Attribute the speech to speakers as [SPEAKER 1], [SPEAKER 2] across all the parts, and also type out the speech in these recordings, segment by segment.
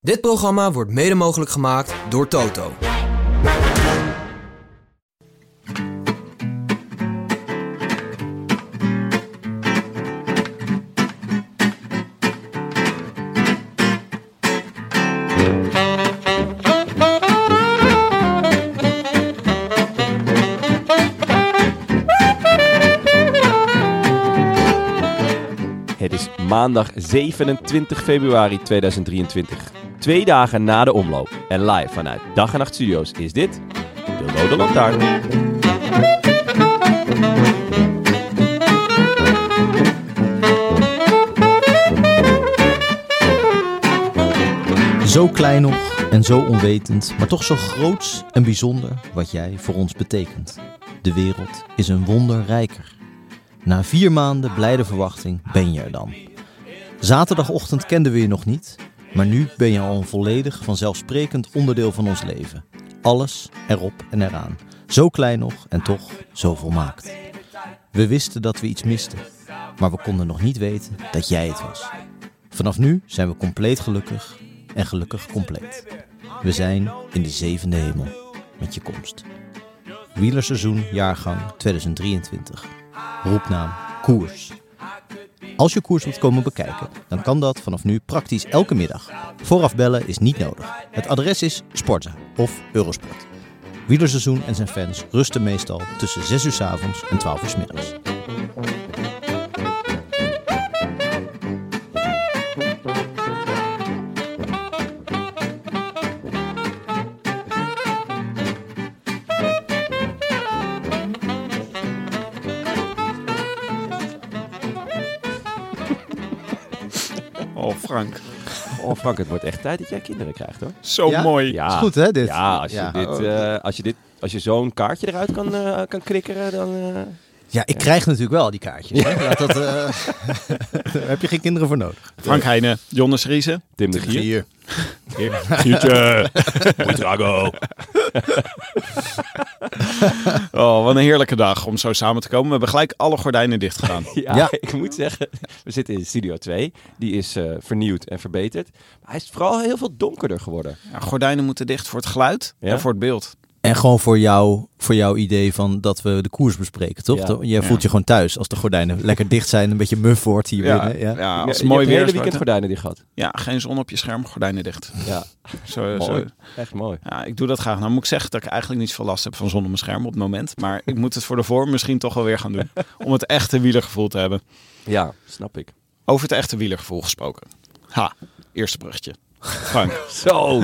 [SPEAKER 1] Dit programma wordt mede mogelijk gemaakt door Toto.
[SPEAKER 2] Het is maandag 27 februari 2023. Twee dagen na de omloop en live vanuit Dag en Nacht Studios is dit de Rode Lantaarn.
[SPEAKER 3] Zo klein nog en zo onwetend, maar toch zo groots en bijzonder wat jij voor ons betekent. De wereld is een wonder rijker. Na vier maanden blijde verwachting ben je er dan. Zaterdagochtend kenden we je nog niet, maar nu ben je al een volledig vanzelfsprekend onderdeel van ons leven. Alles erop en eraan. Zo klein nog en toch zo volmaakt. We wisten dat we iets misten, maar we konden nog niet weten dat jij het was. Vanaf nu zijn we compleet gelukkig en gelukkig compleet. We zijn in de zevende hemel met je komst. Wielerseizoen jaargang 2023. Roepnaam Koers. Als je koers wilt komen bekijken, dan kan dat vanaf nu praktisch elke middag. Vooraf bellen is niet nodig. Het adres is Sporza of Eurosport. Wielerseizoen en zijn fans rusten meestal tussen 6 uur s avonds en 12 uur s middags.
[SPEAKER 4] Oh, Frank.
[SPEAKER 2] Oh Frank, het wordt echt tijd dat jij kinderen krijgt hoor.
[SPEAKER 4] Zo
[SPEAKER 3] Ja?
[SPEAKER 4] mooi.
[SPEAKER 2] Ja,
[SPEAKER 3] Is goed, hè, dit?
[SPEAKER 2] Ja, als je,
[SPEAKER 3] Ja.
[SPEAKER 2] Dit, eh, als je, dit, als je zo'n kaartje eruit kan, eh, kan krikkeren, dan... eh,
[SPEAKER 3] Ja, ik krijg natuurlijk wel die kaartjes. Hè? Laat dat, eh, daar heb je geen kinderen voor nodig.
[SPEAKER 4] Frank Heijnen, Jonas Riese.
[SPEAKER 2] Tim de Gier.
[SPEAKER 4] Gietje. Oh, wat een heerlijke dag om zo samen te komen. We hebben gelijk alle gordijnen dicht gedaan.
[SPEAKER 2] Ja,
[SPEAKER 3] Ja.
[SPEAKER 2] ik moet zeggen, we zitten in Studio 2. Die is eh, vernieuwd en verbeterd. Maar hij is vooral heel veel donkerder geworden.
[SPEAKER 4] Ja, gordijnen moeten dicht voor het geluid
[SPEAKER 2] Ja.
[SPEAKER 4] en voor het beeld.
[SPEAKER 3] En gewoon voor, jou, voor jouw idee van dat we de koers bespreken, toch?
[SPEAKER 2] Ja.
[SPEAKER 3] Toch? Jij voelt je gewoon thuis als de gordijnen lekker dicht zijn, een beetje muff wordt hier
[SPEAKER 4] Ja,
[SPEAKER 3] binnen. Ja.
[SPEAKER 4] ja,
[SPEAKER 2] Je- je
[SPEAKER 4] als het
[SPEAKER 2] hebt
[SPEAKER 4] mooi
[SPEAKER 2] het
[SPEAKER 4] weer
[SPEAKER 2] hele
[SPEAKER 4] Oh. is.
[SPEAKER 2] weekend
[SPEAKER 4] wordt-
[SPEAKER 2] gordijnen die gehad.
[SPEAKER 4] Ja, geen zon op je scherm, gordijnen dicht.
[SPEAKER 2] Ja,
[SPEAKER 4] Zo,
[SPEAKER 2] mooi.
[SPEAKER 4] zo.
[SPEAKER 2] Echt mooi.
[SPEAKER 4] Ja, ik doe dat graag. Nou moet ik zeggen dat ik eigenlijk niet veel last heb van zon op mijn scherm op het moment. Maar ik moet het voor de vorm misschien toch wel weer gaan doen. Om het echte wielergevoel te hebben.
[SPEAKER 2] Ja, snap ik.
[SPEAKER 4] Over het echte wielergevoel gesproken. Ha, eerste bruggetje. Frank,
[SPEAKER 2] Zo.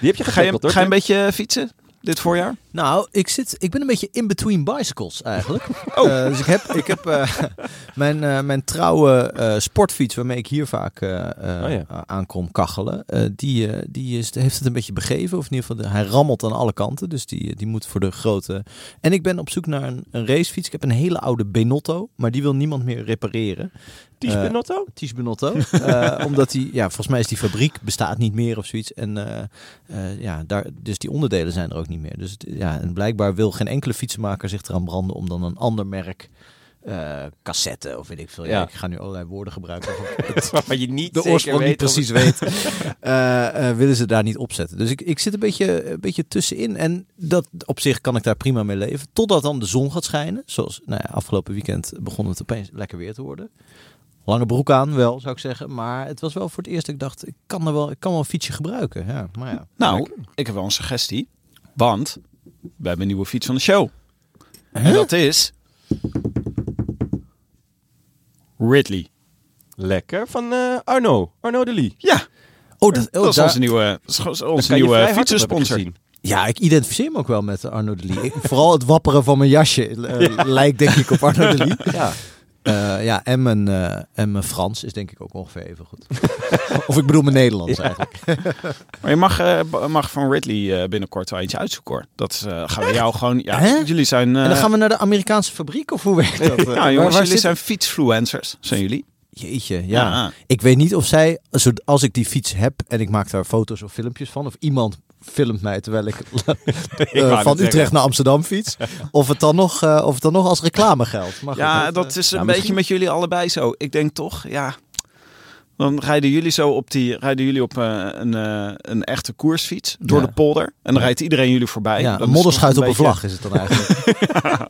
[SPEAKER 2] Die heb je
[SPEAKER 4] ga je,
[SPEAKER 2] gegeven, hoor.
[SPEAKER 4] ga je een
[SPEAKER 2] Tim?
[SPEAKER 4] beetje eh, fietsen dit voorjaar?
[SPEAKER 3] Nou, ik, zit, ik ben een beetje in between bicycles eigenlijk.
[SPEAKER 2] Oh.
[SPEAKER 3] Eh, dus ik heb, ik heb eh, mijn, eh, mijn trouwe eh, sportfiets, waarmee ik hier vaak eh eh,
[SPEAKER 2] Oh ja.
[SPEAKER 3] aankom kachelen, eh, die, eh, die is, heeft het een beetje begeven. Of in ieder geval, de- hij rammelt aan alle kanten. Dus die, eh, die moet voor de grote... En ik ben op zoek naar een, een racefiets. Ik heb een hele oude Benotto, maar die wil niemand meer repareren.
[SPEAKER 2] Ties
[SPEAKER 3] eh,
[SPEAKER 2] Benotto?
[SPEAKER 3] Ties Benotto. Eh, omdat die, ja, volgens mij is die fabriek bestaat niet meer of zoiets. En eh, eh, ja, daar, dus die onderdelen zijn er ook niet meer. Dus het- ja, en blijkbaar wil geen enkele fietsenmaker zich eraan branden om dan een ander merk eh cassette of weet ik veel. Ja,
[SPEAKER 2] Ja.
[SPEAKER 3] ik ga nu allerlei woorden gebruiken. waarvan ik
[SPEAKER 2] Waarvan je niet
[SPEAKER 3] De
[SPEAKER 2] zeker
[SPEAKER 3] oorsprong niet
[SPEAKER 2] weet of-
[SPEAKER 3] precies weet. Eh, eh, willen ze daar niet opzetten. Dus ik, ik zit een beetje, een beetje tussenin. En dat op zich kan ik daar prima mee leven. Totdat dan de zon gaat schijnen. Zoals nou ja, afgelopen weekend begon het opeens lekker weer te worden. Lange broek aan wel, zou ik zeggen. Maar het was wel voor het eerst dat ik dacht, ik kan, er wel, ik kan wel een fietsje gebruiken. Ja, maar ja.
[SPEAKER 4] Nou, ik heb wel een suggestie. Want we hebben een nieuwe fiets van de show. En dat is... Ridley.
[SPEAKER 2] Lekker van eh, Arno. Arno de Lee.
[SPEAKER 4] Ja,
[SPEAKER 3] Oh, dat,
[SPEAKER 4] dat is
[SPEAKER 3] daar-
[SPEAKER 4] onze nieuwe, is gewoon onze
[SPEAKER 2] Kan je vrij
[SPEAKER 4] nieuwe
[SPEAKER 2] hard op, heb ik
[SPEAKER 4] fietsensponsor.
[SPEAKER 2] gezien.
[SPEAKER 3] Ja, ik identificeer me ook wel met Arno de Lee. Ik- Vooral het wapperen van mijn jasje eh, lijkt denk ik op Arno de Lee.
[SPEAKER 2] Ja.
[SPEAKER 3] Eh, ja, en mijn, eh, en mijn Frans is denk ik ook ongeveer even goed. of ik bedoel mijn Nederlands eigenlijk.
[SPEAKER 4] Maar je mag, eh, b- mag van Ridley eh, binnenkort wel iets uitzoeken hoor. Dat is, eh, gaan we jou gewoon... Ja,
[SPEAKER 3] Hè?
[SPEAKER 4] jullie zijn... eh,
[SPEAKER 3] en dan gaan we naar de Amerikaanse fabriek of hoe werkt dat?
[SPEAKER 4] ja, jongens,
[SPEAKER 3] Waar- waar
[SPEAKER 4] jullie
[SPEAKER 3] zit-
[SPEAKER 4] zijn fietsfluencers, zijn jullie?
[SPEAKER 3] Jeetje, ja.
[SPEAKER 4] Ja.
[SPEAKER 3] Ik weet niet of zij, zo- als ik die fiets heb en ik maak daar foto's of filmpjes van, of iemand filmt mij terwijl ik, eh,
[SPEAKER 2] net
[SPEAKER 3] van Utrecht
[SPEAKER 2] zeggen.
[SPEAKER 3] naar Amsterdam fiets, of het dan nog, eh, of het dan nog als reclame geldt. Maar goed,
[SPEAKER 4] Ja,
[SPEAKER 3] dat, eh,
[SPEAKER 4] dat is een
[SPEAKER 2] nou,
[SPEAKER 4] beetje
[SPEAKER 2] misschien-
[SPEAKER 4] met jullie allebei zo. Ik denk toch, ja. Dan rijden jullie zo op die, rijden jullie op eh, een, eh, een echte koersfiets door
[SPEAKER 3] Ja.
[SPEAKER 4] de polder. En dan rijdt iedereen jullie voorbij.
[SPEAKER 3] ja,
[SPEAKER 4] Dat
[SPEAKER 3] een
[SPEAKER 4] is
[SPEAKER 3] modderschuit op
[SPEAKER 4] toch
[SPEAKER 3] een
[SPEAKER 4] beetje-
[SPEAKER 3] vlag is het dan eigenlijk.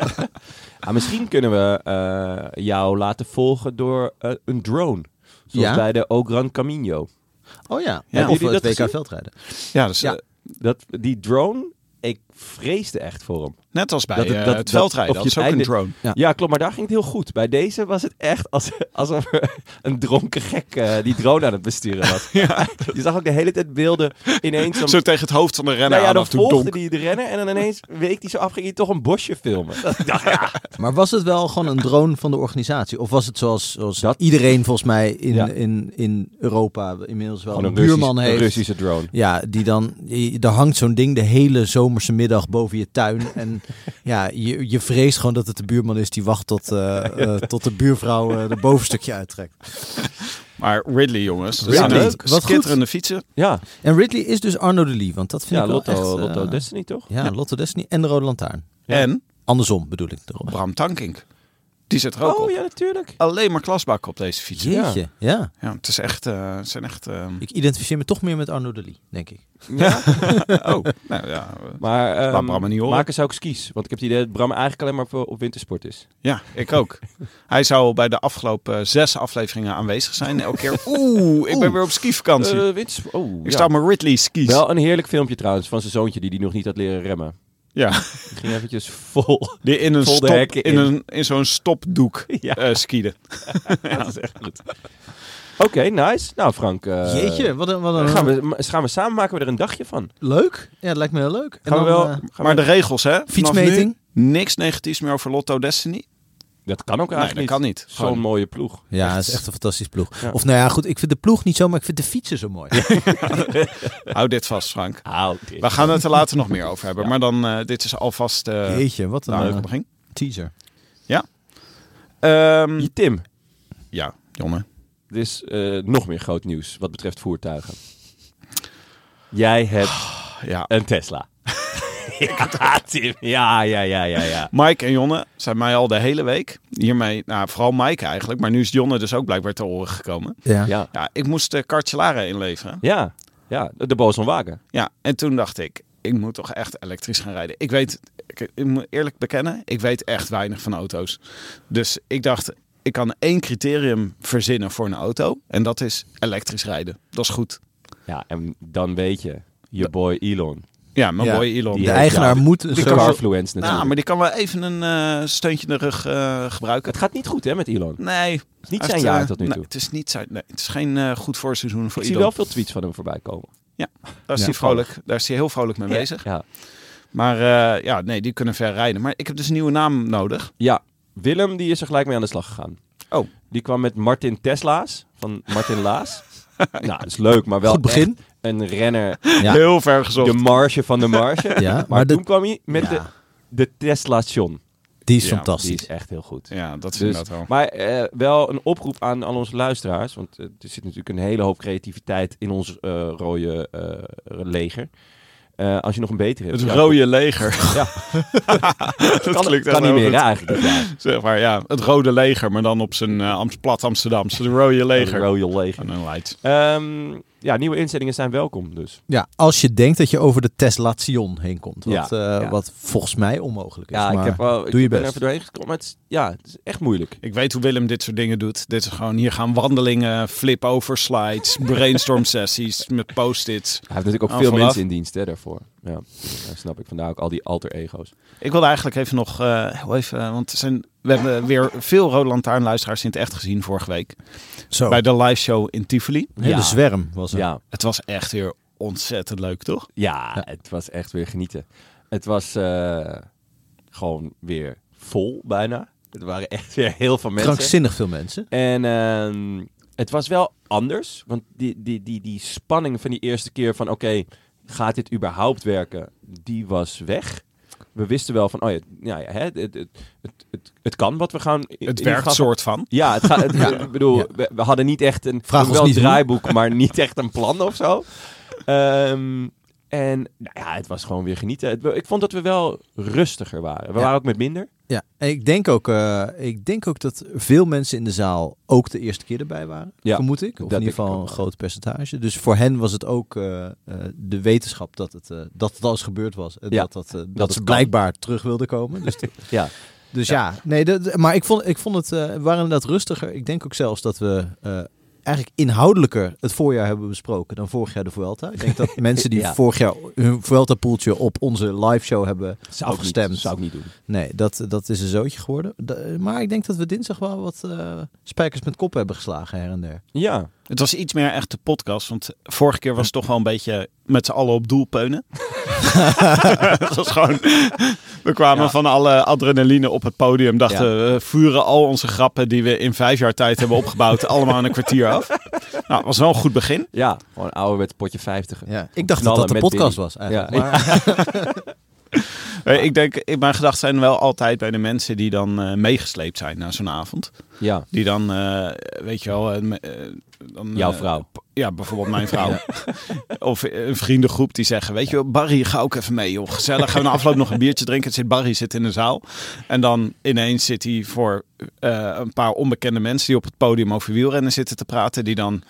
[SPEAKER 2] Ah, misschien kunnen we eh, jou laten volgen door eh, een drone. Zoals
[SPEAKER 3] Ja?
[SPEAKER 2] bij de O Gran Camino.
[SPEAKER 3] oh ja,
[SPEAKER 4] jullie
[SPEAKER 3] of eh,
[SPEAKER 2] dat
[SPEAKER 3] het WK
[SPEAKER 2] gezien?
[SPEAKER 3] veldrijden.
[SPEAKER 4] Ja, dus,
[SPEAKER 3] Ja.
[SPEAKER 4] eh,
[SPEAKER 2] Dat, die drone, ik vreesde echt voor hem.
[SPEAKER 4] net als bij
[SPEAKER 2] Dat
[SPEAKER 4] dat,
[SPEAKER 2] het- dat-
[SPEAKER 4] het
[SPEAKER 2] dat-
[SPEAKER 4] veldrijden.
[SPEAKER 2] of
[SPEAKER 4] Dat,
[SPEAKER 2] je
[SPEAKER 4] is ook
[SPEAKER 2] einde-
[SPEAKER 4] een drone.
[SPEAKER 3] Ja.
[SPEAKER 2] Ja. klopt, maar daar ging het heel goed. Bij deze was het echt als, alsof er een dronken gek eh, die drone aan het besturen was. Je zag ook de hele tijd beelden ineens... om-
[SPEAKER 4] Zo tegen het hoofd van de renner
[SPEAKER 2] nou ja,
[SPEAKER 4] aan
[SPEAKER 2] dan
[SPEAKER 4] af en toe
[SPEAKER 2] volgde
[SPEAKER 4] donk.
[SPEAKER 2] die de rennen en dan ineens week die zo af, ging hij toch een bosje filmen. Ik dacht, ja,
[SPEAKER 3] Maar was het wel gewoon een drone van de organisatie? Of was het zoals, zoals iedereen volgens mij in,
[SPEAKER 2] Ja.
[SPEAKER 3] in, in Europa inmiddels wel
[SPEAKER 2] Gewoon
[SPEAKER 3] een, buurman
[SPEAKER 2] Russisch-
[SPEAKER 3] heeft?
[SPEAKER 2] Een Russische drone.
[SPEAKER 3] Ja, die dan, die- daar hangt zo'n ding de hele zomerse middag boven je tuin. En ja, je, je vreest gewoon dat het de buurman is die wacht tot, eh, eh, tot de buurvrouw eh, de bovenstukje uittrekt.
[SPEAKER 4] Maar Ridley, jongens. Dat
[SPEAKER 3] Ja,
[SPEAKER 4] zijn
[SPEAKER 2] leuk.
[SPEAKER 4] echt
[SPEAKER 3] Wat goed.
[SPEAKER 4] Schitterende fietsen.
[SPEAKER 2] Ja,
[SPEAKER 3] En Ridley is dus Arno de Lee, want dat vind
[SPEAKER 2] ja
[SPEAKER 3] ik wel
[SPEAKER 2] Lotto,
[SPEAKER 3] echt... eh,
[SPEAKER 2] Lotto Destiny toch?
[SPEAKER 3] Ja, Lotto Destiny en de Rode Lantaarn.
[SPEAKER 4] En
[SPEAKER 3] Andersom bedoel ik erop.
[SPEAKER 4] Bram Tankink. Die zit er ook op.
[SPEAKER 2] Oh ja, natuurlijk.
[SPEAKER 4] Alleen maar klasbakken op deze fiets. Ja.
[SPEAKER 3] Jeetje, ja.
[SPEAKER 4] het is echt... eh, het zijn echt... eh,
[SPEAKER 3] Ik identificeer me toch meer met Arno de Lee, denk ik.
[SPEAKER 2] Ja.
[SPEAKER 4] oh, nou ja. eh,
[SPEAKER 2] Maar ehm,
[SPEAKER 4] Laat Bram het niet horen.
[SPEAKER 2] maken zou ook skis. Want ik heb het idee dat Bram eigenlijk alleen maar voor- op wintersport is.
[SPEAKER 4] Ja, ik ook. Hij zou bij de afgelopen eh, zes afleveringen aanwezig zijn. Elke keer, oeh, ik ben weer op skivakantie.
[SPEAKER 2] Eh, wintersport. Oh,
[SPEAKER 4] ik
[SPEAKER 2] ja.
[SPEAKER 4] sta op mijn Ridley skis.
[SPEAKER 2] Wel een heerlijk filmpje trouwens van zijn zoontje die die nog niet had leren remmen.
[SPEAKER 4] Ja,
[SPEAKER 2] Die ging eventjes vol.
[SPEAKER 4] die in een
[SPEAKER 2] Vol de
[SPEAKER 4] stop, in,
[SPEAKER 2] hekken in.
[SPEAKER 4] een in zo'n stopdoek
[SPEAKER 2] Ja.
[SPEAKER 4] eh skieden.
[SPEAKER 2] dat is echt goed. Oké, nice. Nou Frank, eh,
[SPEAKER 3] Jeetje, wat een... Wat een
[SPEAKER 2] gaan, we, ma- gaan we samen maken we er een dagje van.
[SPEAKER 3] Leuk? Ja, dat lijkt me heel leuk. En
[SPEAKER 2] Gaan we
[SPEAKER 3] dan,
[SPEAKER 2] wel,
[SPEAKER 3] eh,
[SPEAKER 2] gaan
[SPEAKER 4] Maar
[SPEAKER 2] we-
[SPEAKER 4] de regels, hè? Vanaf
[SPEAKER 3] Fietsmeting?
[SPEAKER 4] nu niks negatiefs meer over Lotto Destiny.
[SPEAKER 2] dat kan ook
[SPEAKER 4] Nee,
[SPEAKER 2] eigenlijk
[SPEAKER 4] dat kan niet.
[SPEAKER 2] niet. Zo'n
[SPEAKER 4] Gewoon
[SPEAKER 2] mooie ploeg.
[SPEAKER 3] Ja, het is echt een fantastische ploeg.
[SPEAKER 2] Ja.
[SPEAKER 3] Of nou ja, goed, ik vind de ploeg niet zo, maar ik vind de fietsen zo mooi.
[SPEAKER 4] hou dit vast, Frank.
[SPEAKER 3] Ah,
[SPEAKER 2] Au, dit.
[SPEAKER 4] We gaan het er later nog meer over hebben. Maar dan, eh, dit is alvast eh
[SPEAKER 3] Jeetje, wat een
[SPEAKER 4] nou,
[SPEAKER 3] eh,
[SPEAKER 4] leuke begin.
[SPEAKER 3] teaser.
[SPEAKER 4] Ehm,
[SPEAKER 2] Je Tim,
[SPEAKER 4] ja, jongen.
[SPEAKER 2] er is eh, nog meer groot nieuws wat betreft voertuigen. Jij
[SPEAKER 4] Oh.
[SPEAKER 2] hebt
[SPEAKER 4] Ja.
[SPEAKER 2] een Tesla. ja, Tim. Ja, ja, ja, ja, ja.
[SPEAKER 4] Mike en Jonne zijn mij al de hele week hiermee, nou vooral Mike eigenlijk, maar nu is Jonne dus ook blijkbaar te oren gekomen.
[SPEAKER 3] Ja.
[SPEAKER 2] Ja,
[SPEAKER 4] Ja, ik moest de kartelaren inleveren.
[SPEAKER 2] ja, ja. De boos van wagen.
[SPEAKER 4] Ja, en toen dacht ik, ik moet toch echt elektrisch gaan rijden. Ik weet, ik, ik moet eerlijk bekennen, ik weet echt weinig van auto's. Dus ik dacht, ik kan één criterium verzinnen voor een auto. En dat is elektrisch rijden. Dat is goed.
[SPEAKER 2] Ja, en dan weet je, je boy Elon.
[SPEAKER 4] Ja, mijn
[SPEAKER 3] Ja,
[SPEAKER 4] mooie Elon.
[SPEAKER 2] die
[SPEAKER 3] De
[SPEAKER 2] Ja,
[SPEAKER 3] eigenaar
[SPEAKER 2] ja.
[SPEAKER 3] moet een
[SPEAKER 2] De
[SPEAKER 3] soort-
[SPEAKER 2] carfluence natuurlijk.
[SPEAKER 4] Nou, maar die kan wel even een eh, steuntje in de rug eh, gebruiken.
[SPEAKER 2] Het gaat niet goed hè met Elon. Het
[SPEAKER 4] Nee.
[SPEAKER 2] is niet
[SPEAKER 4] Hij
[SPEAKER 2] zijn
[SPEAKER 4] heeft,
[SPEAKER 2] jaar
[SPEAKER 4] eh,
[SPEAKER 2] tot nu
[SPEAKER 4] nee,
[SPEAKER 2] toe.
[SPEAKER 4] het is niet zijn, nee, het is geen eh, goed voorseizoen voor
[SPEAKER 2] Ik zie
[SPEAKER 4] Elon.
[SPEAKER 2] wel veel tweets van hem voorbij komen.
[SPEAKER 4] Daar is
[SPEAKER 3] Ja.
[SPEAKER 4] hij vrolijk, daar is hij heel vrolijk mee bezig.
[SPEAKER 2] Ja.
[SPEAKER 4] Maar eh, ja, nee, die kunnen ver rijden. Maar ik heb dus een nieuwe naam nodig.
[SPEAKER 2] ja, Willem die is er gelijk mee aan de slag gegaan.
[SPEAKER 4] Oh.
[SPEAKER 2] Die kwam met Martin Tesla's, van Martin Laas. nou, dat is leuk, maar wel
[SPEAKER 3] Goed begin.
[SPEAKER 2] echt een renner.
[SPEAKER 3] Ja.
[SPEAKER 4] Heel ver gezocht.
[SPEAKER 2] De marge van de marge.
[SPEAKER 3] Ja, maar
[SPEAKER 2] maar
[SPEAKER 3] de-
[SPEAKER 2] toen kwam hij met
[SPEAKER 3] Ja.
[SPEAKER 2] de, de Tesla John.
[SPEAKER 3] Die is
[SPEAKER 4] Ja,
[SPEAKER 2] Die
[SPEAKER 3] fantastisch.
[SPEAKER 2] is echt heel goed.
[SPEAKER 4] Ja, dat is
[SPEAKER 2] Dus-
[SPEAKER 4] inderdaad wel.
[SPEAKER 2] Maar eh, wel een oproep aan al onze luisteraars. Want eh, er zit natuurlijk een hele hoop creativiteit in ons eh, rode eh, leger. Eh, als je nog een betere hebt.
[SPEAKER 4] Het
[SPEAKER 2] ja,
[SPEAKER 4] rode leger.
[SPEAKER 2] Ja.
[SPEAKER 4] dat
[SPEAKER 2] kan,
[SPEAKER 4] klinkt echt
[SPEAKER 2] kan niet meer
[SPEAKER 4] heel goed.
[SPEAKER 2] hè, eigenlijk. dit jaar.
[SPEAKER 4] Zeg maar, ja. Het rode leger, maar dan op zijn eh, Amst- plat Amsterdamse. Het rode
[SPEAKER 2] Het
[SPEAKER 4] leger.
[SPEAKER 2] rode leger.
[SPEAKER 4] En een light.
[SPEAKER 2] Ehm, ja, nieuwe instellingen zijn welkom dus.
[SPEAKER 3] Ja, als je denkt dat je over de Teslation heen komt. Wat,
[SPEAKER 2] Ja.
[SPEAKER 3] eh,
[SPEAKER 2] Ja.
[SPEAKER 3] wat volgens mij onmogelijk is.
[SPEAKER 2] Ja, ik,
[SPEAKER 3] maar
[SPEAKER 2] heb, wel- ik
[SPEAKER 3] doe je
[SPEAKER 2] ben
[SPEAKER 3] best.
[SPEAKER 2] er doorheen gekomen. maar Het is, ja, het is echt moeilijk.
[SPEAKER 4] Ik weet hoe Willem dit soort dingen doet. Dit is gewoon, hier gaan wandelingen, flip-over slides, brainstorm sessies met post-its.
[SPEAKER 2] Hij heeft natuurlijk ook
[SPEAKER 4] Aan
[SPEAKER 2] veel
[SPEAKER 4] vooraf.
[SPEAKER 2] mensen in dienst hè, daarvoor. Ja, dat snap ik. Vandaar ook al die alter ego's.
[SPEAKER 4] Ik wilde eigenlijk even nog, eh, heel even, eh, want er zijn, we hebben weer veel Rode Lantaarnluisteraars in het echt gezien vorige week.
[SPEAKER 3] Zo,
[SPEAKER 4] Bij de live show in Tivoli.
[SPEAKER 3] een hele
[SPEAKER 2] Ja.
[SPEAKER 3] zwerm was er.
[SPEAKER 2] Ja,
[SPEAKER 4] Het was echt weer ontzettend leuk, toch?
[SPEAKER 2] ja, het was echt weer genieten. Het was eh, gewoon weer vol bijna. Het waren echt weer heel veel mensen.
[SPEAKER 3] Krankzinnig veel mensen.
[SPEAKER 2] En ehm, het was wel anders, want die, die, die, die spanning van die eerste keer van oké, gaat dit überhaupt werken, die was weg. We wisten wel van, oh ja, ja, ja, hè, het, het, het, het, het kan wat we gaan... in-
[SPEAKER 4] Het
[SPEAKER 2] in ieder
[SPEAKER 4] werkt
[SPEAKER 2] geval-
[SPEAKER 4] soort van.
[SPEAKER 2] Ja, het gaat, het- ik bedoel, we, we hadden niet echt een,
[SPEAKER 3] Vraag
[SPEAKER 2] we
[SPEAKER 3] ons
[SPEAKER 2] wel een
[SPEAKER 3] niet hoe.
[SPEAKER 2] draaiboek, maar niet echt een plan of zo. Ehm, en nou ja, het was gewoon weer genieten. Het- ik vond dat we wel rustiger waren. We
[SPEAKER 3] Ja.
[SPEAKER 2] waren ook met minder.
[SPEAKER 3] Ja, en ik denk, ook, eh, ik denk ook dat veel mensen in de zaal ook de eerste keer erbij waren,
[SPEAKER 2] Ja,
[SPEAKER 3] vermoed ik. Of
[SPEAKER 2] dat
[SPEAKER 3] in ieder
[SPEAKER 2] denk ik
[SPEAKER 3] geval
[SPEAKER 2] ook
[SPEAKER 3] een
[SPEAKER 2] wel.
[SPEAKER 3] groot percentage. Dus voor hen was het ook eh, eh, de wetenschap dat het, eh, dat het al eens gebeurd was. En
[SPEAKER 2] Ja,
[SPEAKER 3] dat, dat, eh, dat,
[SPEAKER 2] dat
[SPEAKER 3] ze
[SPEAKER 2] het kan.
[SPEAKER 3] blijkbaar terug wilden komen. Dus,
[SPEAKER 2] Ja.
[SPEAKER 3] dus ja. nee, dat, maar ik vond, ik vond het, eh, we waren inderdaad rustiger. Ik denk ook zelfs dat we eh, eigenlijk inhoudelijker het voorjaar hebben besproken dan vorig jaar de Vuelta. Ik denk dat mensen die
[SPEAKER 2] Ja.
[SPEAKER 3] vorig jaar hun Vuelta-poeltje op onze live show hebben
[SPEAKER 2] Zou ik niet-
[SPEAKER 3] afgestemd.
[SPEAKER 2] zou ik niet doen.
[SPEAKER 3] Nee, dat, dat is een zootje geworden. Da- maar ik denk dat we dinsdag wel wat eh, spijkers met koppen hebben geslagen her en der.
[SPEAKER 2] Ja.
[SPEAKER 4] Het was iets meer echt de podcast, want vorige keer was het toch wel een beetje met z'n allen op doel peunen. Het was gewoon, we kwamen
[SPEAKER 2] Ja.
[SPEAKER 4] van alle adrenaline op het podium, dachten we vuren al onze grappen die we in vijf jaar tijd hebben opgebouwd, allemaal in een kwartier af. Nou, was wel een goed begin.
[SPEAKER 2] Ja, gewoon ouderwets potje 50.
[SPEAKER 3] Ja, ik dacht dat
[SPEAKER 2] Knallen
[SPEAKER 3] dat de
[SPEAKER 2] met
[SPEAKER 3] podcast
[SPEAKER 2] Billy.
[SPEAKER 3] was eigenlijk.
[SPEAKER 2] Ja.
[SPEAKER 3] Maar,
[SPEAKER 4] Eh, Ik denk, in mijn gedachten zijn wel altijd bij de mensen die dan eh, meegesleept zijn na zo'n avond.
[SPEAKER 2] Ja,
[SPEAKER 4] Die dan, eh, weet je wel, eh, me- eh, dan,
[SPEAKER 2] jouw
[SPEAKER 4] eh,
[SPEAKER 2] vrouw.
[SPEAKER 4] Ja, bijvoorbeeld mijn vrouw. Of een vriendengroep die zeggen, weet je wel, Barry, ga ook even mee, joh. Gezellig, gaan we na afloop nog een biertje drinken. Zit Barry zit in de zaal. En dan ineens zit hij voor eh, een paar onbekende mensen die op het podium over wielrennen zitten te praten. Die dan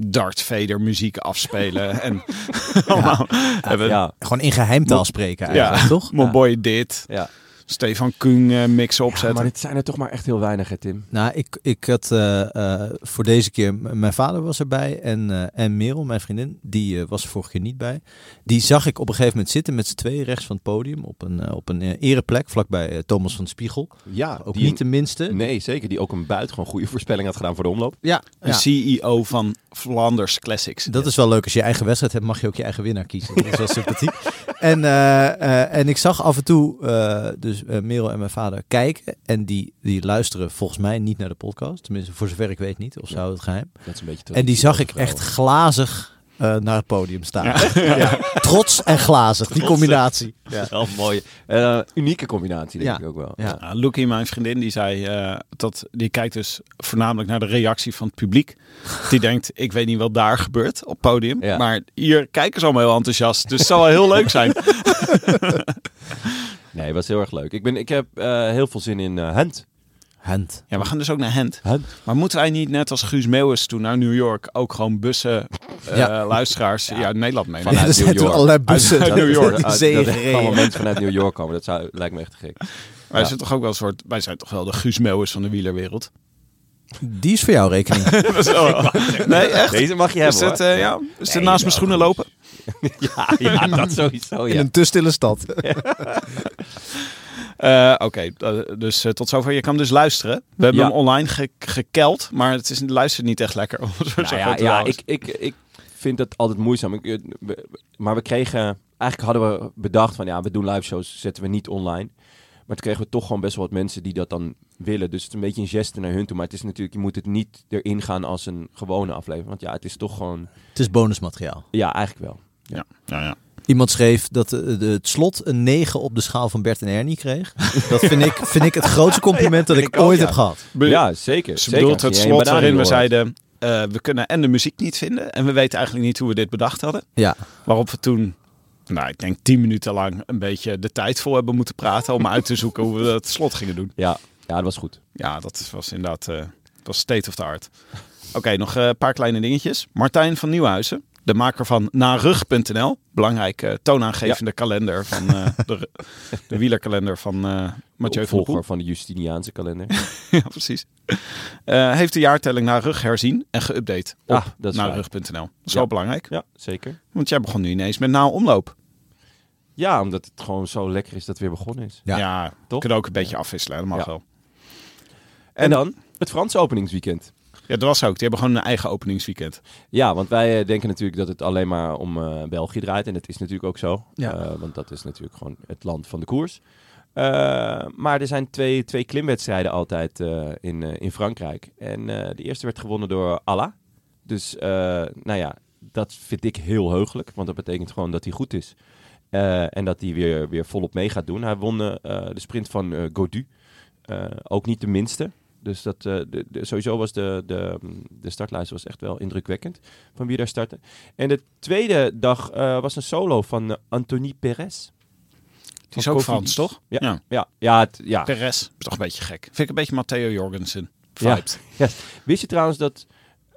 [SPEAKER 4] Darth Vader muziek afspelen. en allemaal hebben, ja.
[SPEAKER 2] Ja,
[SPEAKER 3] gewoon in geheimtaal spreken eigenlijk, toch?
[SPEAKER 4] Mon boy dit.
[SPEAKER 2] ja.
[SPEAKER 4] Stefan Kung eh, mix
[SPEAKER 2] ja
[SPEAKER 4] opzetten.
[SPEAKER 2] maar dit zijn er toch maar echt heel weinig, hè, Tim?
[SPEAKER 3] Nou, ik, ik had eh, eh, voor deze keer, m- mijn vader was erbij en, eh, en Merel, mijn vriendin, die eh, was er vorige keer niet bij. Die zag ik op een gegeven moment zitten met z'n tweeën rechts van het podium op een, eh, op een eh, ereplek vlakbij eh, Thomas van Spiegel.
[SPEAKER 2] Ja,
[SPEAKER 3] Ook niet de minste.
[SPEAKER 2] Nee, zeker. Die ook een buitengewoon goede voorspelling had gedaan voor de omloop.
[SPEAKER 3] Ja,
[SPEAKER 4] Een
[SPEAKER 3] ja.
[SPEAKER 4] CEO E van Flanders Classics.
[SPEAKER 3] Dat is wel leuk. Als je je eigen wedstrijd hebt, mag je ook je eigen winnaar kiezen. Dat is wel sympathiek. En, eh, eh, en ik zag af en toe eh, dus eh, Merel en mijn vader kijken. En die, die luisteren volgens mij niet naar de podcast. Tenminste, voor zover ik weet niet. Of ze houden het geheim.
[SPEAKER 2] Dat is een beetje
[SPEAKER 3] En die
[SPEAKER 2] traditie
[SPEAKER 3] zag
[SPEAKER 2] van
[SPEAKER 3] ik echt
[SPEAKER 2] vrouwen.
[SPEAKER 3] glazig eh, naar het podium staan. Ja. Trots en glazig, die combinatie.
[SPEAKER 2] Dat is wel een mooie, eh, unieke combinatie, denk
[SPEAKER 3] Ja.
[SPEAKER 2] ik ook wel.
[SPEAKER 3] Ja.
[SPEAKER 4] Ja, Loekie, mijn vriendin, die zei eh, dat die kijkt dus voornamelijk naar de reactie van het publiek. Die denkt, ik weet niet wat daar gebeurt op het podium,
[SPEAKER 2] Ja.
[SPEAKER 4] maar hier kijken ze allemaal heel enthousiast, dus het zal wel heel leuk zijn.
[SPEAKER 2] Nee, was heel erg leuk. Ik, ben, ik heb eh, heel veel zin in eh Hunt.
[SPEAKER 3] Hand.
[SPEAKER 4] Ja, we gaan dus ook naar Hent.
[SPEAKER 2] Hunt.
[SPEAKER 4] Maar moeten wij niet net als Guus Meeuwis toen naar New York ook gewoon bussen, eh,
[SPEAKER 3] Ja.
[SPEAKER 4] luisteraars ja. Nederland meenemen?
[SPEAKER 2] Vanuit
[SPEAKER 3] er zijn
[SPEAKER 2] New
[SPEAKER 3] toen
[SPEAKER 2] York.
[SPEAKER 3] allerlei bussen
[SPEAKER 4] Uit New York.
[SPEAKER 3] die
[SPEAKER 2] Ah, Dat,
[SPEAKER 3] zee
[SPEAKER 2] dat er
[SPEAKER 3] gereden.
[SPEAKER 2] allemaal mensen vanuit New York komen, dat zou, lijkt me echt te gek.
[SPEAKER 4] Wij
[SPEAKER 2] Ja.
[SPEAKER 4] zijn toch ook wel een soort, wij zijn toch wel de Guus Meeuwis van de wielerwereld.
[SPEAKER 3] Die is voor jouw rekening.
[SPEAKER 4] Dat is wel- nee, echt.
[SPEAKER 2] Deze mag je
[SPEAKER 4] Is
[SPEAKER 2] hebben,
[SPEAKER 4] het,
[SPEAKER 2] hoor.
[SPEAKER 4] eh, ja, is het naast mijn schoenen lopen?
[SPEAKER 2] ja, ja, dat sowieso,
[SPEAKER 3] In
[SPEAKER 2] ja.
[SPEAKER 3] een te stille stad.
[SPEAKER 4] Eh, Oké, eh, dus eh, tot zover. Je kan hem dus luisteren. We hebben
[SPEAKER 2] Ja.
[SPEAKER 4] hem online ge gekeld, maar het is, luistert niet echt lekker. om het zo
[SPEAKER 2] Nou
[SPEAKER 4] zeggen
[SPEAKER 2] ja,
[SPEAKER 4] te
[SPEAKER 2] ja
[SPEAKER 4] houden.
[SPEAKER 2] ik, ik, ik vind dat altijd moeizaam. Ik, eh, we- maar we kregen... Eigenlijk hadden we bedacht van... Ja, we doen live shows, zetten we niet online. Maar toen kregen we toch gewoon best wel wat mensen die dat dan willen. Dus het is een beetje een geste naar hun toe. Maar het is natuurlijk... Je moet het niet erin gaan als een gewone aflevering. Want ja, het is toch gewoon...
[SPEAKER 3] Het is bonusmateriaal.
[SPEAKER 2] Ja, eigenlijk wel.
[SPEAKER 4] ja. Ja, ja.
[SPEAKER 3] Iemand schreef dat eh, de- het slot een 9 op de schaal van Bert en Ernie kreeg. Dat vind ik, vind ik het grootste compliment dat ik
[SPEAKER 2] ik ook,
[SPEAKER 3] ooit
[SPEAKER 2] ja.
[SPEAKER 3] heb gehad.
[SPEAKER 4] Be-
[SPEAKER 2] ja, zeker.
[SPEAKER 4] Ze
[SPEAKER 2] zeker.
[SPEAKER 4] bedoelt
[SPEAKER 2] Als
[SPEAKER 4] het
[SPEAKER 2] je geen
[SPEAKER 4] slot
[SPEAKER 2] banaan
[SPEAKER 4] waarin we
[SPEAKER 2] hoort.
[SPEAKER 4] zeiden... eh, we kunnen en de muziek niet vinden en we weten eigenlijk niet hoe we dit bedacht hadden.
[SPEAKER 3] Ja,
[SPEAKER 4] Waarop we toen, nou ik denk tien minuten lang, een beetje de tijd vol hebben moeten praten... om uit te zoeken hoe we dat slot gingen doen.
[SPEAKER 2] Ja, ja, dat was goed.
[SPEAKER 4] Ja, dat was inderdaad eh, dat was state of the art. Oké, nog eh, een paar kleine dingetjes. Martijn van Nieuwhuizen, de maker van narug.nl. Belangrijke eh, toonaangevende kalender van eh, de, de wielerkalender van eh Mathieu van der Poel.
[SPEAKER 2] Volger van de Justiniaanse kalender.
[SPEAKER 4] Ja, precies. Eh, heeft de jaartelling naar rug herzien en geüpdate op
[SPEAKER 2] Ah, dat is waar.
[SPEAKER 4] narug.nl. Dat is
[SPEAKER 2] Ja.
[SPEAKER 4] wel belangrijk,
[SPEAKER 2] Ja, zeker.
[SPEAKER 4] want jij begon nu ineens met na omloop.
[SPEAKER 2] Ja, omdat het gewoon zo lekker is dat het weer begonnen is.
[SPEAKER 3] Ja.
[SPEAKER 4] Ja,
[SPEAKER 2] Toch?
[SPEAKER 4] kunnen ook een beetje afwisselen, dat mag
[SPEAKER 2] Ja.
[SPEAKER 4] wel.
[SPEAKER 2] En dan het Franse openingsweekend.
[SPEAKER 4] Ja, dat was ook. Die hebben gewoon een eigen openingsweekend.
[SPEAKER 2] Ja, want wij eh, denken natuurlijk dat het alleen maar om eh, België draait. En dat is natuurlijk ook zo.
[SPEAKER 3] Ja.
[SPEAKER 2] Eh, want dat is natuurlijk gewoon het land van de koers. Eh, maar er zijn twee, twee klimwedstrijden altijd eh, in, eh, in Frankrijk. En eh, de eerste werd gewonnen door Allah. Dus eh, nou ja, dat vind ik heel heugelijk. Want dat betekent gewoon dat hij goed is. Eh, en dat hij weer, weer volop mee gaat doen. Hij won eh, eh, de sprint van eh Godu. Eh, ook niet de minste. Dus dat, eh, de, de- sowieso was de, de, de startlijst was echt wel indrukwekkend van wie daar startte. En de tweede dag eh, was een solo van eh, Anthony Perez.
[SPEAKER 4] Die is
[SPEAKER 2] Van
[SPEAKER 4] ook
[SPEAKER 2] Cofidis.
[SPEAKER 4] Frans, toch?
[SPEAKER 2] Ja.
[SPEAKER 4] ja.
[SPEAKER 2] Ja, ja, het- ja.
[SPEAKER 4] Perez, Ah, is toch een beetje gek. Vind ik een beetje Matteo Jorgensen.
[SPEAKER 2] Ja.
[SPEAKER 4] Vibes.
[SPEAKER 2] Wist je trouwens dat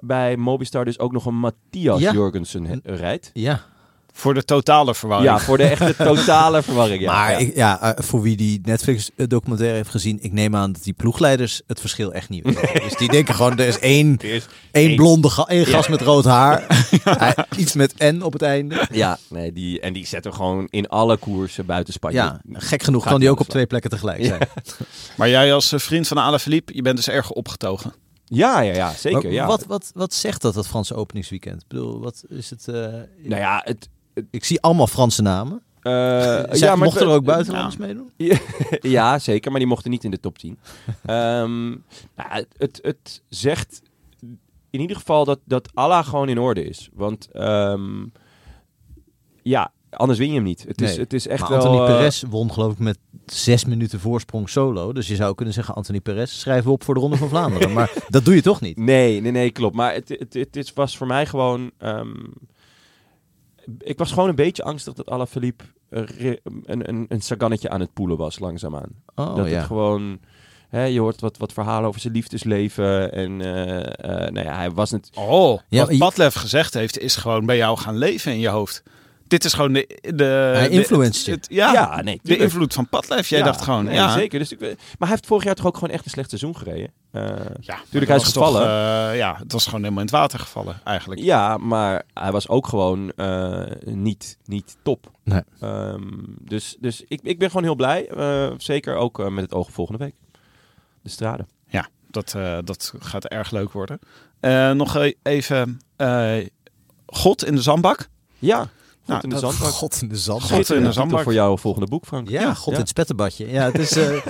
[SPEAKER 2] bij Mobistar dus ook nog een Matthias
[SPEAKER 3] Ja.
[SPEAKER 2] Jorgensen he- rijdt?
[SPEAKER 3] Ja,
[SPEAKER 4] Voor de totale verwarring.
[SPEAKER 2] Ja, voor de echte totale verwarring. Ja.
[SPEAKER 3] maar
[SPEAKER 2] Ja.
[SPEAKER 3] ik- ja. eh, voor wie die Netflix-documentaire heeft gezien, ik neem aan dat die ploegleiders het verschil echt niet weten. Dus die denken gewoon, er is één,
[SPEAKER 2] Er is
[SPEAKER 3] één
[SPEAKER 2] één.
[SPEAKER 3] blonde ga- één gast met rood haar, Hij- iets met N op het einde.
[SPEAKER 2] Ja, nee, die, en die zetten gewoon in alle koersen buiten Spanje.
[SPEAKER 3] Ja, gek genoeg
[SPEAKER 2] Gaat
[SPEAKER 3] kan die
[SPEAKER 2] niet
[SPEAKER 3] ook op
[SPEAKER 2] aan de
[SPEAKER 3] twee plekken tegelijk zijn.
[SPEAKER 4] Maar jij als eh, vriend van Alaphilippe, je bent dus erg opgetogen.
[SPEAKER 2] Ja, ja, ja, zeker.
[SPEAKER 3] Maar
[SPEAKER 2] ja.
[SPEAKER 3] Wat, wat, wat zegt dat, dat Franse openingsweekend? Ik bedoel, wat is het? eh,
[SPEAKER 2] Nou ja, het,
[SPEAKER 3] Ik zie allemaal Franse namen.
[SPEAKER 2] eh,
[SPEAKER 3] Zeg,
[SPEAKER 2] ja, maar
[SPEAKER 3] mochten
[SPEAKER 2] het-
[SPEAKER 3] er ook buitenlanders meedoen?
[SPEAKER 2] ja, zeker, maar die mochten niet in de top 10. Ehm, nou, het, het, het zegt in ieder geval dat, dat Allah gewoon in orde is. Want ehm, ja, anders win je hem niet. Het is,
[SPEAKER 3] Nee,
[SPEAKER 2] het is echt
[SPEAKER 3] maar
[SPEAKER 2] wel...
[SPEAKER 3] Anthony
[SPEAKER 2] eh,
[SPEAKER 3] Perez won geloof ik met zes minuten voorsprong solo. Dus je zou kunnen zeggen, Anthony Perez, schrijf we op voor de Ronde van Vlaanderen. maar dat doe je toch niet?
[SPEAKER 2] Nee, nee, nee, klopt. Maar het, het, het is, was voor mij gewoon... ehm, ik was gewoon een beetje angstig dat Alaphilippe een, re- een, een, een sagannetje aan het poelen was, langzaamaan.
[SPEAKER 3] Oh
[SPEAKER 2] dat
[SPEAKER 3] ja.
[SPEAKER 2] het gewoon... Hè, je hoort wat, wat verhalen over zijn liefdesleven. En eh, eh, nou ja, hij was het...
[SPEAKER 4] Oh,
[SPEAKER 3] Ja,
[SPEAKER 4] wat
[SPEAKER 3] je-
[SPEAKER 4] Padlef gezegd heeft, is gewoon bij jou gaan leven in je hoofd. Dit is gewoon de... de
[SPEAKER 3] Hij
[SPEAKER 4] de-
[SPEAKER 3] influenced je.
[SPEAKER 4] het- ja,
[SPEAKER 2] Ja, nee,
[SPEAKER 4] de
[SPEAKER 2] tuurlijk.
[SPEAKER 4] invloed van Padlef. Jij
[SPEAKER 2] Ja,
[SPEAKER 4] dacht gewoon,
[SPEAKER 2] nee,
[SPEAKER 4] ja.
[SPEAKER 2] zeker. Dus ik, maar hij heeft vorig jaar toch ook gewoon echt een slecht seizoen gereden. Eh,
[SPEAKER 4] Ja, maar
[SPEAKER 2] hij
[SPEAKER 4] dat
[SPEAKER 2] is
[SPEAKER 4] was toch,
[SPEAKER 2] gevallen.
[SPEAKER 4] eh, ja, het was gewoon helemaal in het water gevallen, eigenlijk.
[SPEAKER 2] ja, maar hij was ook gewoon eh, niet, niet top.
[SPEAKER 3] Nee.
[SPEAKER 2] Ehm, dus dus ik, ik ben gewoon heel blij. eh, zeker ook eh, met het oog op volgende week. De strade.
[SPEAKER 4] Ja, dat, eh, dat gaat erg leuk worden. Eh, nog e- even eh, God in de zandbak.
[SPEAKER 2] Ja, goed
[SPEAKER 4] Nou,
[SPEAKER 2] in de
[SPEAKER 4] dat-
[SPEAKER 2] zandbak. eh,
[SPEAKER 3] God in de zand.
[SPEAKER 4] God in de zandbak.
[SPEAKER 2] voor jouw volgende boek, Frank.
[SPEAKER 3] Ja, God in het spettenbadje. Ja, het is... eh,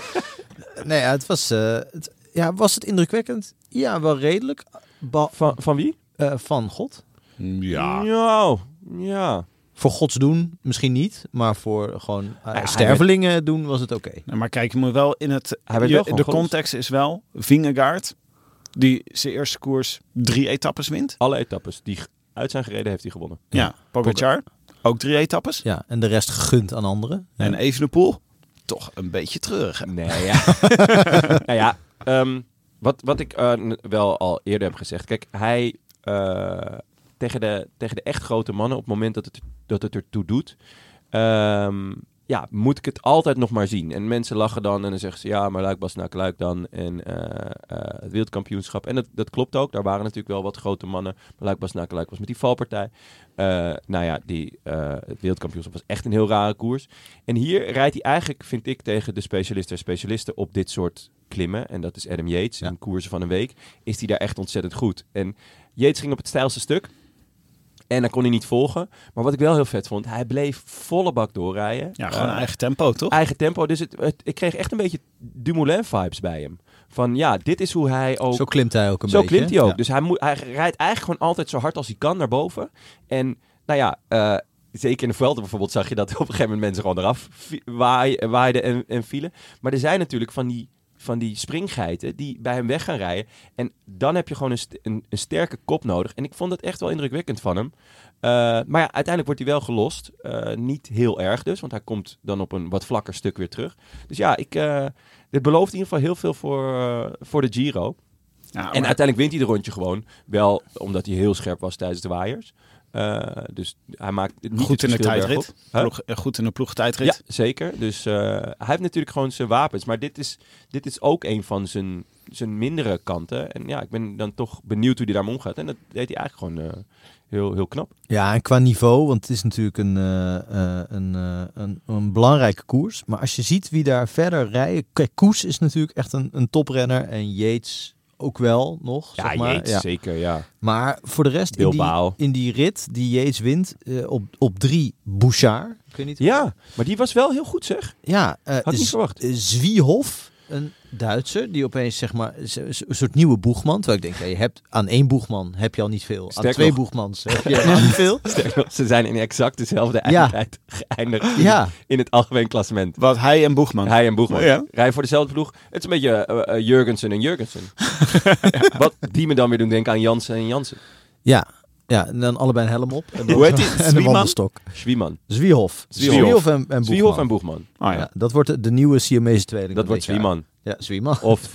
[SPEAKER 3] nee, ja, het was... eh, het, ja, was het indrukwekkend? Ja, wel redelijk. Ba-
[SPEAKER 2] Van, van wie?
[SPEAKER 3] eh, van God?
[SPEAKER 4] Ja.
[SPEAKER 2] Nou, ja.
[SPEAKER 3] Voor Gods doen misschien niet, maar voor gewoon eh,
[SPEAKER 2] hij
[SPEAKER 3] stervelingen doen was het oké.
[SPEAKER 4] Nou, Maar kijk, je moet wel in het.
[SPEAKER 2] Hij werd
[SPEAKER 4] je-
[SPEAKER 2] wel gewoon
[SPEAKER 4] de
[SPEAKER 2] groot.
[SPEAKER 4] context is wel Vingegaard, die zijn eerste koers drie etappes wint.
[SPEAKER 2] Alle etappes die g- uit zijn gereden heeft hij gewonnen.
[SPEAKER 4] Ja, Pogacar, ook drie etappes.
[SPEAKER 3] Ja, en de rest gegund aan anderen.
[SPEAKER 4] En Evenepoel, toch een beetje treurig. hè?
[SPEAKER 2] Nee, ja. nou ja, ehm, wat, wat ik eh, n- wel al eerder heb gezegd. Kijk, hij eh, tegen, de, tegen de echt grote mannen, op het moment dat het, dat het ertoe doet, ehm, ja, moet ik het altijd nog maar zien. En mensen lachen dan en dan zeggen ze, ja, maar Luik Bas naar Luik dan. En eh, eh, het wereldkampioenschap. En dat, dat klopt ook. Daar waren natuurlijk wel wat grote mannen. Maar Luik Bas naar Luik was met die valpartij. Eh, nou ja, die, eh, het wereldkampioenschap was echt een heel rare koers. En hier rijdt hij eigenlijk, vind ik, tegen de specialisten en specialisten op dit soort klimmen. En dat is Adam Yates. In koersen van een week is hij daar echt ontzettend goed. En Yates ging op het stijlste stuk. En dan kon hij niet volgen. Maar wat ik wel heel vet vond, hij bleef volle bak doorrijden.
[SPEAKER 4] Ja, gewoon
[SPEAKER 2] Eh,
[SPEAKER 4] eigen tempo, toch?
[SPEAKER 2] eigen tempo. Dus het, het- ik kreeg echt een beetje Dumoulin-vibes bij hem. Van ja, dit is hoe hij ook...
[SPEAKER 3] Zo klimt hij ook een
[SPEAKER 2] Zo
[SPEAKER 3] beetje.
[SPEAKER 2] klimt hij ook.
[SPEAKER 3] Ja.
[SPEAKER 2] Dus hij, moet, hij rijdt eigenlijk gewoon altijd zo hard als hij kan naar boven. En nou ja, eh, zeker in de Vuelta bijvoorbeeld zag je dat op een gegeven moment mensen gewoon eraf vi- waai- waaiden en, en vielen. Maar er zijn natuurlijk van die, van die springgeiten die bij hem weg gaan rijden. En dan heb je gewoon een, st- een, een sterke kop nodig. En ik vond dat echt wel indrukwekkend van hem. Eh, maar ja, uiteindelijk wordt hij wel gelost. Eh, niet heel erg dus, want hij komt dan op een wat vlakker stuk weer terug. Dus ja, ik, eh, dit belooft in ieder geval heel veel voor, eh, voor de Giro.
[SPEAKER 4] Ja, Ah, maar-
[SPEAKER 2] En uiteindelijk wint hij de rondje gewoon. Wel omdat hij heel scherp was tijdens de waaiers. Eh, dus hij maakt niet
[SPEAKER 4] goed in
[SPEAKER 2] het
[SPEAKER 4] de
[SPEAKER 2] verschil
[SPEAKER 4] tijdrit.
[SPEAKER 2] bergop. Huh?
[SPEAKER 4] Ploeg- eh, goed in de
[SPEAKER 2] Ja,
[SPEAKER 4] ploegtijdrit.
[SPEAKER 2] zeker. Dus eh, hij heeft natuurlijk gewoon zijn wapens. Maar dit is, dit is ook een van zijn, zijn mindere kanten. En ja, ik ben dan toch benieuwd hoe hij daarmee omgaat. En dat deed hij eigenlijk gewoon eh, heel, heel knap.
[SPEAKER 3] Ja, en qua niveau, want het is natuurlijk een, eh, eh, een, eh, een, een belangrijke koers. Maar als je ziet wie daar verder rijden... Kijk, Koes is natuurlijk echt een, een toprenner. En Yates ook wel nog.
[SPEAKER 2] Ja,
[SPEAKER 3] zeg maar.
[SPEAKER 2] Yates,
[SPEAKER 3] ja.
[SPEAKER 2] zeker, ja.
[SPEAKER 3] Maar voor de rest, in die,
[SPEAKER 2] Bilbao.
[SPEAKER 3] in die rit die Yates wint, eh, op, op drie Bouchard. Ik weet niet.
[SPEAKER 2] Ja, maar die was wel heel goed, zeg.
[SPEAKER 3] Ja, eh,
[SPEAKER 2] Had ik niet
[SPEAKER 3] Z-
[SPEAKER 2] verwacht.
[SPEAKER 3] eh, Zwiehof, een Duitser, die opeens zeg maar z- z- een soort nieuwe boegman. Terwijl ik denk, ja, je hebt aan één boegman heb je al niet veel. aan
[SPEAKER 2] Sterk
[SPEAKER 3] twee
[SPEAKER 2] nog.
[SPEAKER 3] boegmans heb je al niet veel.
[SPEAKER 2] Sterker nog, Ze zijn in exact dezelfde eindtijd geëindigd in-
[SPEAKER 3] Ja.
[SPEAKER 2] in het algemeen klassement.
[SPEAKER 4] Wat hij en Boegman.
[SPEAKER 2] Hij en Boegman.
[SPEAKER 4] Ja.
[SPEAKER 2] Rijden voor dezelfde ploeg. Het is een beetje eh, eh, Jurgensen en Jurgensen. Wat die me dan weer doen denken aan Jansen en Jansen.
[SPEAKER 3] Ja, ja, en dan allebei een helm op. En dan-
[SPEAKER 4] Hoe heet die?
[SPEAKER 3] En een
[SPEAKER 4] Zwieman?
[SPEAKER 3] wandelstok.
[SPEAKER 2] Zwieman.
[SPEAKER 3] Zwiehof.
[SPEAKER 2] Zwiehof.
[SPEAKER 3] en, en Boegman.
[SPEAKER 2] Zwiehof en Boegman. Ah,
[SPEAKER 4] Oh, ja.
[SPEAKER 3] Ja, dat wordt de- de nieuwe Siamese tweeling.
[SPEAKER 2] Dat
[SPEAKER 3] van
[SPEAKER 2] wordt
[SPEAKER 3] dit jaar.
[SPEAKER 2] Zwieman.
[SPEAKER 3] Ja, Zwieman.
[SPEAKER 2] Of,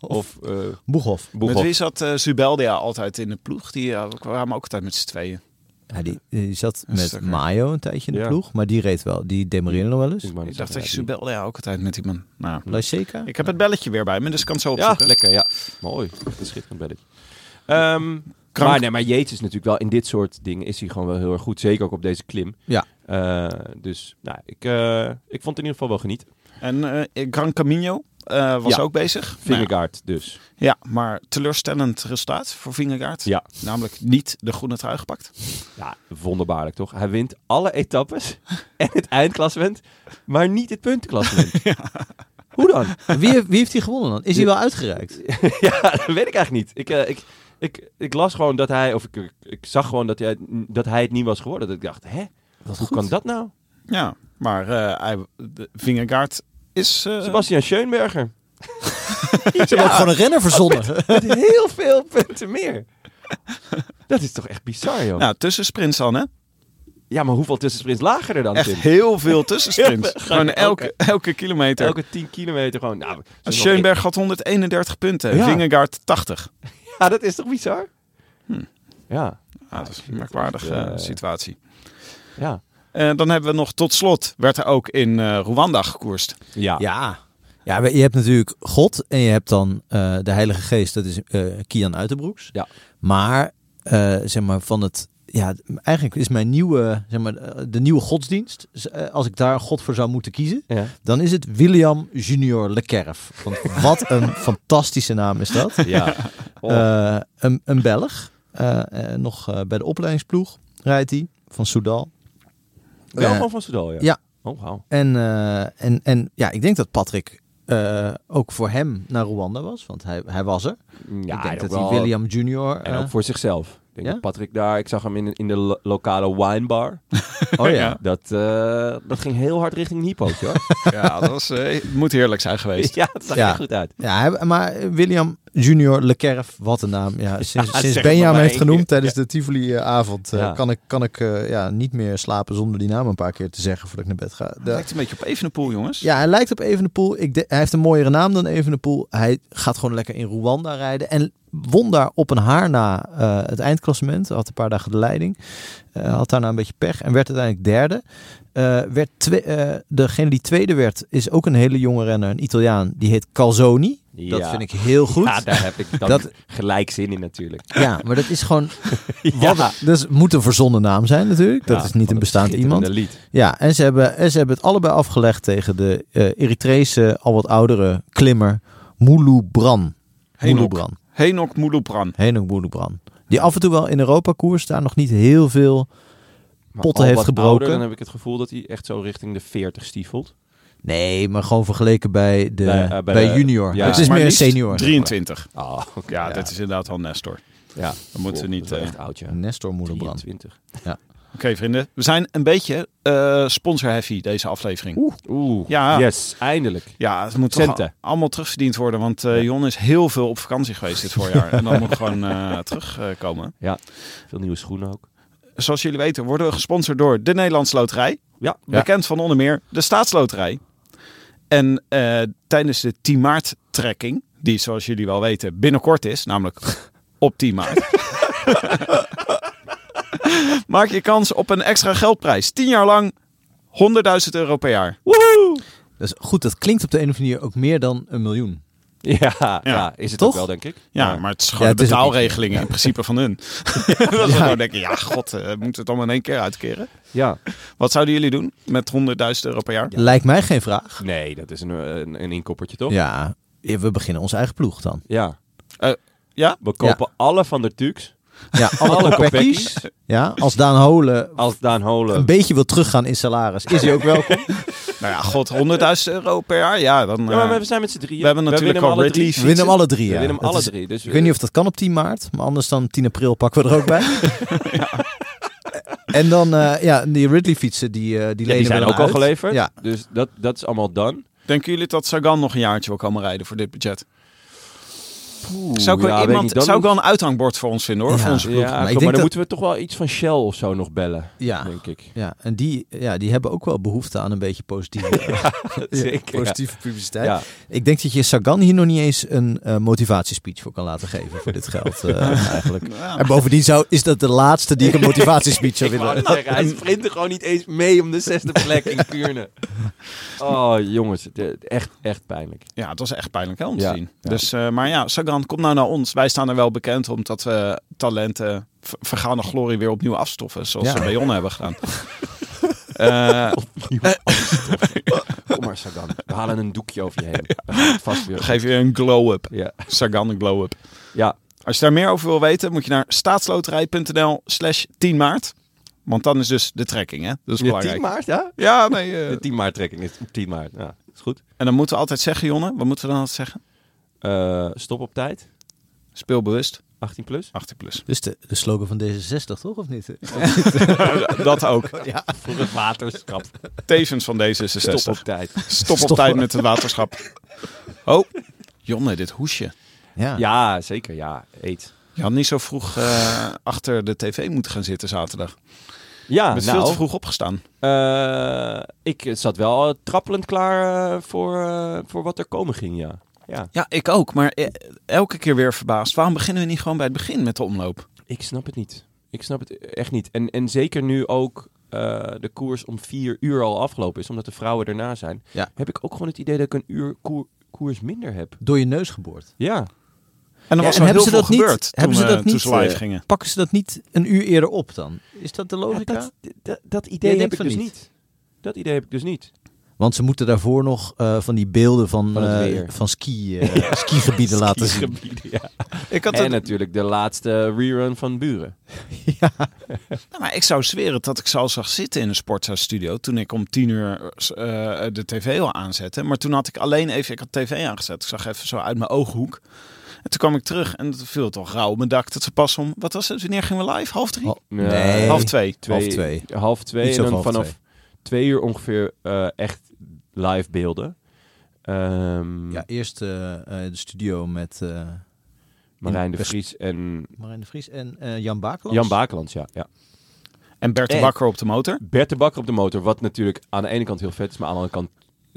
[SPEAKER 2] of eh
[SPEAKER 3] Boeghof.
[SPEAKER 4] Met
[SPEAKER 2] Boeghoff.
[SPEAKER 4] wie zat eh, Zubeldia altijd in de ploeg? Die eh, kwamen ook altijd met z'n tweeën.
[SPEAKER 3] Ja, die, die zat
[SPEAKER 4] Een
[SPEAKER 3] met
[SPEAKER 4] stukker.
[SPEAKER 3] Mayo een tijdje in de
[SPEAKER 2] Ja.
[SPEAKER 3] ploeg, maar die reed wel. Die demarreerde nog wel eens.
[SPEAKER 2] Ik wou net
[SPEAKER 4] Ik dacht dat je
[SPEAKER 2] zeggen,
[SPEAKER 4] Zubeldia ook altijd met die man... Nou,
[SPEAKER 3] Lyseka?
[SPEAKER 4] ik heb het belletje weer bij me, dus ik kan het zo
[SPEAKER 2] ja, die-
[SPEAKER 4] opzoeken.
[SPEAKER 2] ja, lekker, ja. Mooi. Een schitterend belletje. Ehm,
[SPEAKER 4] Krank.
[SPEAKER 2] maar nee, maar Jeets is natuurlijk wel in dit soort dingen is hij gewoon wel heel erg goed. Zeker ook op deze klim.
[SPEAKER 3] Ja.
[SPEAKER 2] Eh, dus nou, ik, eh, ik vond het in ieder geval wel geniet.
[SPEAKER 4] En eh Gran Camino eh, was
[SPEAKER 2] Ja.
[SPEAKER 4] ook bezig. Nou,
[SPEAKER 2] Vingegaard dus.
[SPEAKER 4] Ja, maar teleurstellend resultaat voor Vingegaard.
[SPEAKER 2] Ja.
[SPEAKER 4] Namelijk niet de groene trui gepakt.
[SPEAKER 2] Ja, wonderbaarlijk toch? Hij wint alle etappes en het eindklassement, maar niet het puntenklassement. Hoe dan?
[SPEAKER 3] Wie, heeft- wie heeft die gewonnen dan? Is hij wel uitgereikt?
[SPEAKER 2] ja, dat weet ik eigenlijk niet. Ik, eh, ik, ik, ik las gewoon dat hij, of ik, ik, ik zag gewoon dat hij, dat hij het niet was geworden. Dat ik dacht, hè? Hoe kan dat nou?
[SPEAKER 4] Ja, maar eh hij, de Vingegaard is... eh,
[SPEAKER 2] Sebastian Schoenberger.
[SPEAKER 3] Ze hebben ook gewoon een renner verzonnen.
[SPEAKER 2] Met heel veel punten meer. Dat is toch echt bizar, joh.
[SPEAKER 4] nou, tussensprints dan, hè?
[SPEAKER 2] ja, maar hoeveel tussensprints lagen er dan,
[SPEAKER 4] Echt
[SPEAKER 2] Tim?
[SPEAKER 4] heel veel tussensprints.
[SPEAKER 2] Ja,
[SPEAKER 4] Gewoon elke, elke kilometer.
[SPEAKER 2] Elke 10 kilometer gewoon. Nou,
[SPEAKER 4] Als
[SPEAKER 2] zo-
[SPEAKER 4] Schoenberg had 131 punten,
[SPEAKER 2] Ja.
[SPEAKER 4] Vingegaard 80.
[SPEAKER 2] Ja, dat is toch bizar?
[SPEAKER 4] Hm.
[SPEAKER 2] Ja,
[SPEAKER 4] Ah, dat is een merkwaardige
[SPEAKER 2] Eh.
[SPEAKER 4] eh, situatie.
[SPEAKER 2] ja.
[SPEAKER 4] Eh, dan hebben we nog tot slot, werd er ook in eh Rwanda gekoerst.
[SPEAKER 2] Ja.
[SPEAKER 3] Ja. Ja, maar je hebt natuurlijk God en je hebt dan eh, de Heilige Geest, dat is eh, Kian Uiterbroeks.
[SPEAKER 2] Ja.
[SPEAKER 3] Maar, eh, zeg maar, van het... Ja, eigenlijk is mijn nieuwe, zeg maar, eh, de nieuwe godsdienst, z- eh, als ik daar een god voor zou moeten kiezen,
[SPEAKER 2] Ja.
[SPEAKER 3] dan is het William Junior Lekerf. Want wat een fantastische naam is dat.
[SPEAKER 2] Ja. Oh.
[SPEAKER 3] Eh, een, een Belg. Eh, eh, nog eh, bij de opleidingsploeg rijdt hij van Soudal.
[SPEAKER 2] Wel
[SPEAKER 3] eh,
[SPEAKER 2] gewoon van Soudal, ja.
[SPEAKER 3] ja.
[SPEAKER 2] Oh, wauw.
[SPEAKER 3] En, eh, en, en ja, ik denk dat Patrick eh, ook voor hem naar Rwanda was, want hij, hij was er.
[SPEAKER 2] Ja,
[SPEAKER 3] ik denk dat
[SPEAKER 2] wel-
[SPEAKER 3] hij William Junior. eh,
[SPEAKER 2] En ook voor zichzelf. Ik denk
[SPEAKER 3] ja?
[SPEAKER 2] dat Patrick daar, ik zag hem in, in de lo- lokale winebar.
[SPEAKER 3] oh ja.
[SPEAKER 2] Dat, eh, dat ging heel hard richting een hypootje hoor.
[SPEAKER 4] Ja, dat was, eh, moet heerlijk zijn geweest.
[SPEAKER 2] ja, dat zag
[SPEAKER 3] Ja.
[SPEAKER 2] er goed uit.
[SPEAKER 3] Ja, hij- maar William Junior Lekerf, wat een naam. Ja, sinds
[SPEAKER 2] zeg
[SPEAKER 3] sinds
[SPEAKER 2] het nog
[SPEAKER 3] Benja me
[SPEAKER 2] maar
[SPEAKER 3] heeft
[SPEAKER 2] één
[SPEAKER 3] genoemd
[SPEAKER 2] keer.
[SPEAKER 3] tijdens de Tivoli-avond...
[SPEAKER 2] Ja.
[SPEAKER 3] kan ik, kan ik eh, ja, niet meer slapen zonder die naam een paar keer te zeggen... voordat ik naar bed ga. De-
[SPEAKER 4] Lijkt een beetje op Evenepoel, jongens.
[SPEAKER 3] Ja, hij lijkt op Evenepoel. Ik de- hij heeft een mooiere naam dan Evenepoel. Hij gaat gewoon lekker in Rwanda rijden. En won daar op een haar na eh, het eindklassement. Had een paar dagen de leiding. Eh, had daarna een beetje pech. En werd uiteindelijk derde. Eh, werd twee, eh, degene die tweede werd, is ook een hele jonge renner. Een Italiaan. Die heet Calzoni. Dat
[SPEAKER 2] Ja.
[SPEAKER 3] vind ik heel goed.
[SPEAKER 2] Ja,
[SPEAKER 3] Ja,
[SPEAKER 2] daar heb ik dan
[SPEAKER 3] Dat-
[SPEAKER 2] gelijk zin in natuurlijk.
[SPEAKER 3] maar dat is gewoon...
[SPEAKER 2] Ja.
[SPEAKER 3] Wat, dus het moet een verzonnen naam zijn natuurlijk. Dat
[SPEAKER 2] Ja,
[SPEAKER 3] is niet
[SPEAKER 2] van
[SPEAKER 3] een
[SPEAKER 2] dat
[SPEAKER 3] bestaand
[SPEAKER 2] schitterende
[SPEAKER 3] iemand.
[SPEAKER 2] lied.
[SPEAKER 3] Ja, en ze hebben, en ze hebben het allebei afgelegd tegen de eh Eritrese, al wat oudere klimmer Moulou Bran. Moulou Bran.
[SPEAKER 4] Henok Moulopran.
[SPEAKER 3] Henok Moulou Bran. Die af en toe wel in Europa koers daar nog niet heel veel.
[SPEAKER 2] Maar
[SPEAKER 3] Potten
[SPEAKER 2] al
[SPEAKER 3] heeft
[SPEAKER 2] wat
[SPEAKER 3] gebroken.
[SPEAKER 2] ouder, dan heb ik het gevoel dat hij echt zo richting de 40 stiefelt.
[SPEAKER 3] Nee, maar gewoon vergeleken bij, de,
[SPEAKER 2] Bij,
[SPEAKER 3] bij,
[SPEAKER 2] eh, bij de-
[SPEAKER 3] junior.
[SPEAKER 2] ja.
[SPEAKER 3] het is
[SPEAKER 4] Maar
[SPEAKER 3] meer een
[SPEAKER 4] liefst
[SPEAKER 3] senior.
[SPEAKER 4] 23.
[SPEAKER 2] Oh,
[SPEAKER 4] Ja, dat is inderdaad wel Nestor.
[SPEAKER 2] ja.
[SPEAKER 4] Dan moeten we
[SPEAKER 2] Goh,
[SPEAKER 4] niet...
[SPEAKER 2] dat is wel
[SPEAKER 4] eh,
[SPEAKER 2] echt oud, ja.
[SPEAKER 3] Nestor Moulou Bran.
[SPEAKER 2] 23.
[SPEAKER 4] Oké, vrienden. We zijn een beetje eh sponsor-heavy, deze aflevering.
[SPEAKER 2] Oeh. Oeh.
[SPEAKER 4] Ja.
[SPEAKER 2] Yes, eindelijk.
[SPEAKER 4] Ja, het moet toch
[SPEAKER 2] Centen.
[SPEAKER 4] al- allemaal terugverdiend worden. Want eh Jon is heel veel op vakantie geweest dit voorjaar. en dat moet gewoon eh, terugkomen.
[SPEAKER 2] Veel nieuwe schoenen ook.
[SPEAKER 4] Zoals jullie weten worden we gesponsord door de Nederlandse Loterij.
[SPEAKER 2] Ja.
[SPEAKER 4] Bekend van onder meer de Staatsloterij. En eh, tijdens de 10 maart trekking, die zoals jullie wel weten binnenkort is, namelijk op 10 maart. Maak je kans op een extra geldprijs. 10 jaar lang 100.000 euro per jaar.
[SPEAKER 2] Woehoe!
[SPEAKER 3] Dus goed, dat klinkt op de een of andere manier ook meer dan een miljoen.
[SPEAKER 2] Ja, ja. is het
[SPEAKER 3] Toch?
[SPEAKER 2] ook wel, denk ik.
[SPEAKER 4] Ja,
[SPEAKER 2] Maar-
[SPEAKER 4] maar het is gewoon
[SPEAKER 3] Ja,
[SPEAKER 4] de
[SPEAKER 3] het is ook
[SPEAKER 4] betaalregelingen in principe van hun. dat we gewoon denken, ja god, eh, we moeten het allemaal in één keer uitkeren.
[SPEAKER 2] ja.
[SPEAKER 4] Wat zouden jullie doen met 100.000 euro per jaar?
[SPEAKER 3] Lijkt mij geen vraag.
[SPEAKER 2] Nee, dat is een, een, een inkoppertje, toch?
[SPEAKER 3] Ja, we beginnen onze eigen ploeg dan.
[SPEAKER 2] Ja.
[SPEAKER 4] Eh, Ja?
[SPEAKER 2] We kopen alle van de Tux.
[SPEAKER 3] Ja, alle
[SPEAKER 2] Alle
[SPEAKER 3] Kopeckis. Ja, als Daan Holen
[SPEAKER 2] Als Daan Holen.
[SPEAKER 3] een beetje wil teruggaan in salaris, is hij ook welkom.
[SPEAKER 4] Nou ja, god, 100.000 euro per jaar. Ja, dan...
[SPEAKER 2] Ja, maar
[SPEAKER 4] eh,
[SPEAKER 2] we zijn met z'n drieën.
[SPEAKER 4] we hebben natuurlijk
[SPEAKER 2] winnen hem
[SPEAKER 4] al
[SPEAKER 2] alle
[SPEAKER 4] Ridley
[SPEAKER 2] drie.
[SPEAKER 3] We winnen hem alle drie.
[SPEAKER 2] We
[SPEAKER 3] Ja.
[SPEAKER 2] winnen hem
[SPEAKER 3] Dat
[SPEAKER 2] alle
[SPEAKER 3] is-
[SPEAKER 2] drie. Dus
[SPEAKER 3] Ik weet niet of dat kan op 10 maart, maar anders dan 10 april pakken we er ook bij. En dan, eh, ja, die Ridley fietsen, die, eh die
[SPEAKER 2] Ja, die
[SPEAKER 3] lenen we
[SPEAKER 2] zijn
[SPEAKER 3] dan
[SPEAKER 2] ook al
[SPEAKER 3] uit.
[SPEAKER 2] geleverd.
[SPEAKER 3] Ja.
[SPEAKER 2] Dus dat, dat is allemaal dan.
[SPEAKER 4] denken jullie dat Sagan nog een jaartje wil komen rijden voor dit budget? zou ik wel
[SPEAKER 2] ja, weet
[SPEAKER 4] iemand,
[SPEAKER 2] niet, dan
[SPEAKER 4] zou ik wel
[SPEAKER 2] moet-
[SPEAKER 4] een uithangbord voor ons vinden, hoor.
[SPEAKER 3] Ja.
[SPEAKER 4] Voor onze
[SPEAKER 2] Ja,
[SPEAKER 4] ploeg.
[SPEAKER 2] maar,
[SPEAKER 3] ik
[SPEAKER 2] kom,
[SPEAKER 3] denk
[SPEAKER 2] maar dan
[SPEAKER 3] dat-
[SPEAKER 2] moeten we toch wel iets van Shell of zo nog bellen,
[SPEAKER 3] Ja,
[SPEAKER 2] denk ik.
[SPEAKER 3] ja. en die, ja, die hebben ook wel behoefte aan een beetje positieve, eh,
[SPEAKER 2] Zeker. ja.
[SPEAKER 3] positieve publiciteit.
[SPEAKER 2] Ja.
[SPEAKER 3] Ik denk dat je Sagan hier nog niet eens een eh, motivatiespeech voor kan laten geven voor dit geld eh, eigenlijk. En bovendien zou, is dat de laatste die ik een motivatiespeech zou
[SPEAKER 2] Ik wou
[SPEAKER 3] willen.
[SPEAKER 2] net zeggen, hij sprintte gewoon niet eens mee om de zesde plek in Kuurne. Oh, jongens. de- echt, echt pijnlijk.
[SPEAKER 4] Ja, het was echt pijnlijk hè, om te
[SPEAKER 2] Ja,
[SPEAKER 4] zien.
[SPEAKER 2] ja.
[SPEAKER 4] Dus, eh, maar ja, Sagan, kom nou naar ons. Wij staan er wel bekend om dat we talenten v- vergaande glorie weer opnieuw afstoffen. Zoals
[SPEAKER 3] Ja.
[SPEAKER 4] ze bij Jon hebben gedaan. Eh,
[SPEAKER 2] Kom maar, Sagan. We halen een doekje over je heen. We gaan het Vast weer.
[SPEAKER 4] geef je een glow-up.
[SPEAKER 2] Ja.
[SPEAKER 4] Sagan een glow-up.
[SPEAKER 2] ja,
[SPEAKER 4] Als je daar meer over wil weten, moet je naar staatsloterij.nl slash 10 maart. Want dan is dus de trekking, hè?
[SPEAKER 2] Ja,
[SPEAKER 4] Dat is
[SPEAKER 2] 10
[SPEAKER 4] belangrijk.
[SPEAKER 2] maart, ja?
[SPEAKER 4] Ja, nee. eh,
[SPEAKER 2] De 10 maart trekking is 10 maart. Ja, is goed.
[SPEAKER 4] En dan moeten we altijd zeggen, Jonne, wat moeten we dan altijd zeggen?
[SPEAKER 2] Eh, stop op tijd.
[SPEAKER 4] Speel bewust,
[SPEAKER 2] 18 plus.
[SPEAKER 4] 18 plus.
[SPEAKER 3] Dus de, de slogan van D66 toch, of niet?
[SPEAKER 4] dat ook.
[SPEAKER 2] Voor het waterschap.
[SPEAKER 4] Tevens van D66.
[SPEAKER 2] Stop op tijd.
[SPEAKER 4] Stop op tijd met het waterschap. Oh, Jonne, dit hoesje.
[SPEAKER 3] Ja.
[SPEAKER 2] Ja, zeker. Ja, eet.
[SPEAKER 4] Je had niet zo vroeg eh, achter de tv moeten gaan zitten zaterdag.
[SPEAKER 2] Ja,
[SPEAKER 4] Je bent veel te
[SPEAKER 2] nou,
[SPEAKER 4] vroeg opgestaan.
[SPEAKER 2] eh, ik zat wel eh, trappelend klaar eh, voor, eh, voor wat er komen ging, ja. Ja,
[SPEAKER 4] Ja, ik ook. Maar eh, elke keer weer verbaasd. Waarom beginnen we niet gewoon bij het begin met de omloop?
[SPEAKER 2] ik snap het niet. Ik snap het echt niet. En, en zeker nu ook eh, de koers om vier uur al afgelopen is, omdat de vrouwen erna zijn,
[SPEAKER 3] Ja.
[SPEAKER 2] heb ik ook gewoon het idee dat ik een uur koer- koers minder heb.
[SPEAKER 3] Door je neus geboord.
[SPEAKER 2] Ja.
[SPEAKER 4] En dan
[SPEAKER 3] Ja,
[SPEAKER 4] was
[SPEAKER 3] en
[SPEAKER 4] er heel
[SPEAKER 3] hebben ze
[SPEAKER 4] veel
[SPEAKER 3] dat niet-
[SPEAKER 4] gebeurd toen,
[SPEAKER 3] hebben ze
[SPEAKER 4] we-
[SPEAKER 3] dat
[SPEAKER 4] toen
[SPEAKER 3] niet,
[SPEAKER 4] ze live
[SPEAKER 3] eh,
[SPEAKER 4] gingen.
[SPEAKER 3] Pakken ze dat niet een uur eerder op dan? Is dat de
[SPEAKER 2] Ja,
[SPEAKER 3] logica?
[SPEAKER 2] dat, dat, dat idee
[SPEAKER 3] Jij
[SPEAKER 2] heb
[SPEAKER 3] denkt
[SPEAKER 2] ik
[SPEAKER 3] van
[SPEAKER 2] dus
[SPEAKER 3] niet.
[SPEAKER 2] niet. Dat idee heb ik dus niet.
[SPEAKER 3] Want ze moeten daarvoor nog eh, van die beelden van,
[SPEAKER 2] Van het
[SPEAKER 3] eh,
[SPEAKER 2] weer.
[SPEAKER 3] van ski, eh, skigebieden laten zien.
[SPEAKER 2] Ja.
[SPEAKER 4] Ik had
[SPEAKER 2] En
[SPEAKER 4] het,
[SPEAKER 2] natuurlijk de laatste rerun van Buren.
[SPEAKER 4] nou, maar ik zou zweren dat ik ze al zag zitten in een sportstudio toen ik om tien uur eh, de tv al aanzette. Maar toen had ik alleen even, ik had tv aangezet. Ik zag even zo uit mijn ooghoek. En toen kwam ik terug en het viel toch rauw op mijn dak. Dat ze pas om, wat was het, wanneer gingen we live? Half drie?
[SPEAKER 3] Oh,
[SPEAKER 2] Nee.
[SPEAKER 3] nee.
[SPEAKER 4] Half twee.
[SPEAKER 2] Eh, Twee-
[SPEAKER 3] Half twee.
[SPEAKER 2] Half twee.
[SPEAKER 3] Iets
[SPEAKER 2] en
[SPEAKER 3] over
[SPEAKER 2] dan
[SPEAKER 3] half
[SPEAKER 2] vanaf twee. uur ongeveer eh, echt live beelden. Ehm,
[SPEAKER 3] Ja, eerst eh, eh, de studio met eh,
[SPEAKER 2] Marijn de
[SPEAKER 3] best-
[SPEAKER 2] Vries en
[SPEAKER 3] Marijn de Vries en eh, Jan Bakelands.
[SPEAKER 2] Jan Bakelands, ja. ja.
[SPEAKER 4] En Bert de
[SPEAKER 2] En-
[SPEAKER 4] Bakker op de motor.
[SPEAKER 2] Bert de Bakker op de motor, wat natuurlijk aan de ene kant heel vet is, maar aan de andere kant...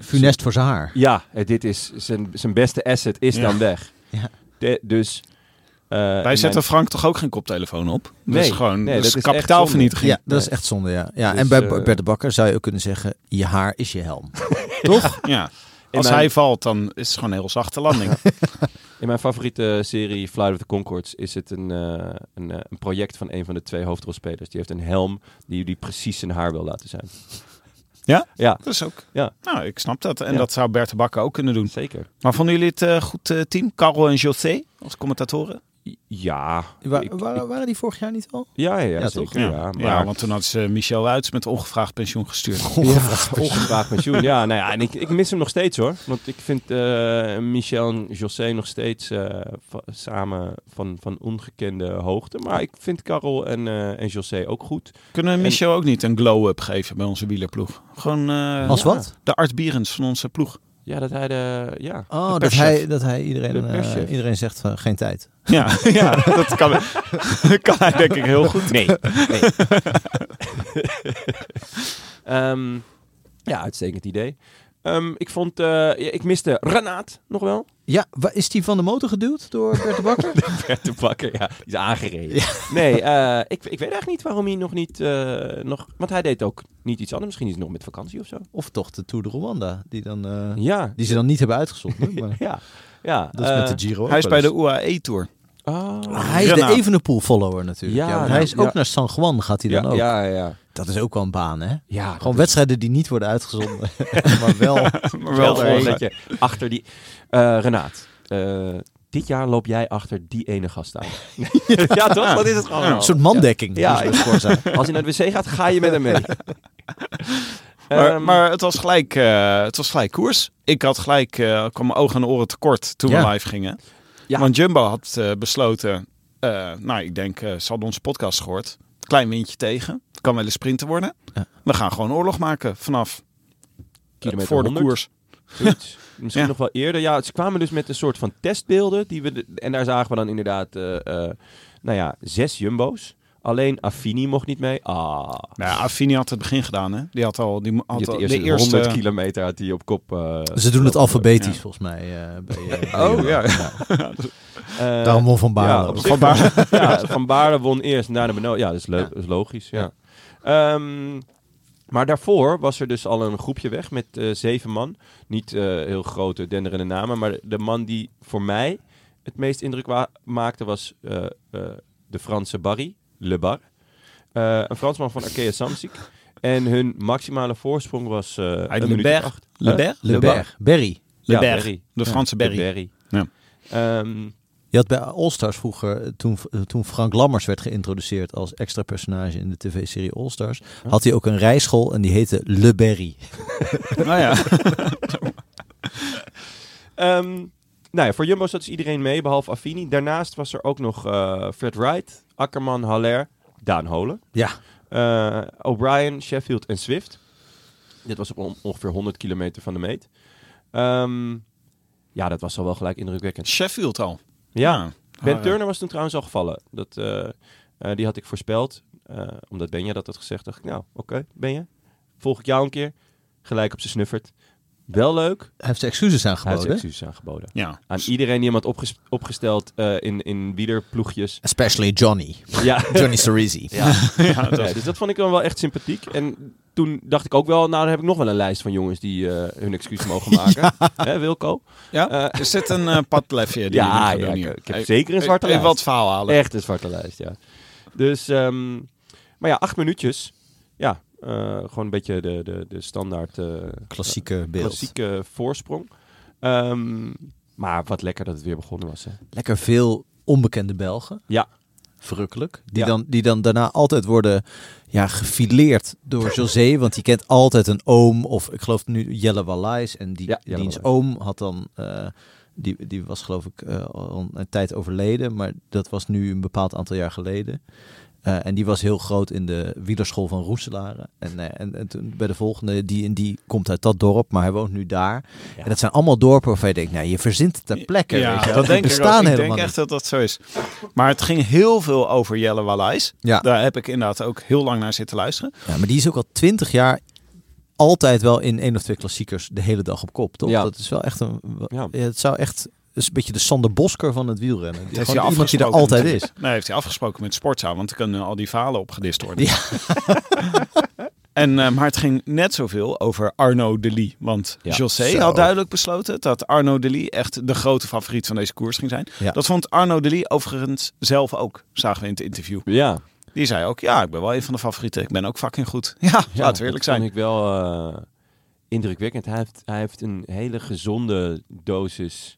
[SPEAKER 3] Funest voor zijn haar.
[SPEAKER 2] Ja, eh, dit is zijn, zijn beste asset is
[SPEAKER 4] Ja.
[SPEAKER 2] dan weg.
[SPEAKER 3] Ja.
[SPEAKER 2] De- dus... eh, en
[SPEAKER 4] Wij
[SPEAKER 2] mijn-
[SPEAKER 4] zetten Frank toch ook geen koptelefoon op? dat
[SPEAKER 2] Nee,
[SPEAKER 4] is gewoon
[SPEAKER 2] nee,
[SPEAKER 4] dat is
[SPEAKER 2] dat is echt
[SPEAKER 4] kapitaalvernietiging.
[SPEAKER 3] Ja, dat is
[SPEAKER 2] Nee.
[SPEAKER 3] echt zonde, ja. ja
[SPEAKER 2] Dus,
[SPEAKER 3] en bij
[SPEAKER 2] eh,
[SPEAKER 3] Bert de Bakker zou je ook kunnen zeggen, je haar is je helm.
[SPEAKER 4] Toch? Ja. Als
[SPEAKER 2] mijn-
[SPEAKER 4] hij valt, dan is het gewoon een heel zachte landing.
[SPEAKER 2] In mijn favoriete serie Flight of the Concords is het een, eh, een, eh, een project van een van de twee hoofdrolspelers. Die heeft een helm die, die precies zijn haar wil laten zijn.
[SPEAKER 4] Ja?
[SPEAKER 2] Ja,
[SPEAKER 4] Dat is ook.
[SPEAKER 2] Ja.
[SPEAKER 4] Nou, ik snap dat. En
[SPEAKER 2] Ja.
[SPEAKER 4] dat zou Bert de Bakker ook kunnen doen.
[SPEAKER 2] zeker.
[SPEAKER 4] Maar vonden jullie het eh, goed eh, team? Carol en José als commentatoren?
[SPEAKER 2] Ja,
[SPEAKER 3] Wa-
[SPEAKER 2] ik-
[SPEAKER 3] wa- waren die vorig jaar niet al?
[SPEAKER 2] ja, ja,
[SPEAKER 3] Ja,
[SPEAKER 2] zeker.
[SPEAKER 4] Ja,
[SPEAKER 2] Ja, maar
[SPEAKER 4] Ja, want toen had ze Michel Ruits met ongevraagd pensioen gestuurd.
[SPEAKER 2] ongevraagd pensioen. Ja, nou ja, en ik, ik mis hem nog steeds hoor. Want ik vind eh, Michel en José nog steeds eh, va- samen van, van ongekende hoogte. Maar ik vind Carol en, eh, en José ook goed.
[SPEAKER 4] Kunnen we Michel ook niet een glow-up geven bij onze wielerploeg? Gewoon eh,
[SPEAKER 3] Als
[SPEAKER 4] ja,
[SPEAKER 3] wat?
[SPEAKER 4] de Art Bierens van onze ploeg.
[SPEAKER 2] Ja, dat hij de... Ja,
[SPEAKER 3] Oh,
[SPEAKER 4] De
[SPEAKER 3] dat
[SPEAKER 4] perschef.
[SPEAKER 3] hij, dat hij iedereen,
[SPEAKER 2] De
[SPEAKER 3] eh,
[SPEAKER 2] perschef.
[SPEAKER 3] iedereen zegt van geen tijd.
[SPEAKER 4] Ja, ja dat kan, kan hij denk ik heel goed.
[SPEAKER 2] Nee. Ehm, ja, uitstekend idee. Ehm, ik vond, eh, ja, ik miste Renaat nog wel.
[SPEAKER 3] Ja, wa- is die van de motor geduwd door Bert de Bakker?
[SPEAKER 2] Bert de Bakker, ja, die is aangereden. Nee, eh, ik, ik weet echt niet waarom hij nog niet, eh, nog, want hij deed ook niet iets anders. Misschien is hij nog met vakantie of zo.
[SPEAKER 3] of toch de Tour de Rwanda, die, dan, eh,
[SPEAKER 2] Ja,
[SPEAKER 3] die ze dan niet hebben uitgezonden. Maar
[SPEAKER 2] ja, ja.
[SPEAKER 3] dat is
[SPEAKER 2] eh,
[SPEAKER 3] met de Giro ook
[SPEAKER 4] Hij is
[SPEAKER 3] wel
[SPEAKER 4] bij
[SPEAKER 3] eens. Ah,
[SPEAKER 4] de E UAE-tour.
[SPEAKER 2] oh.
[SPEAKER 3] Hij is de
[SPEAKER 4] Renate.
[SPEAKER 3] Evenepoel-follower natuurlijk. Ja,
[SPEAKER 2] Ja,
[SPEAKER 3] want hij is
[SPEAKER 2] ja.
[SPEAKER 3] ook naar San Juan gaat hij dan
[SPEAKER 2] ja,
[SPEAKER 3] ook.
[SPEAKER 2] ja, ja.
[SPEAKER 3] Dat is ook wel een baan, hè?
[SPEAKER 2] Ja,
[SPEAKER 3] Gewoon wedstrijden die niet worden uitgezonden, maar wel...
[SPEAKER 4] Maar
[SPEAKER 2] wel
[SPEAKER 4] wel
[SPEAKER 2] gewoon
[SPEAKER 4] volgen.
[SPEAKER 2] dat je achter die... eh Renaat, eh, dit jaar loop jij achter die ene gast aan. ja, toch? Wat is het gewoon?
[SPEAKER 3] Een soort mandekking. Dus
[SPEAKER 2] Ja,
[SPEAKER 3] Ja,
[SPEAKER 2] ik- Als hij naar de wc gaat, ga je met hem mee.
[SPEAKER 4] Maar,
[SPEAKER 2] Ehm,
[SPEAKER 4] maar het, was gelijk, eh, het was gelijk koers. Ik had gelijk, eh kwam mijn ogen en oren tekort toen
[SPEAKER 3] Ja.
[SPEAKER 4] we live gingen.
[SPEAKER 2] Ja.
[SPEAKER 4] Want Jumbo had eh, besloten, eh, nou ik denk, eh ze hadden onze podcast gehoord. Klein windje tegen, kan wel een sprinter worden.
[SPEAKER 3] Ja.
[SPEAKER 4] We gaan gewoon oorlog maken vanaf eh,
[SPEAKER 2] Kilometer
[SPEAKER 4] voor
[SPEAKER 2] 100.
[SPEAKER 4] de koers.
[SPEAKER 2] Zoiets. Misschien
[SPEAKER 4] Ja.
[SPEAKER 2] nog wel eerder. Ja, ze kwamen dus met een soort van testbeelden. Die we de- en daar zagen we dan inderdaad, eh, eh, nou ja, zes jumbo's. Alleen Affini mocht niet mee. Ah,
[SPEAKER 4] Nou, ja, Affini had het begin gedaan, hè? Die had al, die had
[SPEAKER 2] die had
[SPEAKER 4] al
[SPEAKER 2] de eerste,
[SPEAKER 4] de eerste
[SPEAKER 2] 100 kilometer had hij op kop. eh,
[SPEAKER 3] Ze doen het
[SPEAKER 2] gelopen.
[SPEAKER 3] alfabetisch
[SPEAKER 4] Ja.
[SPEAKER 3] volgens mij. eh, bij, eh,
[SPEAKER 4] Oh,
[SPEAKER 3] bij-
[SPEAKER 4] ja.
[SPEAKER 2] Eh,
[SPEAKER 3] Daarom won Van
[SPEAKER 2] ja,
[SPEAKER 3] Baarle.
[SPEAKER 2] op zich wel. Ja, van, Baarle. won eerst en daarna Beno. Ja, dat is, leuk, dat is logisch. Ja. Ehm, maar daarvoor was er dus al een groepje weg met eh, zeven man. Niet eh, heel grote denderende namen, maar de man die voor mij het meest indruk wa- maakte was eh, eh, de Franse Barry, Le Bar. Eh, een Fransman van Arkea Samsic. En hun maximale voorsprong was eh een
[SPEAKER 4] Le
[SPEAKER 2] minuut
[SPEAKER 4] Berg.
[SPEAKER 2] of acht.
[SPEAKER 4] Le Berg?
[SPEAKER 3] Le Berg. Berry.
[SPEAKER 4] Le
[SPEAKER 2] Ja,
[SPEAKER 4] Berg.
[SPEAKER 2] Berry.
[SPEAKER 4] De Franse Berry.
[SPEAKER 2] De Berry.
[SPEAKER 4] Ja.
[SPEAKER 2] Ehm,
[SPEAKER 3] Je had bij All-Stars vroeger, eh, toen, eh, toen Frank Lammers werd geïntroduceerd als extra personage in de tv-serie All-Stars, had hij ook een rijschool en die heette Le Berry.
[SPEAKER 4] Nou ja.
[SPEAKER 2] Ehm, nou ja, voor Jumbo zat dus iedereen mee, behalve Affini. Daarnaast was er ook nog eh, Fred Wright, Akkerman, Haller, Daan Holen,
[SPEAKER 3] Ja.
[SPEAKER 2] eh, O'Brien, Sheffield en Swift. Dit was op on- ongeveer 100 kilometer van de meet. Ehm, ja, dat was al wel gelijk indrukwekkend.
[SPEAKER 4] Sheffield al.
[SPEAKER 2] Ja, Ben
[SPEAKER 4] Ah, ja.
[SPEAKER 2] Turner was toen trouwens al gevallen. Dat, eh, eh, die had ik voorspeld. Eh, omdat Benja dat had gezegd, dacht ik, nou, oké, Benja, volg ik jou een keer. Gelijk op zijn snuffert. Wel leuk.
[SPEAKER 3] Hij heeft zijn excuses
[SPEAKER 2] Hij heeft
[SPEAKER 3] aangeboden.
[SPEAKER 2] zijn excuses aangeboden.
[SPEAKER 4] Ja.
[SPEAKER 2] Aan iedereen die iemand opges- opgesteld eh, in, in wielerploegjes.
[SPEAKER 3] Especially Johnny.
[SPEAKER 2] Ja.
[SPEAKER 3] Johnny Cerisi.
[SPEAKER 4] ja, dat-
[SPEAKER 2] Nee, dus dat vond ik dan wel echt sympathiek. En toen dacht ik ook wel, nou dan heb ik nog wel een lijst van jongens die eh, hun excuus mogen maken. Hè, Wilco?
[SPEAKER 4] ja?
[SPEAKER 2] Eh.
[SPEAKER 4] Er zit een eh padlefje die
[SPEAKER 2] Ja,
[SPEAKER 4] jullie
[SPEAKER 2] ja,
[SPEAKER 4] gaan doen
[SPEAKER 2] ik-
[SPEAKER 4] hier.
[SPEAKER 2] ik heb
[SPEAKER 4] Hey,
[SPEAKER 2] zeker een zwarte
[SPEAKER 4] Even
[SPEAKER 2] lijst.
[SPEAKER 4] wat verhaal halen.
[SPEAKER 2] Echt een zwarte lijst, ja. Dus, ehm, maar ja, acht minuutjes. Ja, eh, gewoon een beetje de, de, de standaard eh,
[SPEAKER 3] Klassieke beeld.
[SPEAKER 2] klassieke voorsprong. Ehm, maar wat lekker dat het weer begonnen was. Hè.
[SPEAKER 3] Lekker veel onbekende Belgen.
[SPEAKER 2] Ja.
[SPEAKER 3] Verrukkelijk. Die,
[SPEAKER 2] Ja.
[SPEAKER 3] dan, die dan daarna altijd worden ja, gefileerd door José. Want die kent altijd een oom. Of ik geloof nu Jelle Wallais. En die,
[SPEAKER 2] Ja, Jelle
[SPEAKER 3] diens
[SPEAKER 2] Wallace.
[SPEAKER 3] oom had dan... eh, die, die was geloof ik eh, al een tijd overleden. Maar dat was nu een bepaald aantal jaar geleden. Eh, en die was heel groot in de wielerschool van Roeselare. En, eh, en, en toen bij de volgende, die en die komt uit dat dorp, maar hij woont nu daar. En dat zijn allemaal dorpen waarvan je denkt, nou, je verzint het ter plekke.
[SPEAKER 4] Ja,
[SPEAKER 3] weet je wel.
[SPEAKER 4] dat
[SPEAKER 3] Die
[SPEAKER 4] denk ik
[SPEAKER 3] bestaan
[SPEAKER 4] ook. Ik
[SPEAKER 3] helemaal
[SPEAKER 4] denk
[SPEAKER 3] niet.
[SPEAKER 4] echt dat dat zo is. Maar het ging heel veel over Jelle Wallais.
[SPEAKER 3] Ja.
[SPEAKER 4] Daar heb ik inderdaad ook heel lang naar zitten luisteren.
[SPEAKER 3] Ja, maar die is ook al twintig jaar altijd wel in één of twee klassiekers de hele dag op kop, toch?
[SPEAKER 2] Ja.
[SPEAKER 3] Dat is wel echt een...
[SPEAKER 2] Ja.
[SPEAKER 3] Ja, het zou echt... Het is een beetje de Sander Bosker van het wielrennen.
[SPEAKER 4] heeft
[SPEAKER 3] Gewoon
[SPEAKER 4] hij
[SPEAKER 3] iemand die er
[SPEAKER 4] afgesproken
[SPEAKER 3] altijd is.
[SPEAKER 4] Nee, heeft hij afgesproken met Sportza, want er kunnen al die verhalen opgedist worden.
[SPEAKER 3] Ja.
[SPEAKER 4] en, eh, maar het ging net zoveel over Arno Delis. Want
[SPEAKER 2] Ja.
[SPEAKER 4] José
[SPEAKER 3] Zo.
[SPEAKER 4] had duidelijk besloten dat Arno Delis echt de grote favoriet van deze koers ging zijn.
[SPEAKER 3] Ja.
[SPEAKER 4] Dat vond Arno Delis overigens zelf ook, zagen we in het interview.
[SPEAKER 2] Ja,
[SPEAKER 4] Die zei ook, ja, ik ben wel een van de favorieten. Ik ben ook fucking goed. Ja, laten we eerlijk
[SPEAKER 2] dat
[SPEAKER 4] zijn.
[SPEAKER 2] vond ik wel eh, indrukwekkend. Hij heeft, hij heeft een hele gezonde dosis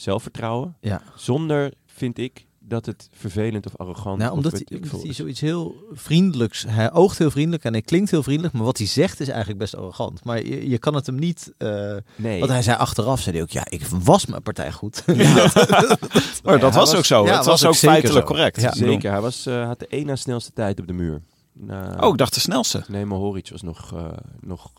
[SPEAKER 2] zelfvertrouwen.
[SPEAKER 3] Ja.
[SPEAKER 2] Zonder, vind ik, dat het vervelend of arrogant
[SPEAKER 3] Nou,
[SPEAKER 2] of
[SPEAKER 3] omdat,
[SPEAKER 2] weet
[SPEAKER 3] hij,
[SPEAKER 2] ik
[SPEAKER 3] omdat
[SPEAKER 2] veel
[SPEAKER 3] hij
[SPEAKER 2] is.
[SPEAKER 3] zoiets heel vriendelijks... Hij oogt heel vriendelijk en hij klinkt heel vriendelijk. Maar wat hij zegt is eigenlijk best arrogant. Maar je, je kan het hem niet... eh,
[SPEAKER 2] Nee.
[SPEAKER 3] Want hij zei achteraf, zei hij ook... Ja, ik was mijn partij goed.
[SPEAKER 4] Maar Oh, dat
[SPEAKER 2] hij
[SPEAKER 4] was,
[SPEAKER 2] was-
[SPEAKER 4] ook zo.
[SPEAKER 3] ja,
[SPEAKER 4] het
[SPEAKER 3] was
[SPEAKER 4] was,
[SPEAKER 3] ook
[SPEAKER 4] ook
[SPEAKER 3] zeker
[SPEAKER 4] feitelijk
[SPEAKER 3] zo.
[SPEAKER 4] correct.
[SPEAKER 3] Ja.
[SPEAKER 4] Ik bedoel,
[SPEAKER 2] Zeker, hij was, eh, had de één na snelste tijd op de muur. Nou,
[SPEAKER 4] Oh, ik dacht de snelste.
[SPEAKER 2] Nemen Horic was nog, eh, nog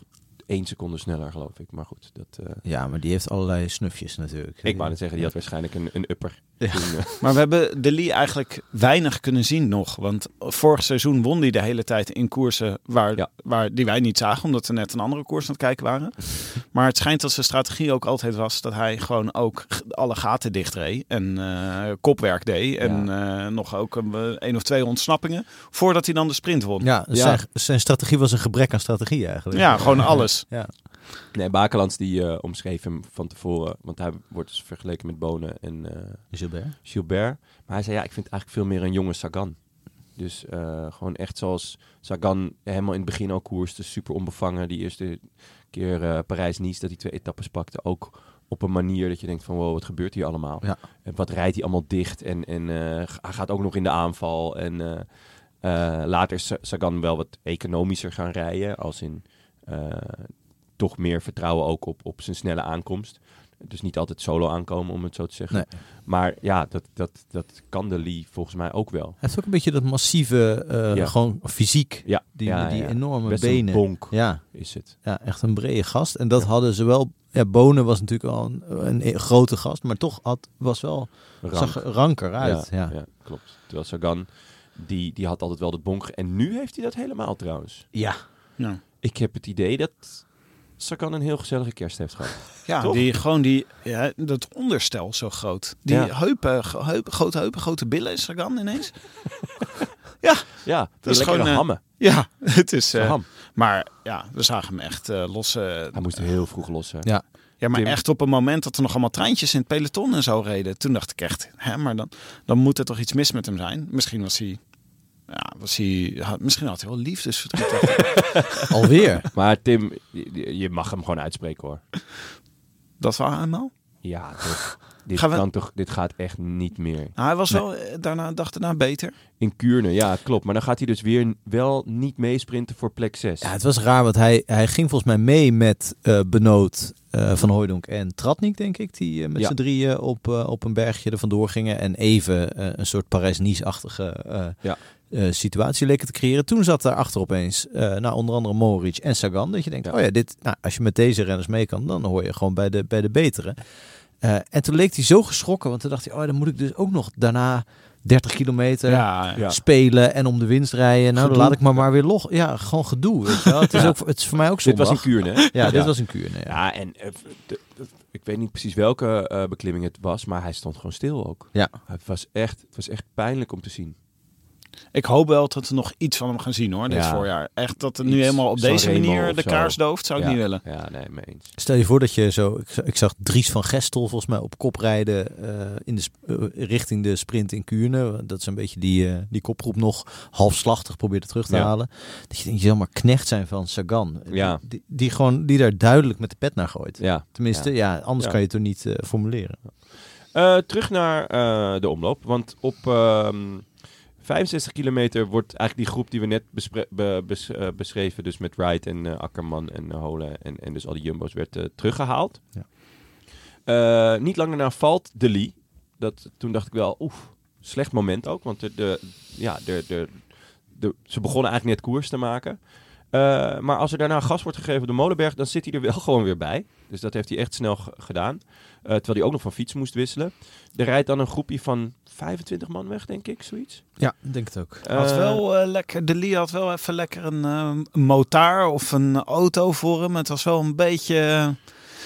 [SPEAKER 2] één seconde sneller, geloof ik. Maar goed, dat... eh,
[SPEAKER 3] ja, maar die heeft allerlei snufjes natuurlijk.
[SPEAKER 2] ik wou net zeggen, die had waarschijnlijk een, een upper. Toen, eh,
[SPEAKER 4] Maar we hebben de Lee eigenlijk weinig kunnen zien nog. Want vorig seizoen won hij de hele tijd in koersen waar,
[SPEAKER 2] Ja.
[SPEAKER 4] waar, die wij niet zagen. Omdat we net een andere koers aan het kijken waren. maar het schijnt dat zijn strategie ook altijd was dat hij gewoon ook g- alle gaten dichtreed. En eh, kopwerk deed. En eh, nog ook een, eh, één of twee ontsnappingen. Voordat hij dan de sprint won. Ja,
[SPEAKER 3] Ja,
[SPEAKER 2] Ja.
[SPEAKER 3] Zijn, zijn strategie was een gebrek aan strategie eigenlijk.
[SPEAKER 4] gewoon alles.
[SPEAKER 3] Ja.
[SPEAKER 2] nee, Bakelands die eh, omschreef hem van tevoren. Want hij wordt dus vergeleken met Bonen en... eh,
[SPEAKER 3] Gilbert.
[SPEAKER 2] Gilbert. Maar hij zei, ja, ik vind het eigenlijk veel meer een jonge Sagan. Dus eh, gewoon echt zoals Sagan helemaal in het begin al koerste, super onbevangen. Die eerste keer eh, Parijs-Nice, dat hij twee etappes pakte, ook op een manier dat je denkt van wow, wat gebeurt hier allemaal?
[SPEAKER 3] Ja.
[SPEAKER 2] En wat rijdt hij allemaal dicht? En, en eh, g- hij gaat ook nog in de aanval. En eh, eh, later is Sa- Sagan wel wat economischer gaan rijden. Als in eh, toch meer vertrouwen ook op, op zijn snelle aankomst. Dus niet altijd solo aankomen, om het zo te zeggen.
[SPEAKER 3] Nee.
[SPEAKER 2] Maar ja, dat, dat, dat kan de Lee volgens mij ook wel.
[SPEAKER 3] Hij heeft ook een beetje dat massieve, eh,
[SPEAKER 2] Ja.
[SPEAKER 3] gewoon fysiek.
[SPEAKER 2] Ja,
[SPEAKER 3] Die,
[SPEAKER 2] ja,
[SPEAKER 3] die
[SPEAKER 2] ja.
[SPEAKER 3] enorme
[SPEAKER 2] Best
[SPEAKER 3] benen.
[SPEAKER 2] een bonk
[SPEAKER 3] Ja,
[SPEAKER 2] is het.
[SPEAKER 3] ja, echt een brede gast. En dat hadden ze wel. Ja, Bonen was natuurlijk al een, een e- grote gast, maar toch had, was wel
[SPEAKER 2] Rank.
[SPEAKER 3] zag er ranker uit. Ja, ja.
[SPEAKER 2] klopt. Terwijl Sagan, die, die had altijd wel dat bonk. En nu heeft hij dat helemaal trouwens.
[SPEAKER 4] Ja,
[SPEAKER 2] Ik heb het idee dat Sagan een heel gezellige kerst heeft gehad.
[SPEAKER 4] ja
[SPEAKER 2] Toch?
[SPEAKER 4] die, gewoon die, ja, dat onderstel zo groot. Die
[SPEAKER 2] Ja.
[SPEAKER 4] heupen, ge- heupen, grote heupen, grote billen is er dan ineens. ja,
[SPEAKER 2] Ja, dat
[SPEAKER 4] is
[SPEAKER 2] is gewoon
[SPEAKER 4] gewoon, eh,
[SPEAKER 2] hammen.
[SPEAKER 4] ja, het is...
[SPEAKER 2] Een
[SPEAKER 4] eh,
[SPEAKER 2] ham.
[SPEAKER 4] maar ja, we zagen hem echt eh los. eh,
[SPEAKER 2] Hij moest heel vroeg lossen.
[SPEAKER 3] Ja.
[SPEAKER 4] ja, maar
[SPEAKER 2] Tim.
[SPEAKER 4] echt op een moment dat er nog allemaal treintjes in het peloton en zo reden. Toen dacht ik echt, hè, maar dan, dan moet er toch iets mis met hem zijn. Misschien was hij... Ja, was hij, had, misschien had hij wel liefdesverdriet.
[SPEAKER 3] Alweer.
[SPEAKER 2] Maar Tim, je, je mag hem gewoon uitspreken hoor.
[SPEAKER 4] dat wel eenmaal.
[SPEAKER 2] Ja, toch. Dit,
[SPEAKER 4] Gaan we-
[SPEAKER 2] kan toch, dit gaat echt niet meer.
[SPEAKER 4] Nou, hij was wel eh, daarna, dag daarna beter.
[SPEAKER 2] In Kuurne, ja, klopt. Maar dan gaat hij dus weer n- wel niet meesprinten voor plek 6.
[SPEAKER 3] Ja, het was raar, want hij, hij ging volgens mij mee met eh, Benoot eh, van Hooijdonk en Tratnik, denk ik. Die eh, met
[SPEAKER 2] Ja.
[SPEAKER 3] z'n drieën op, eh, op een bergje er vandoor gingen. En even eh, een soort Parijs-Nice-achtige eh,
[SPEAKER 2] Ja.
[SPEAKER 3] eh, situatie leken te creëren. Toen zat daar achter opeens, eh, nou, onder andere Moric en Sagan. Dat je denkt,
[SPEAKER 2] Ja.
[SPEAKER 3] oh ja, dit, nou, als je met deze renners mee kan, dan hoor je gewoon bij de, bij de betere. Eh, en toen leek hij zo geschrokken, want toen dacht hij, oh ja, dan moet ik dus ook nog daarna 30 kilometer
[SPEAKER 2] Ja.
[SPEAKER 3] spelen en om de winst rijden. Nou,
[SPEAKER 2] Gedoe.
[SPEAKER 3] dan laat ik maar, maar weer log. Ja, gewoon gedoe. Weet je wel. Het, is ook, het is voor mij
[SPEAKER 2] Dit
[SPEAKER 3] ook zondag.
[SPEAKER 2] was in Kuurne, hè?
[SPEAKER 3] Ja, dit was een kuur. Nee, ja.
[SPEAKER 2] Ja, en eh, de- de- ik weet niet precies welke eh, beklimming het was, maar hij stond gewoon stil ook.
[SPEAKER 3] Ja.
[SPEAKER 2] Het was echt, het was echt pijnlijk om te zien.
[SPEAKER 4] Ik hoop wel dat we nog iets van hem gaan zien hoor, dit
[SPEAKER 2] Ja.
[SPEAKER 4] voorjaar. Echt dat het
[SPEAKER 2] Iets.
[SPEAKER 4] nu helemaal op
[SPEAKER 2] San
[SPEAKER 4] deze
[SPEAKER 2] Remo
[SPEAKER 4] manier
[SPEAKER 2] of
[SPEAKER 4] de
[SPEAKER 2] zo.
[SPEAKER 4] kaars dooft, zou ik
[SPEAKER 2] ja.
[SPEAKER 4] niet willen.
[SPEAKER 2] Ja, nee, mee eens.
[SPEAKER 3] Stel je voor dat je zo... Ik, za- ik zag Dries van Gestel volgens mij op kop rijden eh, in de, sp- eh, richting de sprint in Kuurne. Dat is een beetje die, eh, die kopgroep nog halfslachtig probeerde terug te
[SPEAKER 2] Ja.
[SPEAKER 3] halen. Dat je denkt, je zal maar knecht zijn van Sagan.
[SPEAKER 2] Ja.
[SPEAKER 3] Die, die, gewoon, die daar duidelijk met de pet naar gooit.
[SPEAKER 2] Ja.
[SPEAKER 3] Tenminste, ja, anders
[SPEAKER 2] Ja.
[SPEAKER 3] kan je het er niet eh, formuleren.
[SPEAKER 2] Eh, terug naar eh, de omloop, want op ehm, 65 kilometer wordt eigenlijk die groep die we net bespre- be- bes- eh, beschreven, dus met Wright en eh, Akkerman en eh, Holen en, en dus al die jumbo's, werd eh, teruggehaald.
[SPEAKER 3] Ja.
[SPEAKER 2] Eh, niet lang daarna valt de Lee. Dat, toen dacht ik wel, oef, slecht moment ook, want de, de, ja, de, de, de, ze begonnen eigenlijk net koers te maken. Eh, maar als er daarna gas wordt gegeven op de Molenberg, dan zit hij er wel gewoon weer bij. Dus dat heeft hij echt snel ge- gedaan. Eh, terwijl hij ook nog van fiets moest wisselen. Er rijdt dan een groepje van 25 man weg, denk ik, zoiets.
[SPEAKER 3] Ja, ik denk het ook.
[SPEAKER 4] Had
[SPEAKER 2] Eh,
[SPEAKER 4] wel, eh, lekker, de Lee had wel even lekker een eh, een motaar of een auto voor hem. Het was wel een beetje... eh,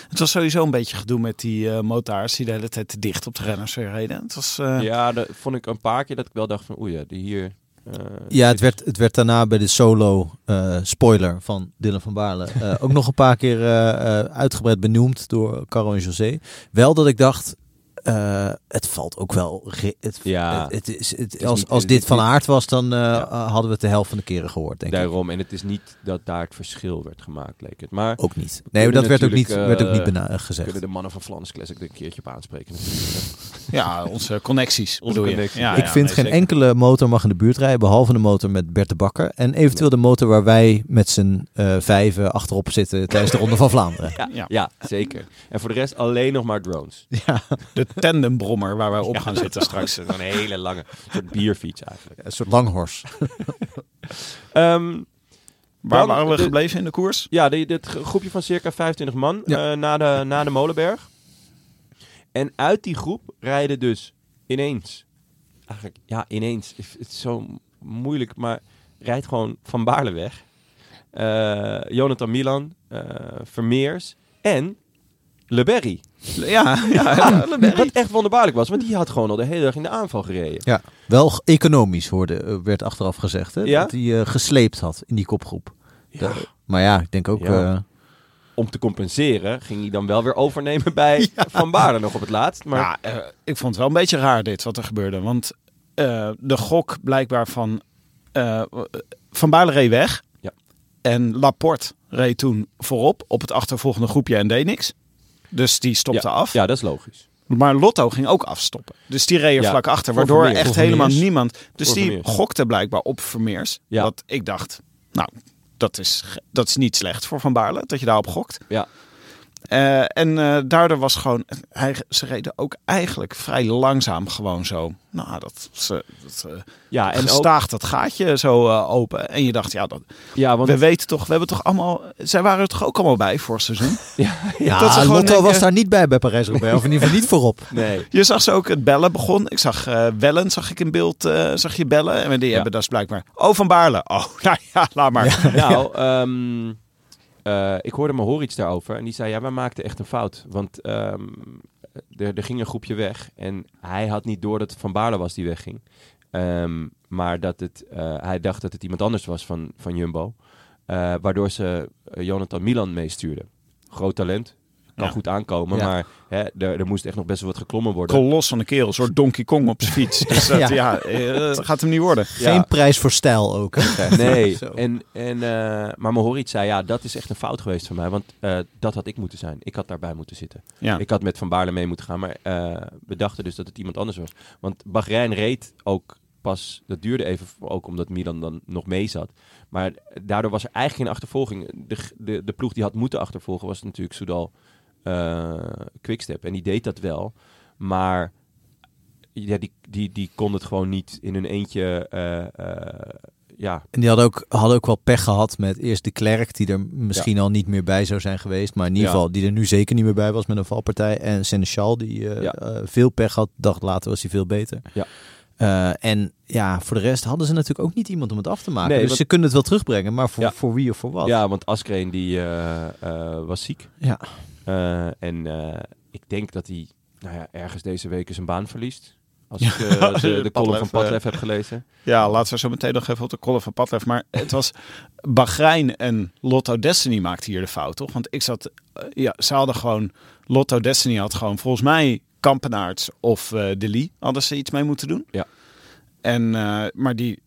[SPEAKER 4] het was sowieso een beetje gedoe met die eh, motaars die de hele tijd te dicht op de renners weer reden. Het was... eh,
[SPEAKER 2] Ja, dat vond ik een paar keer dat ik wel dacht van, oei, ja, die hier... eh,
[SPEAKER 3] Ja, het
[SPEAKER 2] zit-
[SPEAKER 3] werd, het werd daarna bij de solo eh, spoiler van Dylan van Baarle eh, ook nog een paar keer eh, eh, uitgebreid benoemd door Caro en José. Wel dat ik dacht, eh, het valt ook wel. re- Het,
[SPEAKER 2] Ja.
[SPEAKER 3] het, het is, het,
[SPEAKER 2] is
[SPEAKER 3] als,
[SPEAKER 2] niet-
[SPEAKER 3] als
[SPEAKER 2] het
[SPEAKER 3] dit
[SPEAKER 2] is
[SPEAKER 3] van
[SPEAKER 2] niet-
[SPEAKER 3] aard was, dan eh,
[SPEAKER 2] Ja.
[SPEAKER 3] eh, hadden we het de helft van de keren gehoord, denk ik.
[SPEAKER 2] Daarom, en het is niet dat daar het verschil werd gemaakt, leek het. Maar
[SPEAKER 3] Ook niet. Nee,
[SPEAKER 2] kunnen
[SPEAKER 3] dat werd ook niet,
[SPEAKER 2] natuurlijk,
[SPEAKER 3] werd ook
[SPEAKER 2] eh,
[SPEAKER 3] niet bena- eh, gezegd.
[SPEAKER 2] kunnen de mannen van Flanders Classic er een keertje op aanspreken. natuurlijk.
[SPEAKER 4] Ja, onze connecties.
[SPEAKER 2] Onze
[SPEAKER 4] bedoel je.
[SPEAKER 2] connecties.
[SPEAKER 4] Ja,
[SPEAKER 3] ik
[SPEAKER 4] ja,
[SPEAKER 3] vind
[SPEAKER 4] nee,
[SPEAKER 3] geen
[SPEAKER 4] zeker.
[SPEAKER 3] enkele motor mag in de buurt rijden, behalve de motor met Bert de Bakker. En eventueel de motor waar wij met z'n eh, vijven achterop zitten tijdens de Ronde van Vlaanderen.
[SPEAKER 2] ja, ja.
[SPEAKER 4] Ja.
[SPEAKER 2] zeker. En voor de rest alleen nog maar drones.
[SPEAKER 3] Ja.
[SPEAKER 4] De tandembrommer waar wij op gaan zitten straks.
[SPEAKER 2] Zo'n hele lange een soort bierfiets eigenlijk.
[SPEAKER 3] Een soort langhors.
[SPEAKER 2] Ehm,
[SPEAKER 4] Waar
[SPEAKER 2] Dan
[SPEAKER 4] waren we
[SPEAKER 2] de-
[SPEAKER 4] gebleven in de koers?
[SPEAKER 2] Ja, die- dit gro- groepje van circa 25 man
[SPEAKER 3] Ja.
[SPEAKER 2] eh, na, de, na de Molenberg. En uit die groep rijden dus ineens, eigenlijk, ja, ineens, het het is zo moeilijk, maar rijdt gewoon Van Baarle weg. Eh, Jonathan Milan, eh, Vermeers en Le Berry.
[SPEAKER 4] Ja, ja,
[SPEAKER 2] Ah, Wat echt wonderbaarlijk was, want die had gewoon al de hele dag in de aanval gereden.
[SPEAKER 3] Ja, wel g- economisch hoorde, eh, werd achteraf gezegd. Hè?
[SPEAKER 2] Ja?
[SPEAKER 3] Dat hij eh, gesleept had in die kopgroep. De- maar ja, ik denk ook...
[SPEAKER 2] Ja.
[SPEAKER 3] eh,
[SPEAKER 2] Om te compenseren ging hij dan wel weer overnemen bij Van Baarle nog op het laatst. Maar
[SPEAKER 4] Ja, eh, ik vond het wel een beetje raar dit wat er gebeurde. Want eh, de gok blijkbaar van eh, Van Baarle reed weg.
[SPEAKER 2] Ja.
[SPEAKER 4] En Laporte reed toen voorop op het achtervolgende groepje en deed niks. Dus die stopte
[SPEAKER 2] ja.
[SPEAKER 4] af.
[SPEAKER 2] Ja, dat is logisch.
[SPEAKER 4] Maar Lotto ging ook afstoppen. Dus die reed er
[SPEAKER 2] Ja.
[SPEAKER 4] vlak
[SPEAKER 2] Voor
[SPEAKER 4] achter. Waardoor
[SPEAKER 2] Vermeers.
[SPEAKER 4] echt
[SPEAKER 2] Voor Vermeers.
[SPEAKER 4] helemaal niemand... Dus
[SPEAKER 2] Voor
[SPEAKER 4] die
[SPEAKER 2] Vermeers.
[SPEAKER 4] gokte blijkbaar op Vermeers.
[SPEAKER 2] Ja.
[SPEAKER 4] Dat ik dacht, nou, dat is, ge- dat is niet slecht voor Van Baarle. Dat je daarop gokt.
[SPEAKER 2] Ja.
[SPEAKER 4] Eh, en eh, daardoor was gewoon... Hij, ze reden ook eigenlijk vrij langzaam gewoon zo. Nou, dat... Ze, dat eh,
[SPEAKER 2] Ja, en ook,
[SPEAKER 4] gestaag dat gaatje zo eh, open. En je dacht, ja, dat,
[SPEAKER 2] ja, want
[SPEAKER 4] we weten toch, we hebben toch allemaal, zij waren er toch ook allemaal bij vorig seizoen?
[SPEAKER 3] Ja,
[SPEAKER 4] dat ze gewoon
[SPEAKER 3] Ah, Lotto
[SPEAKER 4] denken-
[SPEAKER 3] was daar niet bij bij Parijs-Roubaix. Of in ieder geval niet voorop.
[SPEAKER 2] nee.
[SPEAKER 4] Je zag ze ook, het bellen begon. Ik zag eh, Wellen, zag ik in beeld, eh, zag je bellen. En die
[SPEAKER 2] Ja.
[SPEAKER 4] hebben dus blijkbaar, oh, Van Baarle. Oh, nou ja, laat maar.
[SPEAKER 2] Nou, ehm, eh, ik hoorde me Horits daarover en die zei, ja, wij maakten echt een fout. Want ehm, er, er ging een groepje weg en hij had niet door dat het Van Baarle was die wegging. Ehm, maar dat het, eh, hij dacht dat het iemand anders was van, van Jumbo. Eh, waardoor ze eh, Jonathan Milan meestuurde. Groot talent, kan
[SPEAKER 4] Ja.
[SPEAKER 2] goed aankomen,
[SPEAKER 3] Ja.
[SPEAKER 2] maar hè, er, er moest echt nog best wel wat geklommen worden.
[SPEAKER 4] Kolos van de kerel, een soort Donkey Kong op zijn fiets. Dus dat,
[SPEAKER 3] Ja.
[SPEAKER 4] ja, eh, dat gaat hem niet worden.
[SPEAKER 2] Ja.
[SPEAKER 3] Geen prijs voor stijl ook. hè?
[SPEAKER 2] Nee,
[SPEAKER 3] Zo.
[SPEAKER 2] en, en, eh, maar Mohoric zei, ja, dat is echt een fout geweest van mij. Want eh, dat had ik moeten zijn. Ik had daarbij moeten zitten.
[SPEAKER 4] Ja.
[SPEAKER 2] Ik had met Van Baarle mee moeten gaan. Maar eh, we dachten dus dat het iemand anders was. Want Bahrein reed ook pas, dat duurde even, ook omdat Milan dan nog mee zat. Maar daardoor was er eigenlijk geen achtervolging. De, g- de, de ploeg die had moeten achtervolgen was natuurlijk Soudal eh, Quickstep. En die deed dat wel. Maar ja, die, die, die kon het gewoon niet in hun eentje... eh, eh, ja,
[SPEAKER 3] En die had ook, had ook wel pech gehad met eerst de Klerk, die er misschien al niet meer bij zou zijn geweest. Maar in ieder
[SPEAKER 2] Ja.
[SPEAKER 3] geval, die er nu zeker niet meer bij was met een valpartij. En Seneschal, die eh,
[SPEAKER 2] Ja.
[SPEAKER 3] eh, veel pech had, dacht later was hij veel beter.
[SPEAKER 2] Ja.
[SPEAKER 3] Eh, en ja, voor de rest hadden ze natuurlijk ook niet iemand om het af te maken.
[SPEAKER 2] Nee,
[SPEAKER 3] dus
[SPEAKER 2] want-
[SPEAKER 3] ze kunnen het wel terugbrengen, maar voor,
[SPEAKER 2] Ja.
[SPEAKER 3] voor wie of voor wat.
[SPEAKER 2] Ja, want Askreen die eh, eh, was ziek.
[SPEAKER 3] Ja.
[SPEAKER 2] Eh, en eh, ik denk dat hij nou ja, ergens deze week zijn baan verliest. Als ik eh, de, de column van
[SPEAKER 4] Padlef, eh.
[SPEAKER 2] Padlef heb gelezen.
[SPEAKER 4] Ja, laten we zo meteen nog even op de kollen van Padlef. Maar het was Bahrein en Lotto Destiny maakten hier de fout, toch? Want ik zat, eh, ja, ze hadden gewoon, Lotto Destiny had gewoon volgens mij Kampenaerts of eh De Lee hadden ze iets mee moeten doen.
[SPEAKER 2] Ja.
[SPEAKER 4] En, eh, maar die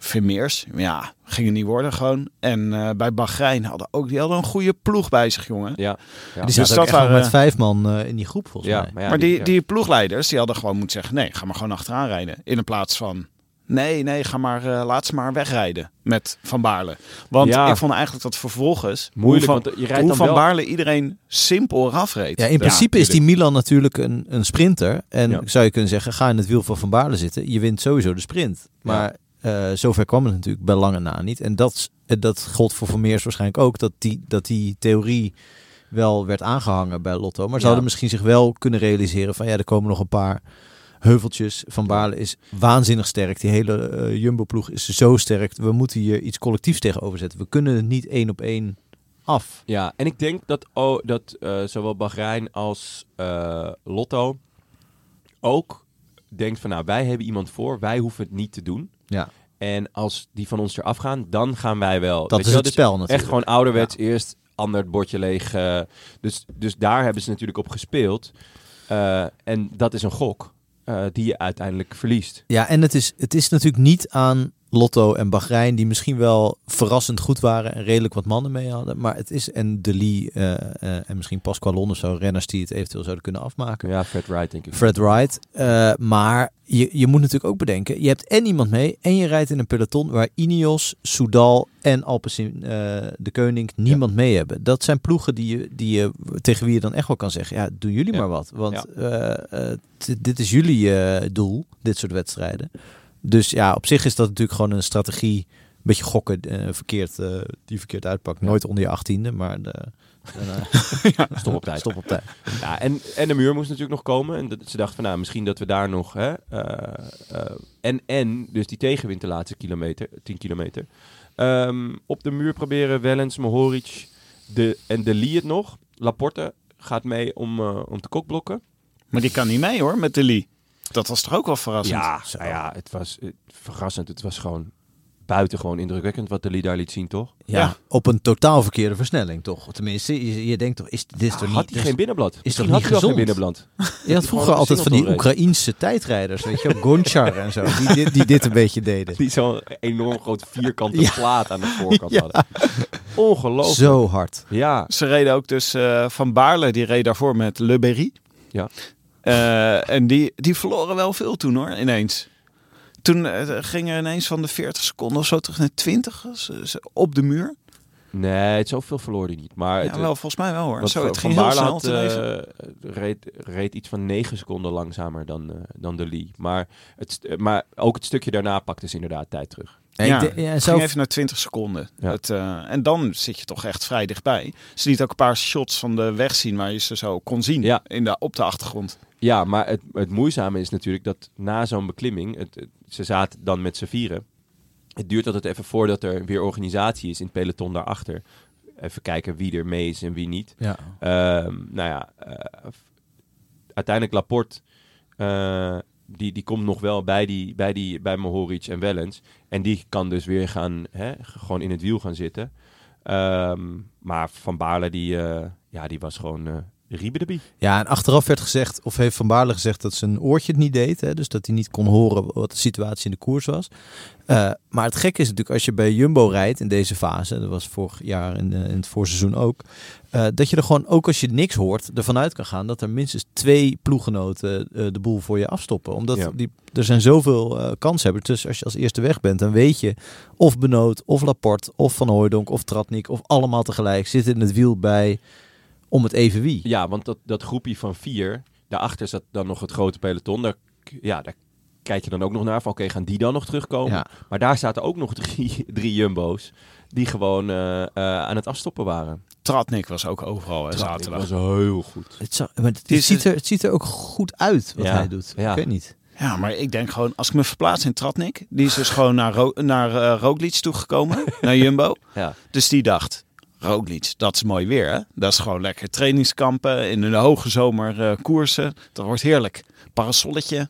[SPEAKER 4] Vermeers, ja, gingen niet worden gewoon. En eh, bij Bahrein hadden ook, die hadden een goede ploeg bij zich, jongen.
[SPEAKER 2] Ja, ja.
[SPEAKER 3] Die zaten
[SPEAKER 4] Dus
[SPEAKER 3] ook
[SPEAKER 4] dat
[SPEAKER 3] echt nog
[SPEAKER 4] waren-
[SPEAKER 3] met vijf man eh, in die groep volgens
[SPEAKER 2] Ja,
[SPEAKER 3] mij.
[SPEAKER 2] maar, ja,
[SPEAKER 4] maar die,
[SPEAKER 2] ja.
[SPEAKER 4] die ploegleiders, die hadden gewoon moeten zeggen... nee, ga maar gewoon achteraan rijden. In plaats van... nee, nee, ga maar, eh, laat ze maar wegrijden met Van Baarle. Want
[SPEAKER 2] Ja.
[SPEAKER 4] ik vond eigenlijk dat vervolgens...
[SPEAKER 2] Moeilijk,
[SPEAKER 4] hoe van,
[SPEAKER 2] want je rijdt
[SPEAKER 4] hoe
[SPEAKER 2] dan
[SPEAKER 4] Van
[SPEAKER 2] wel-
[SPEAKER 4] Baarle iedereen simpel rafreed.
[SPEAKER 3] Ja, in principe is die Milan natuurlijk een, een sprinter. En
[SPEAKER 2] Ja.
[SPEAKER 3] zou je kunnen zeggen, ga in het wiel van Van Baarle zitten. Je wint sowieso de sprint. Maar eh, zover kwam het natuurlijk bij lange na niet. En dat, is- eh, dat gold voor Vermeers waarschijnlijk ook. Dat die, dat die theorie wel werd aangehangen bij Lotto. Maar ze
[SPEAKER 2] Ja.
[SPEAKER 3] hadden misschien zich wel kunnen realiseren van... ja, er komen nog een paar heuveltjes. Van Baarle is waanzinnig sterk. Die hele eh, Jumbo-ploeg is zo sterk. We moeten hier iets collectiefs tegenover zetten. We kunnen het niet één op één af.
[SPEAKER 2] Ja, en ik denk dat, oh, dat eh, zowel Bahrein als eh, Lotto ook denkt van... nou, wij hebben iemand voor, wij hoeven het niet te doen.
[SPEAKER 3] Ja.
[SPEAKER 2] En als die van ons eraf gaan, dan gaan wij wel.
[SPEAKER 3] Dat
[SPEAKER 2] Weet
[SPEAKER 3] is
[SPEAKER 2] je wel,
[SPEAKER 3] het
[SPEAKER 2] dus
[SPEAKER 3] spel natuurlijk.
[SPEAKER 2] Echt gewoon ouderwets, eerst ander het bordje leeg. eh, dus, dus daar hebben ze natuurlijk op gespeeld. Eh, en dat is een gok eh, die je uiteindelijk verliest.
[SPEAKER 3] Ja, en het is, het is natuurlijk niet aan Lotto en Bahrein, die misschien wel verrassend goed waren en redelijk wat mannen mee hadden. Maar het is en De Lee eh, eh, en misschien Pasqualon of zo, renners die het eventueel zouden kunnen afmaken.
[SPEAKER 2] Ja, Fred Wright denk ik.
[SPEAKER 3] Fred Wright. eh, maar je, je moet natuurlijk ook bedenken, je hebt en iemand mee en je rijdt in een peloton waar Ineos, Soudal en Alpecin eh, de Koning niemand mee hebben. Dat zijn ploegen die je, die je, tegen wie je dan echt wel kan zeggen, ja, doen jullie
[SPEAKER 2] Ja.
[SPEAKER 3] maar wat. Want eh, eh, t- dit is jullie eh, doel, dit soort wedstrijden. Dus ja, op zich is dat natuurlijk gewoon een strategie, een beetje gokken, eh, verkeerd, eh, die verkeerd uitpakt. Nooit onder je achttiende, maar de,
[SPEAKER 2] Stop op tijd.
[SPEAKER 3] stop op tijd.
[SPEAKER 2] Ja, en, en de muur moest natuurlijk nog komen. En dat, ze dachten van, nou, misschien dat we daar nog... Hè, eh, eh, en, en, dus die tegenwind de laatste kilometer, 10 kilometer. Ehm, op de muur proberen Wellens, Mohoric de, en De Lee het nog. Laporte gaat mee om, eh, om te kokblokken.
[SPEAKER 4] Maar die kan niet mee hoor, met de Lee. Dat was toch ook wel verrassend?
[SPEAKER 2] Ja, nou ja, het was eh, verrassend. Het was gewoon buitengewoon indrukwekkend wat De Lee daar liet zien, toch?
[SPEAKER 3] Ja,
[SPEAKER 4] Ja.
[SPEAKER 3] op een totaal verkeerde versnelling, toch? Tenminste, je, je denkt toch, is dit dus- is toch
[SPEAKER 2] Ah, Had
[SPEAKER 3] niet...
[SPEAKER 2] hij geen binnenblad? Is
[SPEAKER 3] toch
[SPEAKER 2] Misschien
[SPEAKER 3] niet
[SPEAKER 2] had hij wel geen
[SPEAKER 3] gezond?
[SPEAKER 2] binnenblad.
[SPEAKER 3] je had vroeger
[SPEAKER 2] gewoon
[SPEAKER 3] altijd van die
[SPEAKER 2] Singleton
[SPEAKER 3] Oekraïense tijdrijders, weet je wel, Gonchar en zo, die, dit- die dit een beetje deden.
[SPEAKER 2] Die zo'n enorm groot vierkante
[SPEAKER 3] Ja.
[SPEAKER 2] plaat aan de voorkant hadden. Ongelooflijk.
[SPEAKER 3] Zo hard.
[SPEAKER 2] Ja,
[SPEAKER 4] Ze reden ook dus eh, Van Baarle, die reed daarvoor met Le Berry.
[SPEAKER 2] Ja.
[SPEAKER 4] Eh, en die, die verloren wel veel toen hoor, ineens. Toen eh, ging er ineens van de 40 seconden of zo terug naar 20 ze- ze- op de muur.
[SPEAKER 2] nee, het zoveel verloor hij niet. Maar het,
[SPEAKER 4] Ja, wel, volgens mij wel hoor.
[SPEAKER 2] wat
[SPEAKER 4] Zo,
[SPEAKER 2] Van-
[SPEAKER 4] het ging
[SPEAKER 2] Van
[SPEAKER 4] heel
[SPEAKER 2] Baarle
[SPEAKER 4] snel.
[SPEAKER 2] had,
[SPEAKER 4] te leven.
[SPEAKER 2] eh, reed, reed iets van 9 seconden langzamer dan, eh, dan de Lee. Maar, het, st- eh, maar ook het stukje daarna pakte ze inderdaad tijd terug.
[SPEAKER 3] En
[SPEAKER 4] Ja,
[SPEAKER 3] ik denk- ja,
[SPEAKER 4] Het
[SPEAKER 3] zelf-
[SPEAKER 4] ging even naar 20 seconden.
[SPEAKER 2] Ja.
[SPEAKER 4] Het, eh, en dan zit je toch echt vrij dichtbij. Ze liet ook een paar shots van de weg zien waar je ze zo kon zien
[SPEAKER 2] Ja.
[SPEAKER 4] in de, op de achtergrond.
[SPEAKER 2] Ja, maar het, het moeizame is natuurlijk dat na zo'n beklimming, het, het- ze zaten dan met z'n vieren. Het duurt altijd even voordat er weer organisatie is in het peloton daarachter. Even kijken wie er mee is en wie niet.
[SPEAKER 3] ja.
[SPEAKER 2] Ehm, nou ja, eh, f- uiteindelijk Laporte, eh, die, die komt nog wel bij, die, bij, die, bij Mohoric en Wellens. En die kan dus weer gaan, hè, g- gewoon in het wiel gaan zitten. Ehm, maar Van Baarle, die, eh, ja, die was gewoon eh riebedebie.
[SPEAKER 3] Ja, en achteraf werd gezegd, of heeft Van Baarle gezegd dat zijn oortje het niet deed. Hè? Dus dat hij niet kon horen wat de situatie in de koers was. Eh, maar het gekke is natuurlijk, als je bij Jumbo rijdt in deze fase, dat was vorig jaar in, eh, in het voorseizoen ook, eh, dat je er gewoon, ook als je niks hoort, ervan uit kan gaan dat er minstens twee ploegenoten eh, de boel voor je afstoppen. Omdat
[SPEAKER 2] Ja.
[SPEAKER 3] die, er zijn zoveel eh kanshebbers. Dus als je als eerste weg bent, dan weet je of Benoot, of Laporte, of Van Hooijdonk, of Tratnik, of allemaal tegelijk zitten in het wiel bij om het even wie.
[SPEAKER 2] Ja, want dat, dat groepje van vier, daarachter zat dan nog het grote peloton. Daar, k- ja, daar kijk je dan ook nog naar van, oké, gaan die dan nog terugkomen?
[SPEAKER 3] Ja.
[SPEAKER 2] Maar daar zaten ook nog drie, drie jumbo's die gewoon eh, eh, aan het afstoppen waren.
[SPEAKER 4] Tratnik was ook overal hè, zaterdag.
[SPEAKER 2] Dat was heel goed.
[SPEAKER 3] Het, zou- maar het,
[SPEAKER 4] Het is-
[SPEAKER 3] ziet er, het ziet er ook goed uit wat
[SPEAKER 2] Ja,
[SPEAKER 3] hij doet.
[SPEAKER 2] ja.
[SPEAKER 3] Ik weet niet.
[SPEAKER 4] Ja, maar ik denk gewoon, als ik me verplaats in Tratnik, die is dus gewoon naar, Ro naar eh, Roglic toegekomen, naar Jumbo.
[SPEAKER 2] Ja.
[SPEAKER 4] Dus die dacht, Roglic, dat is mooi weer hè. Dat is gewoon lekker trainingskampen, in de hoge zomer eh, koersen. Dat wordt heerlijk. Parasolletje,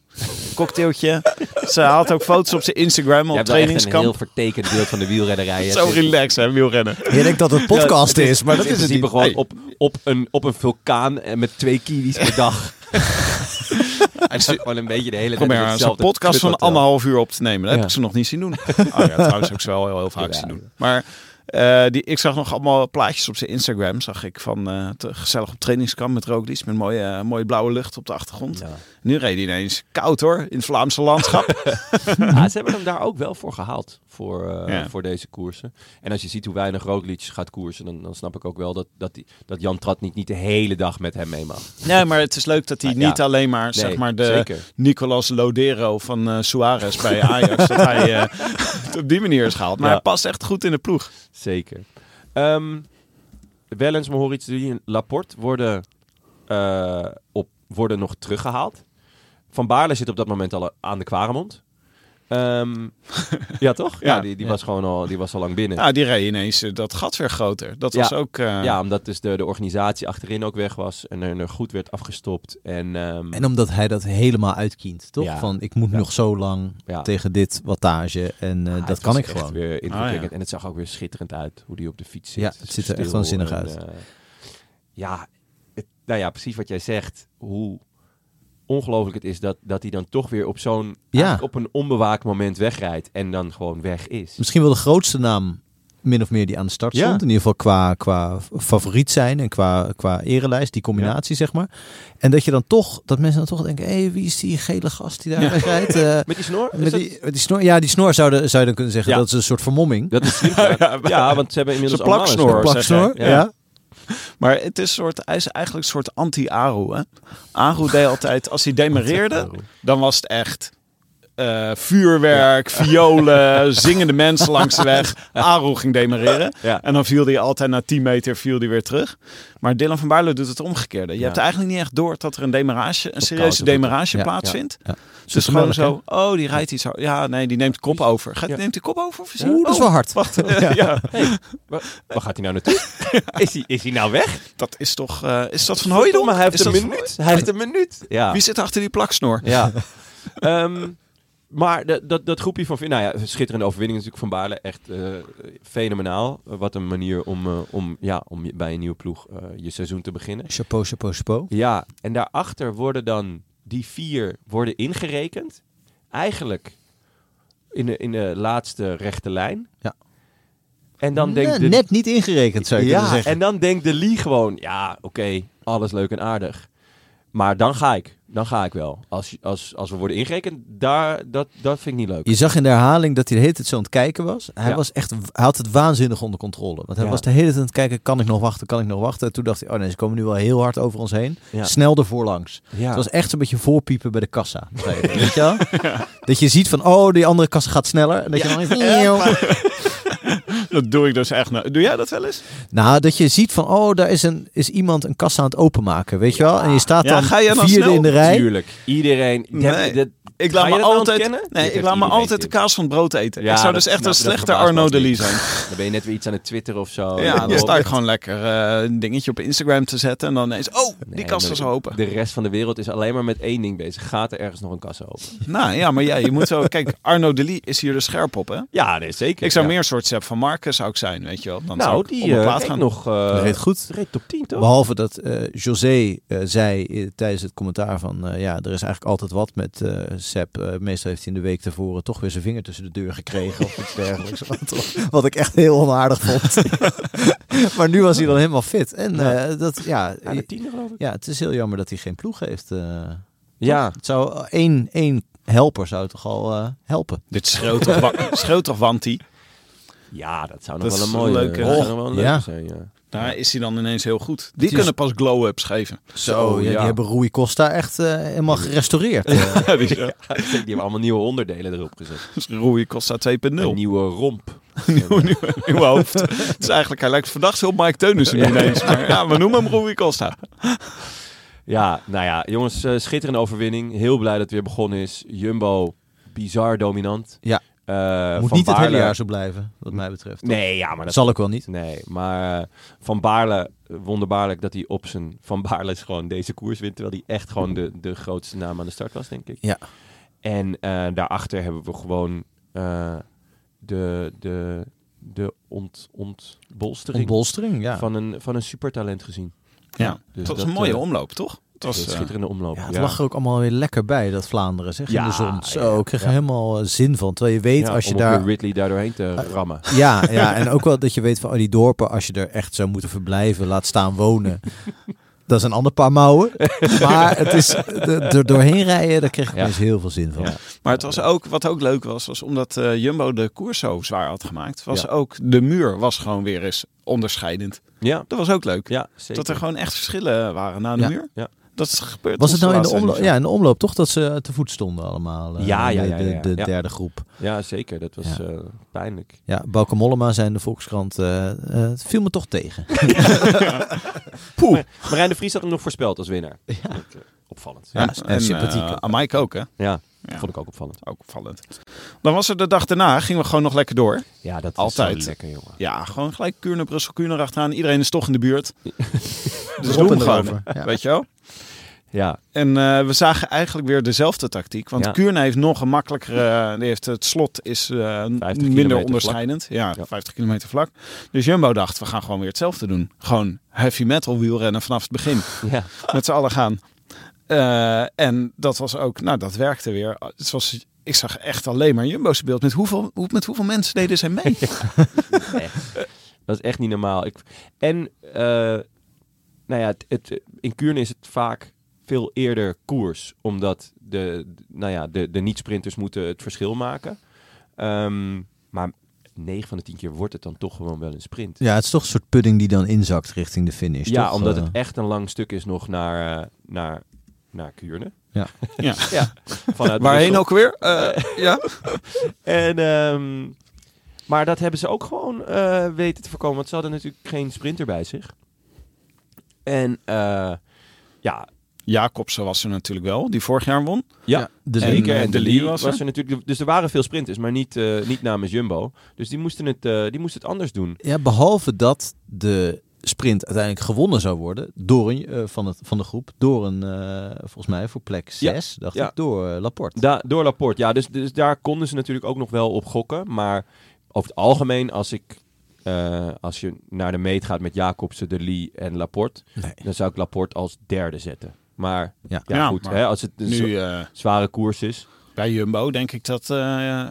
[SPEAKER 4] cocktailtje. Ze haalt ook foto's op zijn Instagram op
[SPEAKER 2] Je hebt wel echt een heel
[SPEAKER 4] trainingskamp.
[SPEAKER 2] vertekend beeld van de wielrennerij. Het
[SPEAKER 4] Zo
[SPEAKER 2] is-
[SPEAKER 4] relaxed hè, wielrennen.
[SPEAKER 3] Je denkt dat het podcast is, maar
[SPEAKER 2] het
[SPEAKER 3] dat
[SPEAKER 2] is in
[SPEAKER 3] is het
[SPEAKER 2] principe
[SPEAKER 3] niet.
[SPEAKER 2] gewoon op, op, een, op een vulkaan en met twee kiwis per dag. en zo gewoon een beetje de hele tijd
[SPEAKER 4] Probeer
[SPEAKER 2] in
[SPEAKER 4] maar zo'n
[SPEAKER 2] hetzelfde
[SPEAKER 4] podcast van
[SPEAKER 2] kuthotel.
[SPEAKER 4] anderhalf uur op te nemen. Dat heb
[SPEAKER 2] Ja.
[SPEAKER 4] ik ze nog niet zien doen. Oh ja, trouwens ook ze wel heel, heel vaak
[SPEAKER 2] Ja.
[SPEAKER 4] zien doen. Maar eh, die, ik zag nog allemaal plaatjes op zijn Instagram. Zag ik van eh, te- gezellig op trainingskamp met Roglic. Met mooie, eh, mooie blauwe lucht op de achtergrond.
[SPEAKER 2] Ja.
[SPEAKER 4] Nu reed hij ineens koud hoor, in het Vlaamse landschap.
[SPEAKER 2] Ah, ze hebben hem daar ook wel voor gehaald, voor, eh,
[SPEAKER 4] Ja.
[SPEAKER 2] voor deze koersen. En als je ziet hoe weinig Roglic gaat koersen, dan, dan snap ik ook wel dat, dat, die, dat Jan Trat niet, niet de hele dag met hem mee mag.
[SPEAKER 4] nee, maar het is leuk dat hij
[SPEAKER 2] Ja, ja.
[SPEAKER 4] niet alleen maar,
[SPEAKER 2] Nee,
[SPEAKER 4] zeg maar de
[SPEAKER 2] zeker.
[SPEAKER 4] Nicolas Lodero van eh Suarez bij Ajax. dat hij eh, het op die manier is gehaald. Maar
[SPEAKER 2] Ja.
[SPEAKER 4] hij past echt goed in de ploeg.
[SPEAKER 2] Zeker. Ehm Wellens, Mohoric, De Lee en Laporte worden, eh, op, worden nog teruggehaald. Van Baarle zit op dat moment al aan de kwaremond. Ehm, ja, toch? Ja,
[SPEAKER 4] Ja.
[SPEAKER 2] die, die
[SPEAKER 3] Ja.
[SPEAKER 2] was gewoon al, die was al lang binnen.
[SPEAKER 4] Nou, die reed ineens eh, dat gat weer groter. Dat
[SPEAKER 2] Ja.
[SPEAKER 4] was ook... eh,
[SPEAKER 2] Ja, omdat dus de, de organisatie achterin ook weg was en er, er goed werd afgestopt. En, ehm,
[SPEAKER 3] En omdat hij dat helemaal uitkient, toch?
[SPEAKER 2] Ja.
[SPEAKER 3] Van ik moet
[SPEAKER 2] Ja.
[SPEAKER 3] nog zo lang
[SPEAKER 2] Ja.
[SPEAKER 3] tegen dit wattage en eh,
[SPEAKER 2] ah,
[SPEAKER 3] dat
[SPEAKER 2] het was
[SPEAKER 3] kan ik
[SPEAKER 2] echt
[SPEAKER 3] gewoon.
[SPEAKER 2] Weer indrukwekkend.
[SPEAKER 4] Ah, ja.
[SPEAKER 2] En het zag ook weer schitterend uit hoe die op de fiets zit.
[SPEAKER 3] Ja, het
[SPEAKER 2] Zo
[SPEAKER 3] ziet er echt
[SPEAKER 2] stil
[SPEAKER 3] waanzinnig
[SPEAKER 2] en,
[SPEAKER 3] uit.
[SPEAKER 2] eh, ja, het- nou ja, precies wat jij zegt. Hoe ongelooflijk het is dat, dat hij dan toch weer op zo'n eigenlijk op een onbewaakt moment wegrijdt en dan gewoon weg is.
[SPEAKER 3] Misschien wel de grootste naam, min of meer, die aan de start
[SPEAKER 2] Ja.
[SPEAKER 3] stond. In ieder geval qua, qua favoriet zijn en qua, qua erelijst, die combinatie, zeg maar. En dat je dan toch, dat mensen dan toch denken, hé, hey, wie is die gele gast die daar
[SPEAKER 4] Ja.
[SPEAKER 3] wegrijdt? Eh,
[SPEAKER 2] Met die snor? Is
[SPEAKER 3] met
[SPEAKER 2] dat-
[SPEAKER 3] die, met die snor, ja, die snor zouden, zou je dan kunnen zeggen,
[SPEAKER 2] Ja.
[SPEAKER 3] dat is een soort vermomming.
[SPEAKER 2] dat is slim gedaan. ja, want ze hebben inmiddels
[SPEAKER 4] Ze
[SPEAKER 2] allemaal een
[SPEAKER 4] plaksnor.
[SPEAKER 2] snor.
[SPEAKER 4] Plak-
[SPEAKER 3] Plaksnor,
[SPEAKER 2] zeg jij.
[SPEAKER 3] ja.
[SPEAKER 4] Maar het is soort, hij is eigenlijk een soort anti-Aru. hè. Aru deed altijd, als hij demareerde, dan was het echt eh, vuurwerk, violen, zingende mensen langs de weg. Aru ging demareren.
[SPEAKER 2] Ja.
[SPEAKER 4] En dan viel hij altijd na 10 meter viel hij weer terug. Maar Dylan van Baarle doet het omgekeerde. Je
[SPEAKER 2] Ja.
[SPEAKER 4] hebt eigenlijk niet echt door dat er een, demarage, een serieuze
[SPEAKER 2] kousen wordt
[SPEAKER 4] demarage
[SPEAKER 3] Ja,
[SPEAKER 4] plaatsvindt.
[SPEAKER 3] Zo
[SPEAKER 4] Dus gewoon
[SPEAKER 3] melk, hè?
[SPEAKER 4] zo, oh, die rijdt iets hard. Ja, nee, die neemt de kop over. Gaat,
[SPEAKER 2] Ja.
[SPEAKER 4] Neemt die kop over? Of is hij-
[SPEAKER 3] Oeh, dat is
[SPEAKER 4] Oh,
[SPEAKER 3] wel hard.
[SPEAKER 4] Wacht, ja.
[SPEAKER 2] Waar, waar gaat hij nou naartoe? is, hij, is hij nou weg?
[SPEAKER 4] dat is toch... eh, is dat Van Hooijdonk?
[SPEAKER 2] Maar hij heeft
[SPEAKER 4] Is
[SPEAKER 2] een
[SPEAKER 4] dat Van-
[SPEAKER 2] minuut. Hij heeft een minuut. Ja.
[SPEAKER 4] Wie zit achter die plaksnor?
[SPEAKER 2] Ah. Ja. Ehm, maar dat- dat, dat groepje van... Nou ja, schitterende overwinning natuurlijk van Baarle. Echt eh, fenomenaal. Eh, Wat een manier om, eh, om, ja, om je- bij een nieuwe ploeg eh, je seizoen te beginnen.
[SPEAKER 3] Chapeau, chapeau, chapeau.
[SPEAKER 2] Ja, en daarachter worden dan die vier worden ingerekend. Eigenlijk in de, in de laatste rechte lijn.
[SPEAKER 3] Ja.
[SPEAKER 2] En dan
[SPEAKER 3] Nee,
[SPEAKER 2] denkt de,
[SPEAKER 3] Net niet ingerekend, zou ik willen
[SPEAKER 2] ja,
[SPEAKER 3] zeggen.
[SPEAKER 2] en dan denkt de Lee gewoon, ja, oké, alles leuk en aardig. Maar dan ga ik. Dan ga ik wel. Als, als, als we worden ingerekend, daar, dat, dat vind ik niet leuk.
[SPEAKER 3] Je zag in de herhaling dat hij de hele tijd zo aan het kijken was. Hij,
[SPEAKER 2] Ja.
[SPEAKER 3] was echt, hij had het waanzinnig onder controle. Want hij
[SPEAKER 2] Ja.
[SPEAKER 3] was de hele tijd aan het kijken, kan ik nog wachten, kan ik nog wachten? En toen dacht hij, oh nee, ze komen nu wel heel hard over ons heen.
[SPEAKER 2] Ja.
[SPEAKER 3] Snel ervoor langs.
[SPEAKER 2] Ja.
[SPEAKER 3] Het was echt zo'n beetje voorpiepen bij de kassa. zei hij, Weet je wel? Dat je ziet van, oh, die andere kassa gaat sneller. En dat je dan even...
[SPEAKER 4] Dat doe ik dus echt. nou- Doe jij dat wel eens?
[SPEAKER 3] Nou, dat je ziet van, oh, daar is, een, is iemand een kassa aan het openmaken, weet je wel? En je staat
[SPEAKER 4] Ja,
[SPEAKER 3] dan,
[SPEAKER 4] ga je dan
[SPEAKER 3] vierde
[SPEAKER 4] snel?
[SPEAKER 3] in de rij.
[SPEAKER 2] Tuurlijk. Iedereen.
[SPEAKER 4] Nee. Ik
[SPEAKER 2] Ga
[SPEAKER 4] laat
[SPEAKER 2] je
[SPEAKER 4] me
[SPEAKER 2] dat nou
[SPEAKER 4] altijd,
[SPEAKER 2] ontkennen?
[SPEAKER 4] nee,
[SPEAKER 2] Dit
[SPEAKER 4] ik
[SPEAKER 2] heeft
[SPEAKER 4] laat me
[SPEAKER 2] iedereen
[SPEAKER 4] altijd de
[SPEAKER 2] dit.
[SPEAKER 4] kaas van het brood eten.
[SPEAKER 2] Ja,
[SPEAKER 4] ik zou
[SPEAKER 2] dat
[SPEAKER 4] dus echt
[SPEAKER 2] snap
[SPEAKER 4] een
[SPEAKER 2] ik, dat
[SPEAKER 4] slechte
[SPEAKER 2] verbaast me
[SPEAKER 4] Arno
[SPEAKER 2] ook
[SPEAKER 4] de Lee
[SPEAKER 2] niet.
[SPEAKER 4] zijn.
[SPEAKER 2] Dan ben je net weer iets aan het twitteren of zo.
[SPEAKER 4] Ja, dan
[SPEAKER 2] dat-
[SPEAKER 4] sta ik gewoon lekker eh, een dingetje op Instagram te zetten. En dan ineens, oh, die
[SPEAKER 2] Nee,
[SPEAKER 4] kast
[SPEAKER 2] de-
[SPEAKER 4] was open.
[SPEAKER 2] De rest van de wereld is alleen maar met één ding bezig. Gaat er ergens nog een kassa open?
[SPEAKER 4] Nou ja, maar jij, je moet zo... Kijk, Arno de Lee is hier de scherp op, hè?
[SPEAKER 2] Ja, nee, zeker.
[SPEAKER 4] Ik zou
[SPEAKER 2] Ja.
[SPEAKER 4] meer een soort Sepp van Marken zou ik zijn, weet je wel. Dan zou
[SPEAKER 2] Nou,
[SPEAKER 4] ik
[SPEAKER 2] die
[SPEAKER 4] op mijn
[SPEAKER 2] eh,
[SPEAKER 4] plaat
[SPEAKER 2] reed
[SPEAKER 4] gaan.
[SPEAKER 2] nog.
[SPEAKER 3] Dat
[SPEAKER 2] eh
[SPEAKER 3] reed goed.
[SPEAKER 2] reed top 10 toch?
[SPEAKER 3] Behalve dat eh, José eh, zei eh, tijdens het commentaar van... eh, ja, er is eigenlijk altijd wat met eh Sepp. Eh, meestal heeft hij in de week daarvoor toch weer zijn vinger tussen de deur gekregen. of iets dergelijks. Wat, wat ik echt heel onaardig vond. maar nu was hij dan helemaal fit. En eh, dat, ja...
[SPEAKER 2] Ja, de tiende geloof ik.
[SPEAKER 3] Ja, het is heel jammer dat hij geen ploeg heeft. eh.
[SPEAKER 2] Ja.
[SPEAKER 3] Het zou eh, één, één helper zou toch al eh, helpen.
[SPEAKER 4] Dit schreeuwt toch, wa- schreeuwt toch Wanti?
[SPEAKER 2] Ja, dat zou nog
[SPEAKER 4] Dat
[SPEAKER 2] wel
[SPEAKER 4] is
[SPEAKER 2] een mooie Oh,
[SPEAKER 4] een leuke-
[SPEAKER 2] dat zou nog wel een leuke
[SPEAKER 3] Ja.
[SPEAKER 2] zijn. Ja.
[SPEAKER 4] Daar is hij dan ineens heel goed. Die
[SPEAKER 3] is-
[SPEAKER 4] kunnen pas glow-ups geven.
[SPEAKER 3] Zo, Oh, ja,
[SPEAKER 2] ja.
[SPEAKER 3] die hebben Rui Costa echt eh, helemaal gerestaureerd.
[SPEAKER 4] Die
[SPEAKER 2] Ja, die hebben allemaal nieuwe onderdelen erop gezet.
[SPEAKER 4] is Dus Rui Costa 2.0.
[SPEAKER 2] Een
[SPEAKER 4] Nieuw,
[SPEAKER 2] nieuwe romp.
[SPEAKER 4] nieuw, nieuw hoofd. Het is eigenlijk, hij lijkt verdacht heel Mike Teunissen nu ineens. Maar ja, we noemen hem Rui Costa.
[SPEAKER 2] Ja, nou ja, jongens, eh, schitterende overwinning. Heel blij dat het weer begonnen is. Jumbo, bizar dominant.
[SPEAKER 3] Ja.
[SPEAKER 2] Eh,
[SPEAKER 3] Moet
[SPEAKER 2] Van
[SPEAKER 3] niet het hele
[SPEAKER 2] Baarle-
[SPEAKER 3] jaar zo blijven, wat mij betreft.
[SPEAKER 2] Nee, ja, maar
[SPEAKER 3] Dat
[SPEAKER 2] dat...
[SPEAKER 3] zal ik wel niet.
[SPEAKER 2] Nee, maar eh, Van Baarle, eh, wonderbaarlijk dat hij op zijn... Van Baarle is gewoon deze koers wint, terwijl hij echt gewoon de, de grootste naam aan de start was, denk ik.
[SPEAKER 3] Ja.
[SPEAKER 2] En eh, daarachter hebben we gewoon eh, de, de, de ont, ontbolstering
[SPEAKER 3] Ontbolstering, ja.
[SPEAKER 2] van, een, van een supertalent gezien.
[SPEAKER 4] Ja,
[SPEAKER 2] Dus
[SPEAKER 4] het was
[SPEAKER 2] dat,
[SPEAKER 4] een mooie
[SPEAKER 2] eh,
[SPEAKER 4] omloop, toch? Het
[SPEAKER 2] Dat is
[SPEAKER 4] was,
[SPEAKER 2] een
[SPEAKER 4] eh,
[SPEAKER 2] schitterende omloop.
[SPEAKER 3] ja,
[SPEAKER 2] Ja,
[SPEAKER 3] het lag er ook allemaal weer lekker bij, dat Vlaanderen, zeg,
[SPEAKER 2] Ja,
[SPEAKER 3] in de zon. Zo,
[SPEAKER 2] ja,
[SPEAKER 3] ik kreeg er
[SPEAKER 2] ja.
[SPEAKER 3] helemaal eh, zin van. Terwijl je weet,
[SPEAKER 2] Ja,
[SPEAKER 3] als je
[SPEAKER 2] om ook weer
[SPEAKER 3] daar... Eh,
[SPEAKER 2] Ridley daar doorheen te rammen.
[SPEAKER 3] Ja, ja, en ook wel dat je weet van oh, die dorpen, als je er echt zou moeten verblijven, laat staan wonen. Dat is een ander paar mouwen. Maar het is, er er doorheen rijden, daar kreeg ik
[SPEAKER 2] Ja.
[SPEAKER 3] opeens heel veel zin van.
[SPEAKER 2] Ja.
[SPEAKER 4] Maar het was ook, wat ook leuk was, was omdat eh, Jumbo de koers zo zwaar had gemaakt, was
[SPEAKER 2] Ja.
[SPEAKER 4] ook de muur was gewoon weer eens onderscheidend.
[SPEAKER 2] Ja,
[SPEAKER 4] Dat was ook leuk.
[SPEAKER 2] ja zeker.
[SPEAKER 4] Dat er gewoon echt verschillen waren na de
[SPEAKER 3] Ja.
[SPEAKER 4] muur.
[SPEAKER 2] Ja.
[SPEAKER 4] Dat is gebeurd.
[SPEAKER 3] Was het nou in de,
[SPEAKER 4] omloop?
[SPEAKER 3] omloop, ja, in de omloop toch dat ze te voet stonden allemaal? eh,
[SPEAKER 2] Ja, ja,
[SPEAKER 3] de-
[SPEAKER 2] ja, ja, ja.
[SPEAKER 3] De, de
[SPEAKER 2] Ja.
[SPEAKER 3] derde groep.
[SPEAKER 2] Ja, zeker. Dat was
[SPEAKER 3] Ja.
[SPEAKER 2] eh, pijnlijk.
[SPEAKER 3] Ja, Bauke Mollema zei in de Volkskrant, eh, eh, het viel me toch tegen.
[SPEAKER 2] Poeh. Marijn de Vries had hem nog voorspeld als winnaar. Dat, eh, opvallend. Ja.
[SPEAKER 3] Ja, en sympathiek.
[SPEAKER 4] eh, aan Mike ook, hè? Ja.
[SPEAKER 2] vond ik ook opvallend.
[SPEAKER 4] Ook opvallend. Dan was er de dag daarna, gingen we gewoon nog lekker door.
[SPEAKER 2] Ja, dat
[SPEAKER 4] Altijd.
[SPEAKER 2] is zo lekker, jongen.
[SPEAKER 4] Ja, gewoon gelijk Kuurne, Brussel, Kuurne erachteraan. Iedereen is toch in de buurt. dus
[SPEAKER 3] Op
[SPEAKER 4] doen we
[SPEAKER 3] en
[SPEAKER 4] gewoon,
[SPEAKER 3] erover. Ja.
[SPEAKER 4] weet je wel?
[SPEAKER 2] Ja,
[SPEAKER 4] En eh, we zagen eigenlijk weer dezelfde tactiek. Want
[SPEAKER 2] Ja.
[SPEAKER 4] Kuurne heeft nog een makkelijkere... eh, Die heeft, het slot is eh, minder
[SPEAKER 2] kilometer
[SPEAKER 4] onderscheidend. Ja,
[SPEAKER 2] Ja.
[SPEAKER 4] 50 kilometer vlak. Dus Jumbo dacht, we gaan gewoon weer hetzelfde doen. Gewoon heavy metal wielrennen vanaf het begin.
[SPEAKER 2] ja.
[SPEAKER 4] met z'n allen gaan. Eh, en dat was ook, nou, dat werkte weer. Het was, ik zag echt alleen maar Jumbo's beeld. Met hoeveel, hoe, met hoeveel mensen deden zij mee?
[SPEAKER 2] Dat is echt niet normaal. Ik, en, eh, nou ja, het, het- in Kuurne is het vaak veel eerder koers. Omdat de, nou ja, de, de niet-sprinters moeten het verschil maken. Ehm, maar 9 van de 10 keer wordt het dan toch gewoon wel een sprint.
[SPEAKER 3] Ja, het is toch een soort pudding die dan inzakt richting de finish.
[SPEAKER 2] ja,
[SPEAKER 3] toch?
[SPEAKER 2] omdat
[SPEAKER 3] Eh,
[SPEAKER 2] het echt een lang stuk is nog naar, eh, naar, naar Kuurne.
[SPEAKER 3] Ja.
[SPEAKER 4] Ja.
[SPEAKER 2] ja. Vanuit
[SPEAKER 4] Waarheen
[SPEAKER 2] Brussel.
[SPEAKER 4] ook weer? Eh, ja.
[SPEAKER 2] En, ehm, maar dat hebben ze ook gewoon eh, weten te voorkomen. Want ze hadden natuurlijk geen sprinter bij zich. En eh, ja,
[SPEAKER 4] Jacobsen was er natuurlijk wel, die vorig jaar won.
[SPEAKER 2] ja,
[SPEAKER 3] de
[SPEAKER 4] Dus en-
[SPEAKER 3] league.
[SPEAKER 2] Zeker. En
[SPEAKER 4] De
[SPEAKER 2] de
[SPEAKER 4] Lee
[SPEAKER 2] Lee
[SPEAKER 4] was
[SPEAKER 2] was,
[SPEAKER 4] er.
[SPEAKER 2] er natuurlijk. Dus er waren veel sprinters, maar niet, eh, niet namens Jumbo. Dus die moesten het, eh, die moesten het anders doen.
[SPEAKER 3] Ja, behalve dat de sprint uiteindelijk gewonnen zou worden door een, eh, van, het, van de groep. Door een, eh, volgens mij voor plek
[SPEAKER 2] Ja.
[SPEAKER 3] 6, dacht
[SPEAKER 2] Ja.
[SPEAKER 3] ik, door eh, Laporte.
[SPEAKER 2] Da- door Laporte, ja. Dus, dus daar konden ze natuurlijk ook nog wel op gokken. Maar over het algemeen, als ik. eh, als je naar de meet gaat met Jacobsen, De Lee en Laporte,
[SPEAKER 3] Nee.
[SPEAKER 2] dan zou ik Laporte als derde zetten. Maar ja,
[SPEAKER 3] Ja.
[SPEAKER 4] Ja,
[SPEAKER 2] goed,
[SPEAKER 4] maar
[SPEAKER 2] hè, als het een
[SPEAKER 4] Nu
[SPEAKER 2] zo-
[SPEAKER 4] eh,
[SPEAKER 2] zware koers is.
[SPEAKER 4] bij Jumbo denk ik dat eh,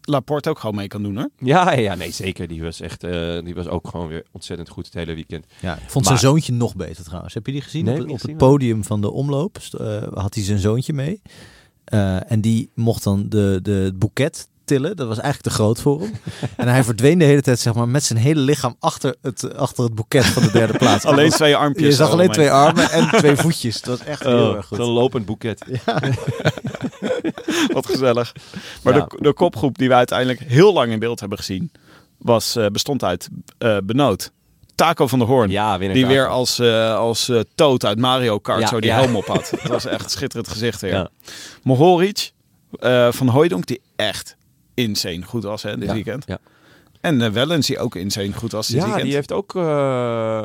[SPEAKER 4] Laporte ook gewoon mee kan doen hoor.
[SPEAKER 2] Ja, ja, nee, zeker. Die was echt, eh, die was ook gewoon weer ontzettend goed het hele weekend.
[SPEAKER 3] Ja, ik vond
[SPEAKER 2] Maar-
[SPEAKER 3] zijn zoontje nog beter trouwens. Heb je die gezien?
[SPEAKER 2] Nee,
[SPEAKER 3] op
[SPEAKER 2] heb
[SPEAKER 3] het,
[SPEAKER 2] ik
[SPEAKER 3] op
[SPEAKER 2] niet
[SPEAKER 3] het
[SPEAKER 2] gezien,
[SPEAKER 3] podium van de omloop st- eh, had hij zijn zoontje mee. Eh, en die mocht dan de, de het boeket tillen. Dat was eigenlijk te groot voor hem. en hij verdween de hele tijd zeg maar, met zijn hele lichaam achter het, achter het boeket van de derde plaats.
[SPEAKER 4] Alleen
[SPEAKER 3] Dat was-
[SPEAKER 4] twee armpjes. Oh,
[SPEAKER 3] je zag
[SPEAKER 4] zo
[SPEAKER 3] alleen
[SPEAKER 4] omheen.
[SPEAKER 3] twee armen en twee voetjes. Dat was echt heel
[SPEAKER 2] Oh,
[SPEAKER 3] erg
[SPEAKER 2] Zo'n
[SPEAKER 3] goed.
[SPEAKER 2] lopend boeket.
[SPEAKER 4] Wat gezellig. Maar
[SPEAKER 2] Ja.
[SPEAKER 4] de, de kopgroep die we uiteindelijk heel lang in beeld hebben gezien, was, eh, bestond uit eh, Benoot. Taco van der Hoorn.
[SPEAKER 2] Ja, winnaar.
[SPEAKER 4] die weer als, eh als eh, Toad uit Mario Kart
[SPEAKER 2] Ja,
[SPEAKER 4] zo die
[SPEAKER 2] ja.
[SPEAKER 4] helm op had. Dat was echt een schitterend gezicht weer.
[SPEAKER 2] Ja.
[SPEAKER 4] Mohoric eh, van Hooijdonk, die echt insane goed was hè, dit
[SPEAKER 2] Ja,
[SPEAKER 4] weekend.
[SPEAKER 2] ja.
[SPEAKER 4] En eh Wellens, die ook insane goed was dit
[SPEAKER 2] Ja,
[SPEAKER 4] weekend.
[SPEAKER 2] die heeft ook. eh,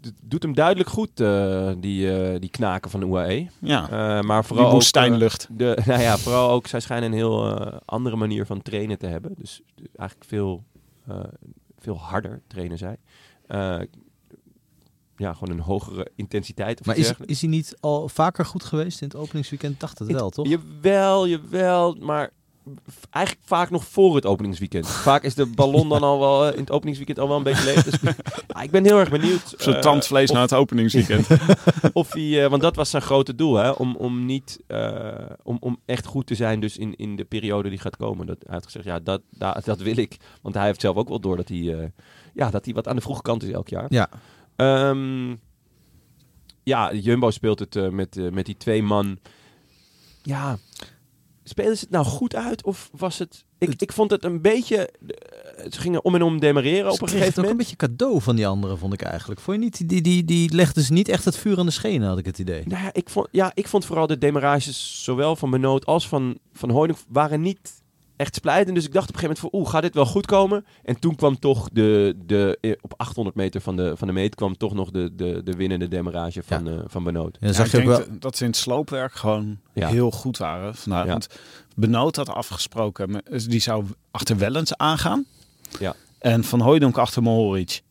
[SPEAKER 2] d- doet hem duidelijk goed, eh, die, eh, die knaken van UAE.
[SPEAKER 4] ja.
[SPEAKER 2] Eh, maar vooral
[SPEAKER 4] Die
[SPEAKER 2] ook,
[SPEAKER 4] woestijnlucht.
[SPEAKER 2] eh, de, nou ja, vooral ook, zij schijnen een heel eh, andere manier van trainen te hebben. Dus eh, eigenlijk veel, eh, veel harder trainen zij. Eh, ja, gewoon een hogere intensiteit. Of
[SPEAKER 3] Maar
[SPEAKER 2] iets
[SPEAKER 3] is,
[SPEAKER 2] dergelijks.
[SPEAKER 3] is hij niet al vaker goed geweest in het openingsweekend? Ik Dacht het wel, toch?
[SPEAKER 2] Jawel, jawel, maar v- eigenlijk vaak nog voor het openingsweekend. Vaak is de ballon dan al wel eh, in het openingsweekend al wel een beetje leeg. Dus ja, ik ben heel erg benieuwd.
[SPEAKER 4] Zo'n
[SPEAKER 2] eh,
[SPEAKER 4] tandvlees nou.
[SPEAKER 2] of-
[SPEAKER 4] na het openingsweekend.
[SPEAKER 2] Of hij, eh, want dat was zijn grote doel, hè? Om, om, niet, eh, om, om echt goed te zijn dus in, in de periode die gaat komen. Dat, hij heeft gezegd, ja, dat, da- dat wil ik. Want hij heeft zelf ook wel door dat hij, eh, ja, dat hij wat aan de vroege kant is elk jaar.
[SPEAKER 3] Ja.
[SPEAKER 2] Ehm, ja, Jumbo speelt het eh, met, eh, met die twee man. Ja, spelen ze het nou goed uit of was het... Ik, ik vond het een beetje... eh, ze gingen om en om demareren op
[SPEAKER 3] Ze
[SPEAKER 2] een
[SPEAKER 3] kreeg het
[SPEAKER 2] gegeven
[SPEAKER 3] ook een
[SPEAKER 2] moment.
[SPEAKER 3] beetje cadeau van die anderen, vond ik eigenlijk. Vond je niet? Die, die, die, die legden ze niet echt het vuur aan de schenen, had ik het idee.
[SPEAKER 2] Nou ja, ik vond, ja, ik vond vooral de demarages, zowel van Benoot als van, van Hoining, waren niet echt splijtend. Dus ik dacht op een gegeven moment van, oeh, gaat dit wel goed komen? En toen kwam toch de, de eh, op 800 meter van de, van de meet, kwam toch nog de, de, de winnende demarage van, eh, van Benoot.
[SPEAKER 3] En dan
[SPEAKER 4] Ja,
[SPEAKER 3] zag
[SPEAKER 4] ik
[SPEAKER 3] je ook
[SPEAKER 4] denk
[SPEAKER 3] wel,
[SPEAKER 4] dat- dat ze in het sloopwerk gewoon
[SPEAKER 2] Ja.
[SPEAKER 4] heel goed waren vandaag.
[SPEAKER 2] Ja.
[SPEAKER 4] Want Benoot had afgesproken, met- dus die zou achter Wellens aangaan.
[SPEAKER 2] Ja.
[SPEAKER 4] En Van Hooijdonk achter Mohoric.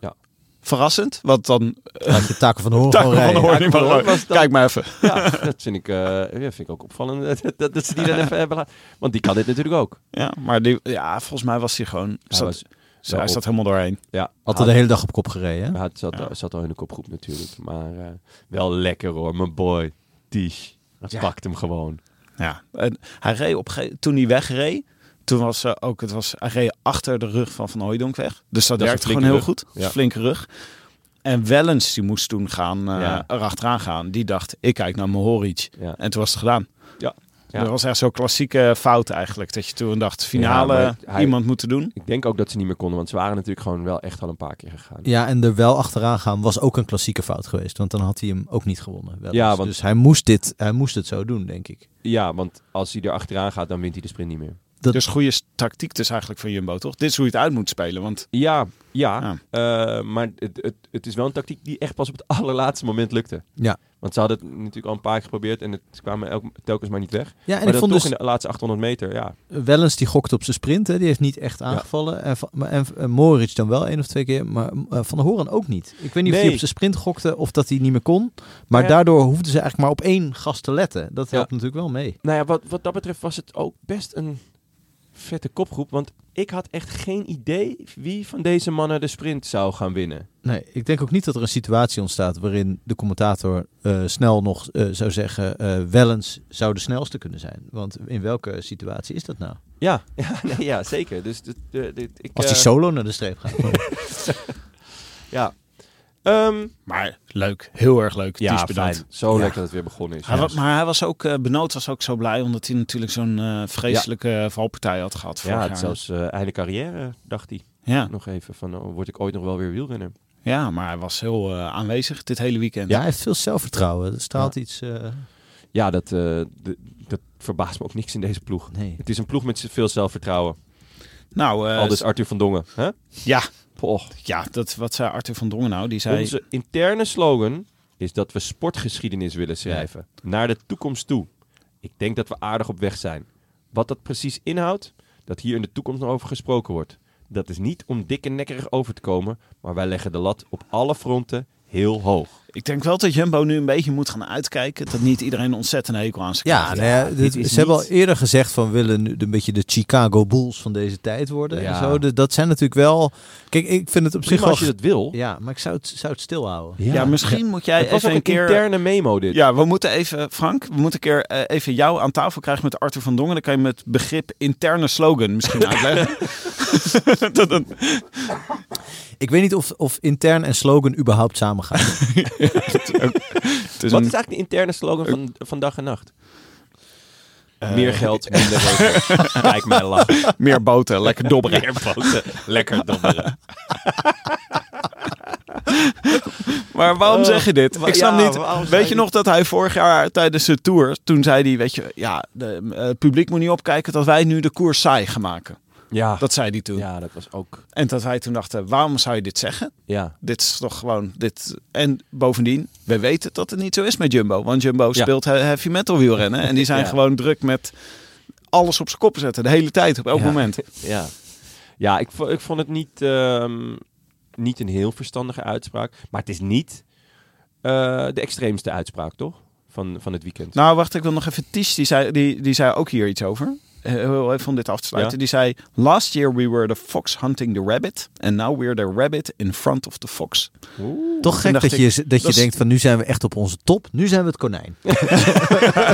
[SPEAKER 2] Ja.
[SPEAKER 4] Verrassend, want dan...
[SPEAKER 3] laat je taken van de horen
[SPEAKER 4] Taco
[SPEAKER 3] gewoon
[SPEAKER 4] van
[SPEAKER 3] rijden.
[SPEAKER 4] Hoorn niet
[SPEAKER 2] Ja,
[SPEAKER 4] meer
[SPEAKER 2] dat
[SPEAKER 4] leuk.
[SPEAKER 2] was dan-
[SPEAKER 4] Kijk maar even.
[SPEAKER 2] Ja, dat vind ik, eh, ja, vind ik ook opvallend dat, dat, dat ze die dan even hebben laten. Want die kan dit natuurlijk ook.
[SPEAKER 4] Ja, maar die, ja, volgens mij was hij gewoon...
[SPEAKER 2] Hij
[SPEAKER 4] zat-
[SPEAKER 2] was-
[SPEAKER 4] zo- hij
[SPEAKER 2] op.
[SPEAKER 4] zat helemaal doorheen.
[SPEAKER 2] ja,
[SPEAKER 3] Had er de hele dag op kop gereden. hè?
[SPEAKER 2] Ja, het zat,
[SPEAKER 4] Ja.
[SPEAKER 2] zat al in de kopgroep natuurlijk. Maar eh, wel lekker hoor, mijn boy. Tish. Dat
[SPEAKER 4] Ja.
[SPEAKER 2] pakt hem gewoon.
[SPEAKER 4] Ja. En hij reed op, een gege- toen hij wegreed... Toen was eh, ook, het was, hij reed achter de rug van Van Hooijdonk weg. Dus dat,
[SPEAKER 2] Dat is
[SPEAKER 4] werkte
[SPEAKER 2] een
[SPEAKER 4] gewoon heel
[SPEAKER 2] flinke
[SPEAKER 4] goed.
[SPEAKER 2] rug. Ja.
[SPEAKER 4] Flinke rug. En Wellens, die moest toen gaan, eh
[SPEAKER 2] Ja.
[SPEAKER 4] erachteraan gaan. Die dacht, ik kijk naar Mohoric.
[SPEAKER 2] Ja.
[SPEAKER 4] En toen was het gedaan.
[SPEAKER 2] Ja. Ja.
[SPEAKER 4] Dat was echt zo'n klassieke fout eigenlijk. Dat je toen dacht, finale
[SPEAKER 2] Ja, maar hij-
[SPEAKER 4] iemand moeten doen.
[SPEAKER 2] Ik denk ook dat ze niet meer konden, want ze waren natuurlijk gewoon wel echt al een paar keer gegaan.
[SPEAKER 3] Ja, en er wel achteraan gaan was ook een klassieke fout geweest. Want dan had hij hem ook niet gewonnen. wel eens.
[SPEAKER 2] Ja, want-
[SPEAKER 3] Dus hij moest, dit, hij moest het zo doen, denk ik.
[SPEAKER 2] Ja, want als hij er achteraan gaat, dan wint hij de sprint niet meer.
[SPEAKER 3] Dat-
[SPEAKER 4] Dus goede s- tactiek dus eigenlijk van Jumbo, toch? Dit is hoe je het uit moet spelen. Want
[SPEAKER 2] Ja, ja. eh, maar het, het, het is wel een tactiek die echt pas op het allerlaatste moment lukte.
[SPEAKER 3] Ja.
[SPEAKER 2] Want ze hadden het natuurlijk al een paar keer geprobeerd en het ze kwamen elk, telkens maar niet weg.
[SPEAKER 3] Ja,
[SPEAKER 2] En
[SPEAKER 3] en
[SPEAKER 2] maar
[SPEAKER 3] ik
[SPEAKER 2] dan
[SPEAKER 3] vond
[SPEAKER 2] toch
[SPEAKER 3] dus
[SPEAKER 2] in de laatste 800 meter, ja.
[SPEAKER 3] Wellens die gokte op zijn sprint. Hè. Die heeft niet echt aangevallen. En, Van- maar- en, en Moritz dan wel één of twee keer. Maar eh, Van der Horen ook niet. Ik weet niet of
[SPEAKER 2] Nee.
[SPEAKER 3] hij op zijn sprint gokte of dat hij niet meer kon. Maar
[SPEAKER 2] Ja.
[SPEAKER 3] daardoor hoefden ze eigenlijk maar op één gast te letten. Dat
[SPEAKER 2] Ja.
[SPEAKER 3] helpt natuurlijk wel mee.
[SPEAKER 2] Nou ja, wat, wat dat betreft was het ook best een vette kopgroep. Want ik had echt geen idee wie van deze mannen de sprint zou gaan winnen.
[SPEAKER 3] Nee, ik denk ook niet dat er een situatie ontstaat waarin de commentator eh, snel nog eh, zou zeggen, eh Wellens zou de snelste kunnen zijn. Want in welke situatie is dat nou?
[SPEAKER 2] Ja, ja, nee, ja zeker. Dus dit, eh, dit, ik,
[SPEAKER 3] Als hij
[SPEAKER 2] eh,
[SPEAKER 3] solo naar de streep gaat.
[SPEAKER 2] Ja. Ehm,
[SPEAKER 4] maar leuk, heel erg leuk.
[SPEAKER 2] ja,
[SPEAKER 4] Ties bedankt.
[SPEAKER 2] fijn. Zo
[SPEAKER 4] Ja.
[SPEAKER 2] lekker dat het weer begonnen is.
[SPEAKER 4] Hij
[SPEAKER 2] Dus Ja.
[SPEAKER 4] wa- maar hij was ook, eh Benoot was ook zo blij omdat hij natuurlijk zo'n eh, vreselijke valpartij had gehad vorig
[SPEAKER 2] Ja,
[SPEAKER 4] jaar.
[SPEAKER 2] het zelfs eh, einde carrière, dacht hij.
[SPEAKER 4] Ja.
[SPEAKER 2] Nog even van, oh, word ik ooit nog wel weer wielrenner?
[SPEAKER 4] ja, maar hij was heel eh, aanwezig dit hele weekend.
[SPEAKER 3] Ja, hij heeft veel zelfvertrouwen. Er straalt iets... eh,
[SPEAKER 2] Ja, dat, eh, de- dat verbaast me ook niks in deze ploeg.
[SPEAKER 3] nee.
[SPEAKER 2] Het is een ploeg met veel zelfvertrouwen.
[SPEAKER 4] Nou, eh,
[SPEAKER 2] Al dus Arthur van Dongen. Hè?
[SPEAKER 4] ja,
[SPEAKER 2] Poh.
[SPEAKER 4] ja dat, wat zei Arthur van Dongen nou? Die zei,
[SPEAKER 2] Onze interne slogan is dat we sportgeschiedenis willen schrijven. Naar de toekomst toe. Ik denk dat we aardig op weg zijn. Wat dat precies inhoudt, dat hier in de toekomst nog over gesproken wordt. Dat is niet om dik en nekkerig over te komen, maar wij leggen de lat op alle fronten heel hoog.
[SPEAKER 4] Ik denk wel dat Jumbo nu een beetje moet gaan uitkijken. Dat niet iedereen een ontzettende hekel aan ze krijgt.
[SPEAKER 3] Ja, nou ja, dit-
[SPEAKER 2] dit is
[SPEAKER 3] ze hebben al
[SPEAKER 2] niet-
[SPEAKER 3] eerder gezegd van we willen nu een beetje de Chicago Bulls van deze tijd worden.
[SPEAKER 2] Ja.
[SPEAKER 3] En zo. Dus dat zijn natuurlijk wel. Kijk, ik vind het op zich
[SPEAKER 2] Prima
[SPEAKER 3] wel.
[SPEAKER 2] als je dat wil.
[SPEAKER 3] Ja, maar ik zou het, zou het stilhouden.
[SPEAKER 4] Ja, misschien moet jij
[SPEAKER 2] Het was ook
[SPEAKER 4] even
[SPEAKER 2] een
[SPEAKER 4] een keer...
[SPEAKER 2] interne memo dit.
[SPEAKER 4] Ja, we moeten even, Frank, we moeten een keer eh, even jou aan tafel krijgen met Arthur van Dongen. Dan kan je met begrip interne slogan misschien uitleggen. Dat een-
[SPEAKER 3] Ik weet niet of, of intern en slogan überhaupt samengaan.
[SPEAKER 4] het
[SPEAKER 2] Wat
[SPEAKER 4] is een-
[SPEAKER 2] is eigenlijk de interne slogan van, van dag en nacht? Meer geld, minder regels. Kijk mij lachen.
[SPEAKER 4] meer boten, lekker dobberen.
[SPEAKER 2] Lekker dobberen.
[SPEAKER 4] Maar waarom
[SPEAKER 2] Oh,
[SPEAKER 4] zeg je dit?
[SPEAKER 2] wa-
[SPEAKER 4] Ik snap
[SPEAKER 2] ja, waarom
[SPEAKER 4] niet.
[SPEAKER 2] zei
[SPEAKER 4] Weet je
[SPEAKER 2] je
[SPEAKER 4] nog dat hij vorig jaar tijdens de tour, toen zei hij, weet je, ja, de, eh, het publiek moet niet opkijken dat wij nu de koers saai gaan maken.
[SPEAKER 2] Ja.
[SPEAKER 4] Dat zei hij toen.
[SPEAKER 2] ja, dat was ook...
[SPEAKER 4] En dat wij toen dachten, waarom zou je dit zeggen?
[SPEAKER 2] Ja.
[SPEAKER 4] Dit is toch gewoon dit. En bovendien, we weten dat het niet zo is met Jumbo. Want Jumbo
[SPEAKER 2] Ja.
[SPEAKER 4] speelt he- heavy metal wielrennen. En die zijn
[SPEAKER 2] Ja.
[SPEAKER 4] gewoon druk met alles op zijn kop zetten. De hele tijd, op elk
[SPEAKER 2] Ja.
[SPEAKER 4] moment.
[SPEAKER 2] Ja, ja ik, vo- ik vond het niet, ehm, niet een heel verstandige uitspraak. Maar het is niet eh, de extreemste uitspraak, toch? Van, van het weekend.
[SPEAKER 4] Nou, wacht, ik wil nog even. Ties, die zei, die, die zei ook hier iets over. Eh, Heel even om dit af te sluiten.
[SPEAKER 2] Ja.
[SPEAKER 4] Die zei: Last year we were the fox hunting the rabbit. And now we're the rabbit in front of the fox.
[SPEAKER 3] Toch
[SPEAKER 4] Toen
[SPEAKER 3] gek
[SPEAKER 4] dacht
[SPEAKER 3] dat je, dat je
[SPEAKER 4] dat is-
[SPEAKER 3] denkt van nu zijn we echt op onze top. Nu zijn we het konijn.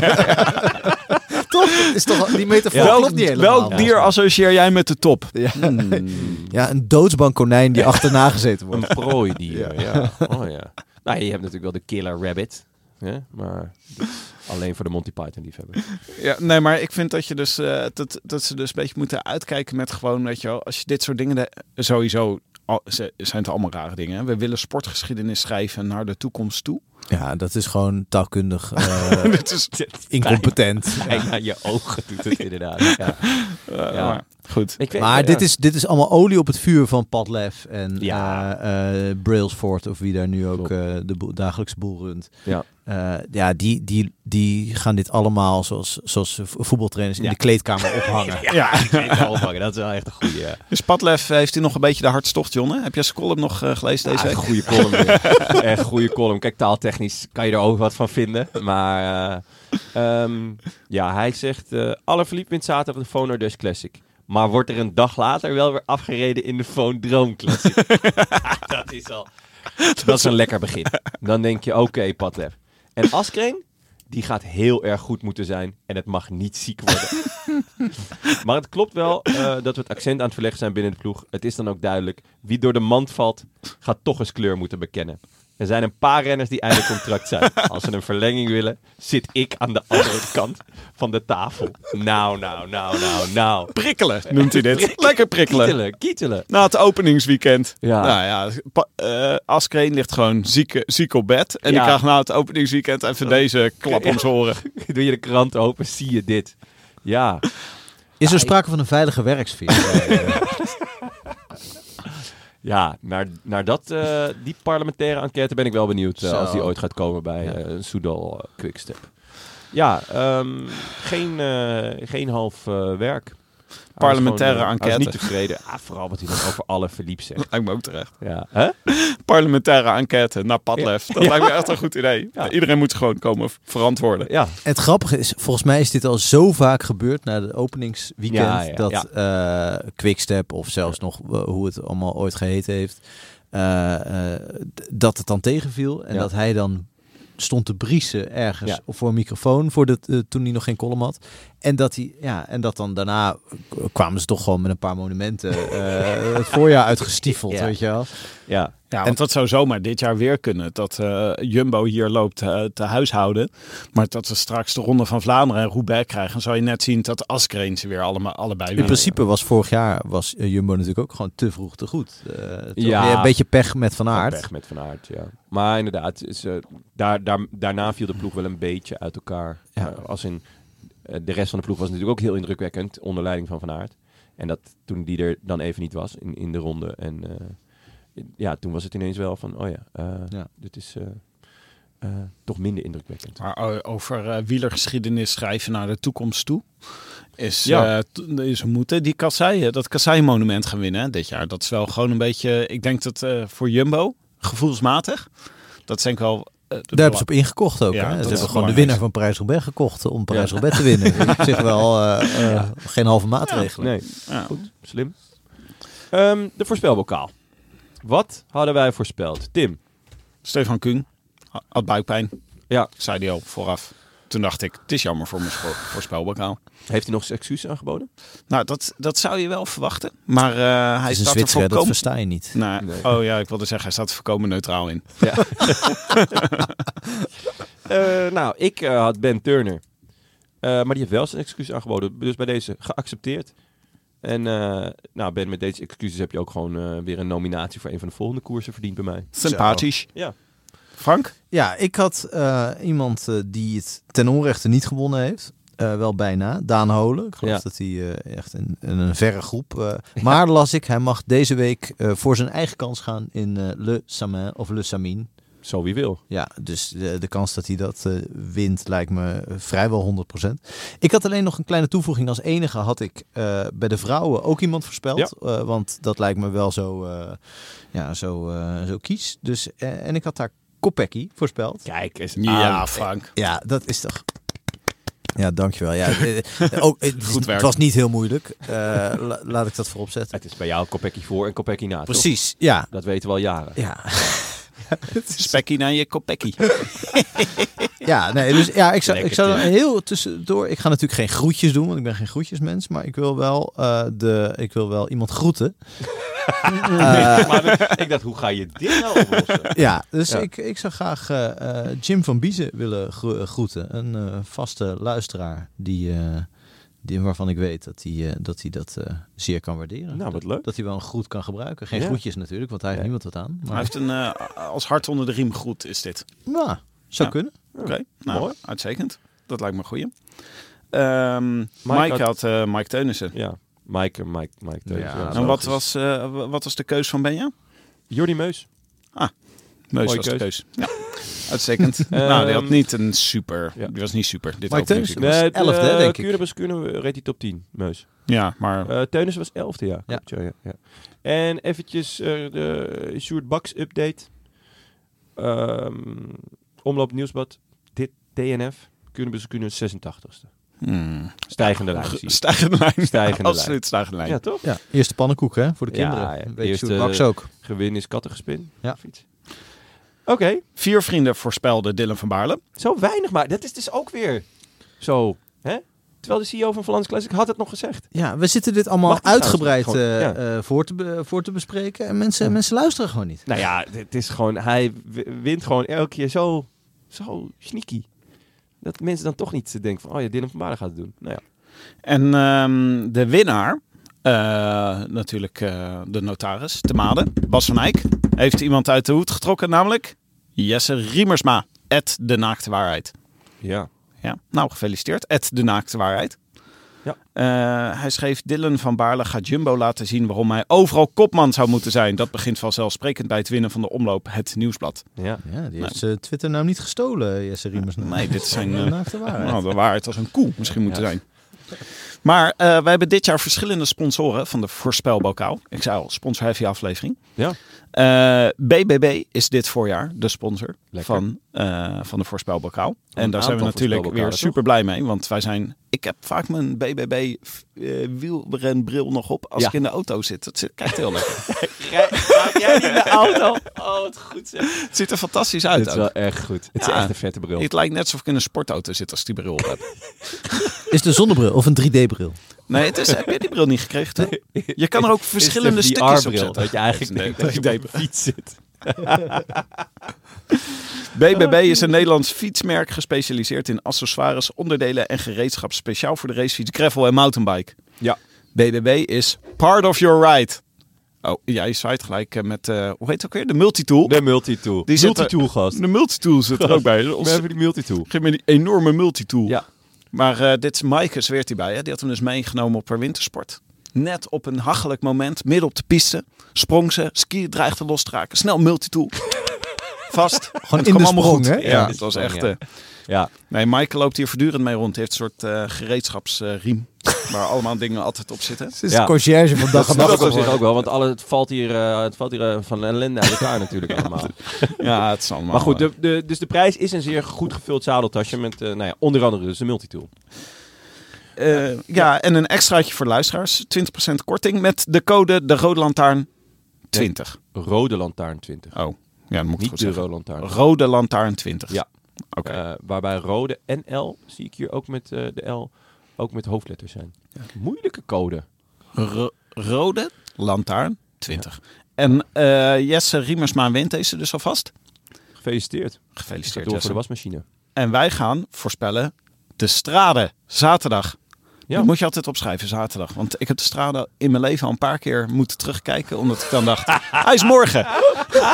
[SPEAKER 3] toch? Is toch die metafoor
[SPEAKER 4] Welk-
[SPEAKER 3] klopt niet helemaal.
[SPEAKER 4] welk dier associeer jij met de top?
[SPEAKER 3] Ja, een doodsbank konijn die achterna gezeten wordt.
[SPEAKER 2] Een prooidier, ja. Oh, ja. Nou, je hebt natuurlijk wel de killer rabbit. Hè? Maar alleen voor de Monty Python liefhebber.
[SPEAKER 4] Ja, nee, maar ik vind dat, je dus, eh, dat, dat ze dus een beetje moeten uitkijken met gewoon, weet je wel, als je dit soort dingen, de- sowieso al, ze- zijn het allemaal rare dingen. hè. We willen sportgeschiedenis schrijven naar de toekomst toe.
[SPEAKER 3] Ja, dat is gewoon taalkundig eh,
[SPEAKER 4] Dit is,
[SPEAKER 3] incompetent.
[SPEAKER 2] Kijk naar je ogen doet het inderdaad. Ja.
[SPEAKER 4] eh,
[SPEAKER 2] Ja.
[SPEAKER 4] maar goed.
[SPEAKER 2] Ik weet-
[SPEAKER 3] Maar
[SPEAKER 2] ja.
[SPEAKER 3] dit, is, dit is allemaal olie op het vuur van Padlef en
[SPEAKER 2] Ja.
[SPEAKER 3] eh, eh, Brailsford of wie daar nu ook
[SPEAKER 2] Klopt.
[SPEAKER 3] eh, de boel- dagelijkse boel runt.
[SPEAKER 2] Ja.
[SPEAKER 3] Eh, ja, die, die, die gaan dit allemaal zoals, zoals vo- voetbaltrainers in
[SPEAKER 2] Ja.
[SPEAKER 3] de kleedkamer ophangen.
[SPEAKER 4] Ja.
[SPEAKER 2] Ja, ophangen, dat is wel echt een goede. Ja.
[SPEAKER 4] Dus Padlef heeft hij nog een beetje de hartstocht, John. Hè? Heb je zijn column nog eh, gelezen deze
[SPEAKER 2] Ja,
[SPEAKER 4] week?
[SPEAKER 2] Echt goede Ah, column. weer. Echt goede column. Kijk, taaltechnisch kan je er ook wat van vinden. Maar eh, ehm, ja, hij zegt... eh alle verliep wint zaterdag de Phone Desk Classic. Maar wordt er een dag later wel weer afgereden in de Phone Droom Classic. dat is al... Dat is een lekker begin. Dan denk je, oké, Padlef. En Askreen, die gaat heel erg goed moeten zijn. En het mag niet ziek worden. Maar het klopt wel eh, dat we het accent aan het verleggen zijn binnen de ploeg. Het is dan ook duidelijk. Wie door de mand valt, gaat toch eens kleur moeten bekennen. Er zijn een paar renners die eindelijk contract zijn. Als ze een verlenging willen, zit ik aan de andere kant van de tafel. Nou, nou, nou, nou, nou.
[SPEAKER 4] Prikkelen noemt hij dit. Lekker prikkelen.
[SPEAKER 2] Kietelen, kietelen.
[SPEAKER 4] Na het openingsweekend.
[SPEAKER 2] Ja.
[SPEAKER 4] Nou ja, pa- eh, Askreen ligt gewoon ziek, eh, ziek op bed. En die
[SPEAKER 2] Ja.
[SPEAKER 4] krijgt na het openingsweekend even deze klap om zijn oren.
[SPEAKER 2] Doe je de krant open, zie je dit. Ja,
[SPEAKER 3] Is er sprake van een veilige werksfeer?
[SPEAKER 2] ja naar, naar dat, eh, die parlementaire enquête ben ik wel benieuwd. eh,
[SPEAKER 3] Zo.
[SPEAKER 2] als die ooit gaat komen bij eh, een Soudal eh, Quickstep. Ja, ehm, geen, eh, geen half eh, werk. Hij was
[SPEAKER 4] Parlementaire
[SPEAKER 2] gewoon, eh, hij was
[SPEAKER 4] enquête.
[SPEAKER 2] niet tevreden. Ah, vooral wat hij dan over alle verliep zegt.
[SPEAKER 4] Lijkt me ook terecht.
[SPEAKER 2] Ja. Hè?
[SPEAKER 4] Parlementaire enquête naar Padlef. Dat lijkt me echt een goed idee.
[SPEAKER 2] Ja.
[SPEAKER 4] Iedereen moet gewoon komen verantwoorden.
[SPEAKER 2] ja.
[SPEAKER 3] Het grappige is, volgens mij is dit al zo vaak gebeurd na de openingsweekend.
[SPEAKER 2] Ja, ja,
[SPEAKER 3] dat eh, Quickstep of zelfs nog eh, hoe het allemaal ooit geheten heeft. eh, eh, d- dat het dan tegenviel. En
[SPEAKER 2] Ja.
[SPEAKER 3] dat hij dan stond te briesen ergens
[SPEAKER 2] Ja.
[SPEAKER 3] voor een microfoon. Voor de, eh, toen hij nog geen column had. En dat, hij, ja, en dat dan daarna k- kwamen ze toch gewoon met een paar monumenten eh, het voorjaar uitgestiefeld.
[SPEAKER 2] Ja.
[SPEAKER 3] Weet je wel?
[SPEAKER 2] ja.
[SPEAKER 4] Ja, want dat zou zomaar dit jaar weer kunnen. Dat eh, Jumbo hier loopt eh, te huishouden. Maar dat we straks de Ronde van Vlaanderen en Roubaix krijgen. Dan zou je net zien dat Askreen ze weer allemaal, allebei
[SPEAKER 3] In
[SPEAKER 4] weer.
[SPEAKER 3] principe was vorig jaar was eh, Jumbo natuurlijk ook gewoon te vroeg te goed. Eh, het was
[SPEAKER 2] Ja.
[SPEAKER 3] weer Een beetje pech met Van Aert.
[SPEAKER 2] Weg met Van Aert, ja. Maar inderdaad, is, eh, daar, daar, daarna viel de ploeg wel een beetje uit elkaar.
[SPEAKER 3] Ja.
[SPEAKER 2] Eh, als in, eh, de rest van de ploeg was natuurlijk ook heel indrukwekkend. Onder leiding van Van Aert. En dat toen die er dan even niet was in, in de ronde. En eh, ja, toen was het ineens wel van, oh ja, eh,
[SPEAKER 3] Ja.
[SPEAKER 2] dit is... eh, eh, toch minder indrukwekkend.
[SPEAKER 4] Maar o- over eh, wielergeschiedenis schrijven naar de toekomst toe. Is,
[SPEAKER 2] Ja.
[SPEAKER 4] ja. is een moeten. Die kasseien, dat kassei-monument gaan winnen hè, dit jaar. Dat is wel gewoon een beetje. Ik denk dat eh, voor Jumbo, eh, gevoelsmatig. Dat is denk ik wel... eh, de
[SPEAKER 3] Daar
[SPEAKER 4] bela-
[SPEAKER 3] hebben ze op ingekocht ook. hè?
[SPEAKER 4] Ja, dat
[SPEAKER 3] Ze
[SPEAKER 4] is
[SPEAKER 3] hebben gewoon de
[SPEAKER 4] belangrijk.
[SPEAKER 3] winnaar van Parijs-Roubaix gekocht om Parijs-Roubaix te winnen. Dus op zich wel eh, eh, geen halve maatregelen.
[SPEAKER 2] Nee,
[SPEAKER 4] Ja.
[SPEAKER 2] goed, slim. Ehm, de voorspelbokaal. Wat hadden wij voorspeld? Tim,
[SPEAKER 4] Stefan Kuhn ha- had buikpijn.
[SPEAKER 2] Ja.
[SPEAKER 4] Zei hij al vooraf. Toen dacht ik, het is jammer voor mijn spo- voorspelbokaal.
[SPEAKER 2] heeft hij nog zijn excuses aangeboden?
[SPEAKER 4] Nou, dat, dat zou je wel verwachten. Maar eh, hij
[SPEAKER 3] Het is een
[SPEAKER 4] staat er
[SPEAKER 3] Zwitser, hè, dat
[SPEAKER 4] volkomen...
[SPEAKER 3] versta je niet.
[SPEAKER 4] Nee.
[SPEAKER 2] Nee.
[SPEAKER 4] Oh ja, ik wilde zeggen, hij staat er voorkomen neutraal in.
[SPEAKER 2] Ja. Eh, nou, ik eh, had Ben Turner. Eh, maar die heeft wel zijn excuus aangeboden. Dus bij deze geaccepteerd. En eh, nou, Ben, met deze excuses heb je ook gewoon eh, weer een nominatie voor een van de volgende koersen verdiend bij mij.
[SPEAKER 4] Sympathisch.
[SPEAKER 2] Ja.
[SPEAKER 4] Frank?
[SPEAKER 3] Ja, ik had eh, iemand eh, die het ten onrechte niet gewonnen heeft. Eh, wel bijna. Daan Holen. Ik geloof
[SPEAKER 2] Ja.
[SPEAKER 3] dat hij eh, echt in, in een verre groep. eh, Maar las ik, hij mag deze week eh, voor zijn eigen kans gaan in eh, Le Samin of Le Samin.
[SPEAKER 2] Zo wie wil.
[SPEAKER 3] Ja, dus de, de kans dat hij dat eh, wint lijkt me eh, vrijwel 100%. Ik had alleen nog een kleine toevoeging. Als enige had ik eh, bij de vrouwen ook iemand voorspeld. Eh, want dat lijkt me wel zo, eh, ja, zo, eh, zo kies. Dus, eh, en ik had daar Kopecky voorspeld.
[SPEAKER 2] Kijk
[SPEAKER 3] Ah,
[SPEAKER 2] eens
[SPEAKER 4] Ja, Frank.
[SPEAKER 3] Ja, dat is toch. Ja, dankjewel. Ja, eh, eh, ook, het, is-
[SPEAKER 4] Goed werk.
[SPEAKER 3] het was niet heel moeilijk. Eh, la- laat ik dat voorop zetten.
[SPEAKER 2] Het is bij jou Kopecky voor en Kopecky na. toch?
[SPEAKER 3] Precies, ja.
[SPEAKER 2] Dat weten we al jaren.
[SPEAKER 3] Ja,
[SPEAKER 4] Spekkie naar je kopekkie.
[SPEAKER 3] ja, nee, dus, ja ik zou,
[SPEAKER 2] Lekker,
[SPEAKER 3] ik zou dan
[SPEAKER 2] ja.
[SPEAKER 3] heel tussendoor... Ik ga natuurlijk geen groetjes doen, want ik ben geen groetjesmens. Maar ik wil wel, eh, de, ik wil wel iemand groeten. Eh,
[SPEAKER 2] Maar ik dacht, hoe ga je dit nou oplossen?
[SPEAKER 3] Ja, dus
[SPEAKER 2] Ja.
[SPEAKER 3] Ik, ik zou graag eh, eh, Jim van Biezen willen gro- eh, groeten. Een eh, vaste luisteraar die, eh, die, waarvan ik weet dat hij eh, dat, hij dat eh, zeer kan waarderen.
[SPEAKER 2] Nou, wat leuk.
[SPEAKER 3] dat hij wel een groet kan gebruiken. Geen
[SPEAKER 2] Ja.
[SPEAKER 3] groetjes natuurlijk, want daar heeft
[SPEAKER 2] Nee.
[SPEAKER 3] niemand wat aan.
[SPEAKER 4] Hij
[SPEAKER 3] Maar
[SPEAKER 4] heeft een eh, als hart onder de riem goed is dit.
[SPEAKER 3] nou, zou
[SPEAKER 4] Ja.
[SPEAKER 3] kunnen.
[SPEAKER 4] Oké, nou,
[SPEAKER 2] mooi.
[SPEAKER 4] uitstekend. Dat lijkt me een goeie. Ehm, Mike,
[SPEAKER 2] had-
[SPEAKER 4] had eh, Mike Teunissen.
[SPEAKER 2] Ja, Mike, eh, Mike, Mike. Teunissen.
[SPEAKER 3] Ja,
[SPEAKER 2] Ja,
[SPEAKER 4] en
[SPEAKER 2] logisch.
[SPEAKER 4] wat was, eh, wa- wat was de keus van Benja?
[SPEAKER 2] Jordi Meus.
[SPEAKER 4] Meus
[SPEAKER 2] Mooie
[SPEAKER 4] was de
[SPEAKER 2] keus.
[SPEAKER 4] keus. Ja, uitstekend. nou, die had
[SPEAKER 2] Ehm,
[SPEAKER 4] niet een super...
[SPEAKER 2] ja.
[SPEAKER 4] Die was niet super. Dit
[SPEAKER 3] Mike
[SPEAKER 4] overleef
[SPEAKER 3] Teunissen?
[SPEAKER 4] ik.
[SPEAKER 3] was elfde,
[SPEAKER 2] eh,
[SPEAKER 3] hè, denk ik.
[SPEAKER 2] Kuurne, eh, reed hij top 10, Meus.
[SPEAKER 4] Ja, maar...
[SPEAKER 2] Eh Teunissen was elfde, ja.
[SPEAKER 3] Ja.
[SPEAKER 2] Klopt, ja, ja, ja. En eventjes eh de Sjoerd Baks update. Ehm, omloop Nieuwsblad. Dit DNF. Kunnen kunnen 86ste.
[SPEAKER 4] hmm.
[SPEAKER 2] Stijgende lijn. zie je.
[SPEAKER 4] Stijgende lijn.
[SPEAKER 2] Stijgende lijn.
[SPEAKER 4] Absoluut stijgende lijn.
[SPEAKER 2] Ja, toch?
[SPEAKER 3] Ja, eerste pannenkoek hè, voor de
[SPEAKER 2] Ja,
[SPEAKER 3] kinderen.
[SPEAKER 2] ja,
[SPEAKER 3] Een beetje
[SPEAKER 2] eerste-
[SPEAKER 3] Sjoerd Baks ook.
[SPEAKER 2] Gewin is kattengespin.
[SPEAKER 3] Ja.
[SPEAKER 2] Fiets. Oké,
[SPEAKER 4] Vier vrienden voorspelden Dylan van Baarle.
[SPEAKER 2] zo weinig maar. Dat is dus ook weer zo. Hè? Terwijl de CEO van Vlaams Classic had het nog gezegd.
[SPEAKER 3] Ja, we zitten dit allemaal
[SPEAKER 2] Mag die
[SPEAKER 3] uitgebreid
[SPEAKER 2] trouwens
[SPEAKER 3] eh,
[SPEAKER 2] gewoon,
[SPEAKER 3] eh, voor, te be- voor te bespreken. En mensen, mensen luisteren gewoon niet.
[SPEAKER 2] Nou ja, het is gewoon, hij w- wint gewoon elke keer zo, zo sneaky. Dat mensen dan toch niet denken van, oh ja, Dylan van Baarle gaat het doen. Nou ja.
[SPEAKER 4] En ehm, de winnaar, eh, natuurlijk eh, de notaris, te Made, Bas van Eyck, heeft iemand uit de hoed getrokken, namelijk Jesse Riemersma, at de naakte waarheid.
[SPEAKER 2] Ja.
[SPEAKER 4] Ja, nou gefeliciteerd, at de naakte waarheid.
[SPEAKER 2] Ja.
[SPEAKER 4] Eh, hij schreef, Dylan van Baarle gaat Jumbo laten zien waarom hij overal kopman zou moeten zijn. Dat begint vanzelfsprekend bij het winnen van de omloop Het Nieuwsblad.
[SPEAKER 2] Ja.
[SPEAKER 3] Ja, die heeft zijn Twitter nou niet gestolen, Jesse Riemers.
[SPEAKER 4] Nee, dit zijn... eh,
[SPEAKER 3] Naakt de
[SPEAKER 2] Ah,
[SPEAKER 3] waarheid.
[SPEAKER 4] Nou, de waarheid als een koe misschien moeten zijn. Maar eh wij hebben dit jaar verschillende sponsoren van de voorspelbokaal. Ik zei al, sponsor heavy aflevering.
[SPEAKER 2] Ja.
[SPEAKER 4] Eh, BBB is dit voorjaar de sponsor
[SPEAKER 2] Lekker.
[SPEAKER 4] van, eh, van de voorspelbokaal. En daar
[SPEAKER 2] aantal
[SPEAKER 4] zijn we natuurlijk
[SPEAKER 2] voorspelbokalen,
[SPEAKER 4] weer
[SPEAKER 2] toch?
[SPEAKER 4] super blij mee. Want wij zijn... Ik heb vaak mijn BBB eh, wielrenbril nog op als
[SPEAKER 2] Ja.
[SPEAKER 4] ik in de auto zit. Dat zit, kijkt heel lekker.
[SPEAKER 2] jij in de auto? Oh, wat goed zeg.
[SPEAKER 4] Het ziet er fantastisch uit.
[SPEAKER 2] Het is
[SPEAKER 4] ook.
[SPEAKER 2] wel echt goed. Het is
[SPEAKER 4] Ja.
[SPEAKER 2] echt een vette bril.
[SPEAKER 4] Het lijkt net alsof ik in een sportauto zit als ik die bril op heb.
[SPEAKER 3] Is het een zonnebril of een 3D-bril?
[SPEAKER 4] Nee, het is, heb je die bril niet gekregen? Tim? Je kan er ook verschillende
[SPEAKER 2] Is de
[SPEAKER 4] stukjes op
[SPEAKER 2] VR-bril,
[SPEAKER 4] zetten.
[SPEAKER 2] Dat je eigenlijk
[SPEAKER 4] Nee,
[SPEAKER 2] denkt
[SPEAKER 4] dat
[SPEAKER 2] dat je
[SPEAKER 4] je
[SPEAKER 2] op een fiets zit.
[SPEAKER 4] BBB is een Nederlands fietsmerk gespecialiseerd in accessoires, onderdelen en gereedschap speciaal voor de racefiets, gravel en mountainbike.
[SPEAKER 2] Ja.
[SPEAKER 4] BBB is part of your ride. Oh, jij zwaait gelijk eh, met, eh, hoe heet het ook weer? De multitool.
[SPEAKER 2] De multitool.
[SPEAKER 4] Die zit er-
[SPEAKER 2] multitool gast.
[SPEAKER 4] De multitool zit er ook bij.
[SPEAKER 2] We
[SPEAKER 4] Ons,
[SPEAKER 2] hebben die multitool.
[SPEAKER 4] geef me die enorme multitool.
[SPEAKER 2] Ja.
[SPEAKER 4] Maar eh, dit is Maaike zweert hierbij. Hè? Die had hem dus meegenomen op haar wintersport. Net op een hachelijk moment, midden op de piste, sprong ze, ski dreigde los te raken. Snel multitool. Vast. Gewoon
[SPEAKER 3] in de sprong, hè?
[SPEAKER 4] Ja,
[SPEAKER 2] Ja,
[SPEAKER 4] het was
[SPEAKER 2] sprong,
[SPEAKER 4] echt...
[SPEAKER 2] ja.
[SPEAKER 4] eh,
[SPEAKER 2] Ja.
[SPEAKER 4] nee, Maaike loopt hier voortdurend mee rond. Die heeft een soort eh, gereedschapsriem. Waar allemaal dingen altijd op zitten.
[SPEAKER 5] Ze is
[SPEAKER 2] Ja.
[SPEAKER 5] de conciërge van dag en
[SPEAKER 2] snap
[SPEAKER 5] nacht.
[SPEAKER 2] ik op zich ook wel, want alle, het valt hier, eh, het valt hier eh, van ellende uit elkaar natuurlijk allemaal.
[SPEAKER 4] Ja, het is allemaal...
[SPEAKER 2] Maar goed,
[SPEAKER 4] eh,
[SPEAKER 2] de, de, dus de prijs is een zeer goed gevuld zadeltasje met eh, nou ja, onder andere dus een multitool.
[SPEAKER 4] Eh, ja, en een extraatje voor luisteraars. 20% korting met de code de Rode Lantaarn 20.
[SPEAKER 2] Rode lantaarn 20.
[SPEAKER 4] Oh, ja, dan moet ik het
[SPEAKER 2] Niet
[SPEAKER 4] goed
[SPEAKER 2] de
[SPEAKER 4] zeggen.
[SPEAKER 2] rode lantaarn.
[SPEAKER 4] Rode Lantaarn 20.
[SPEAKER 2] Ja.
[SPEAKER 4] Oké.
[SPEAKER 2] Eh, waarbij rode en L, zie ik hier ook met eh, de L, ook met hoofdletters zijn. Moeilijke code.
[SPEAKER 4] Ro- rode Lantaarn 20. En eh, Jesse Riemersma wint deze dus alvast.
[SPEAKER 2] Gefeliciteerd.
[SPEAKER 4] Gefeliciteerd,
[SPEAKER 2] Door voor
[SPEAKER 4] Jesse.
[SPEAKER 2] de wasmachine.
[SPEAKER 4] En wij gaan voorspellen de strade zaterdag.
[SPEAKER 2] Ja.
[SPEAKER 4] Ja. moet je altijd opschrijven, zaterdag. Want ik heb de strade in mijn leven al een paar keer moeten terugkijken. Omdat ik dan dacht, hij is morgen.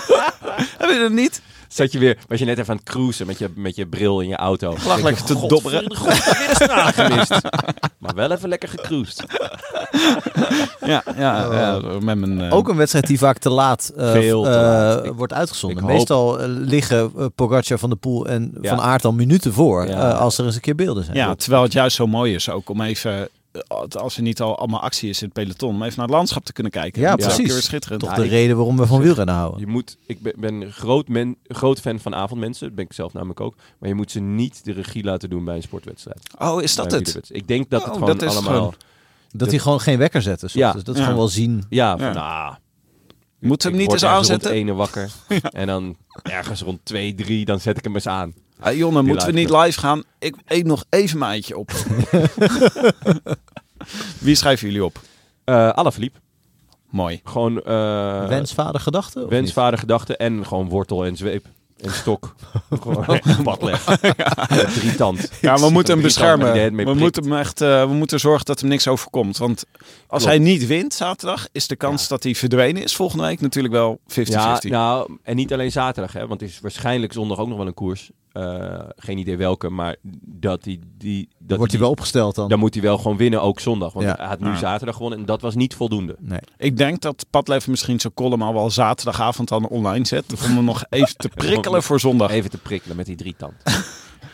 [SPEAKER 4] Heb je dat niet?
[SPEAKER 2] Zat je weer, was je net even aan het cruisen met je, met je bril in je auto.
[SPEAKER 4] Lag lekker te dobberen.
[SPEAKER 2] gemist. maar wel even lekker gecruised.
[SPEAKER 4] Ja, ja,
[SPEAKER 3] Oh.
[SPEAKER 4] ja, met mijn... eh,
[SPEAKER 3] Ook een wedstrijd die vaak te laat, eh,
[SPEAKER 2] Veel te
[SPEAKER 3] eh,
[SPEAKER 2] laat. Ik-
[SPEAKER 3] wordt uitgezonden.
[SPEAKER 2] ik hoop-
[SPEAKER 3] Meestal eh, liggen eh, Pogacar, Van der Poel en
[SPEAKER 2] Ja.
[SPEAKER 3] Van Aert al minuten voor.
[SPEAKER 2] Ja.
[SPEAKER 3] eh, als er eens een keer beelden zijn.
[SPEAKER 4] Ja, terwijl het juist zo mooi is ook om even, eh, als er niet al allemaal actie is in het peloton, om even naar het landschap te kunnen kijken.
[SPEAKER 3] Ja,
[SPEAKER 4] Dat is elke
[SPEAKER 3] precies.
[SPEAKER 4] keer weer schitterend.
[SPEAKER 3] Toch
[SPEAKER 4] Ja,
[SPEAKER 3] de
[SPEAKER 4] ik-
[SPEAKER 3] reden waarom we van wielrennen houden.
[SPEAKER 2] Je moet, ik ben, ben groot, men, groot fan van avondmensen, dat ben ik zelf namelijk ook. Maar je moet ze niet de regie laten doen bij een sportwedstrijd.
[SPEAKER 4] Oh, is dat
[SPEAKER 2] Bij een
[SPEAKER 4] het?
[SPEAKER 2] wielerwedstrijd. Ik denk dat het
[SPEAKER 4] Oh,
[SPEAKER 2] gewoon
[SPEAKER 4] dat is
[SPEAKER 2] allemaal...
[SPEAKER 4] gewoon-
[SPEAKER 3] Dat die gewoon geen wekker zetten. soms.
[SPEAKER 2] Ja.
[SPEAKER 3] Dus dat
[SPEAKER 4] Ja.
[SPEAKER 3] is gewoon wel zien.
[SPEAKER 2] Ja, van,
[SPEAKER 4] Ja.
[SPEAKER 2] ah,
[SPEAKER 4] Moeten we
[SPEAKER 2] ik
[SPEAKER 4] hem niet
[SPEAKER 2] word
[SPEAKER 4] eens
[SPEAKER 2] ergens
[SPEAKER 4] aanzetten?
[SPEAKER 2] rond ene wakker. En dan ergens rond twee, drie, dan zet ik hem eens aan.
[SPEAKER 4] Ah, Jonne, moeten we
[SPEAKER 2] live
[SPEAKER 4] niet live gaan? Ik eet nog even mijn eitje op. Wie schrijven jullie op?
[SPEAKER 2] Eh Alaphilippe.
[SPEAKER 4] Mooi.
[SPEAKER 2] Gewoon eh
[SPEAKER 3] Wensvader gedachten? of niet?
[SPEAKER 2] wensvader gedachte en gewoon wortel en zweep. En stok. gewoon op pad leggen. Met Drietand.
[SPEAKER 4] Ja, we moeten hem
[SPEAKER 2] drie tanden die je
[SPEAKER 4] beschermen.
[SPEAKER 2] mee
[SPEAKER 4] We
[SPEAKER 2] prikt.
[SPEAKER 4] moeten hem echt, eh, we moeten zorgen dat hem niks overkomt. Want als
[SPEAKER 2] Klopt.
[SPEAKER 4] hij niet wint zaterdag, is de kans dat hij verdwenen is volgende week natuurlijk wel 50-50.
[SPEAKER 2] Ja, nou, en niet alleen zaterdag, hè, want er is waarschijnlijk zondag ook nog wel een koers. Eh, geen idee welke, maar dat hij die. Dat
[SPEAKER 3] Wordt hij
[SPEAKER 2] die-
[SPEAKER 3] wel opgesteld dan?
[SPEAKER 2] Dan moet hij wel gewoon winnen, ook zondag. Want
[SPEAKER 3] Ja.
[SPEAKER 2] hij had nu
[SPEAKER 4] Ja.
[SPEAKER 2] zaterdag gewonnen en dat was niet voldoende.
[SPEAKER 3] Nee.
[SPEAKER 4] Ik denk dat Padlef misschien zijn column al wel zaterdagavond dan online zet. Om hem nog even te prikkelen voor zondag.
[SPEAKER 2] Even te prikkelen met die drietand.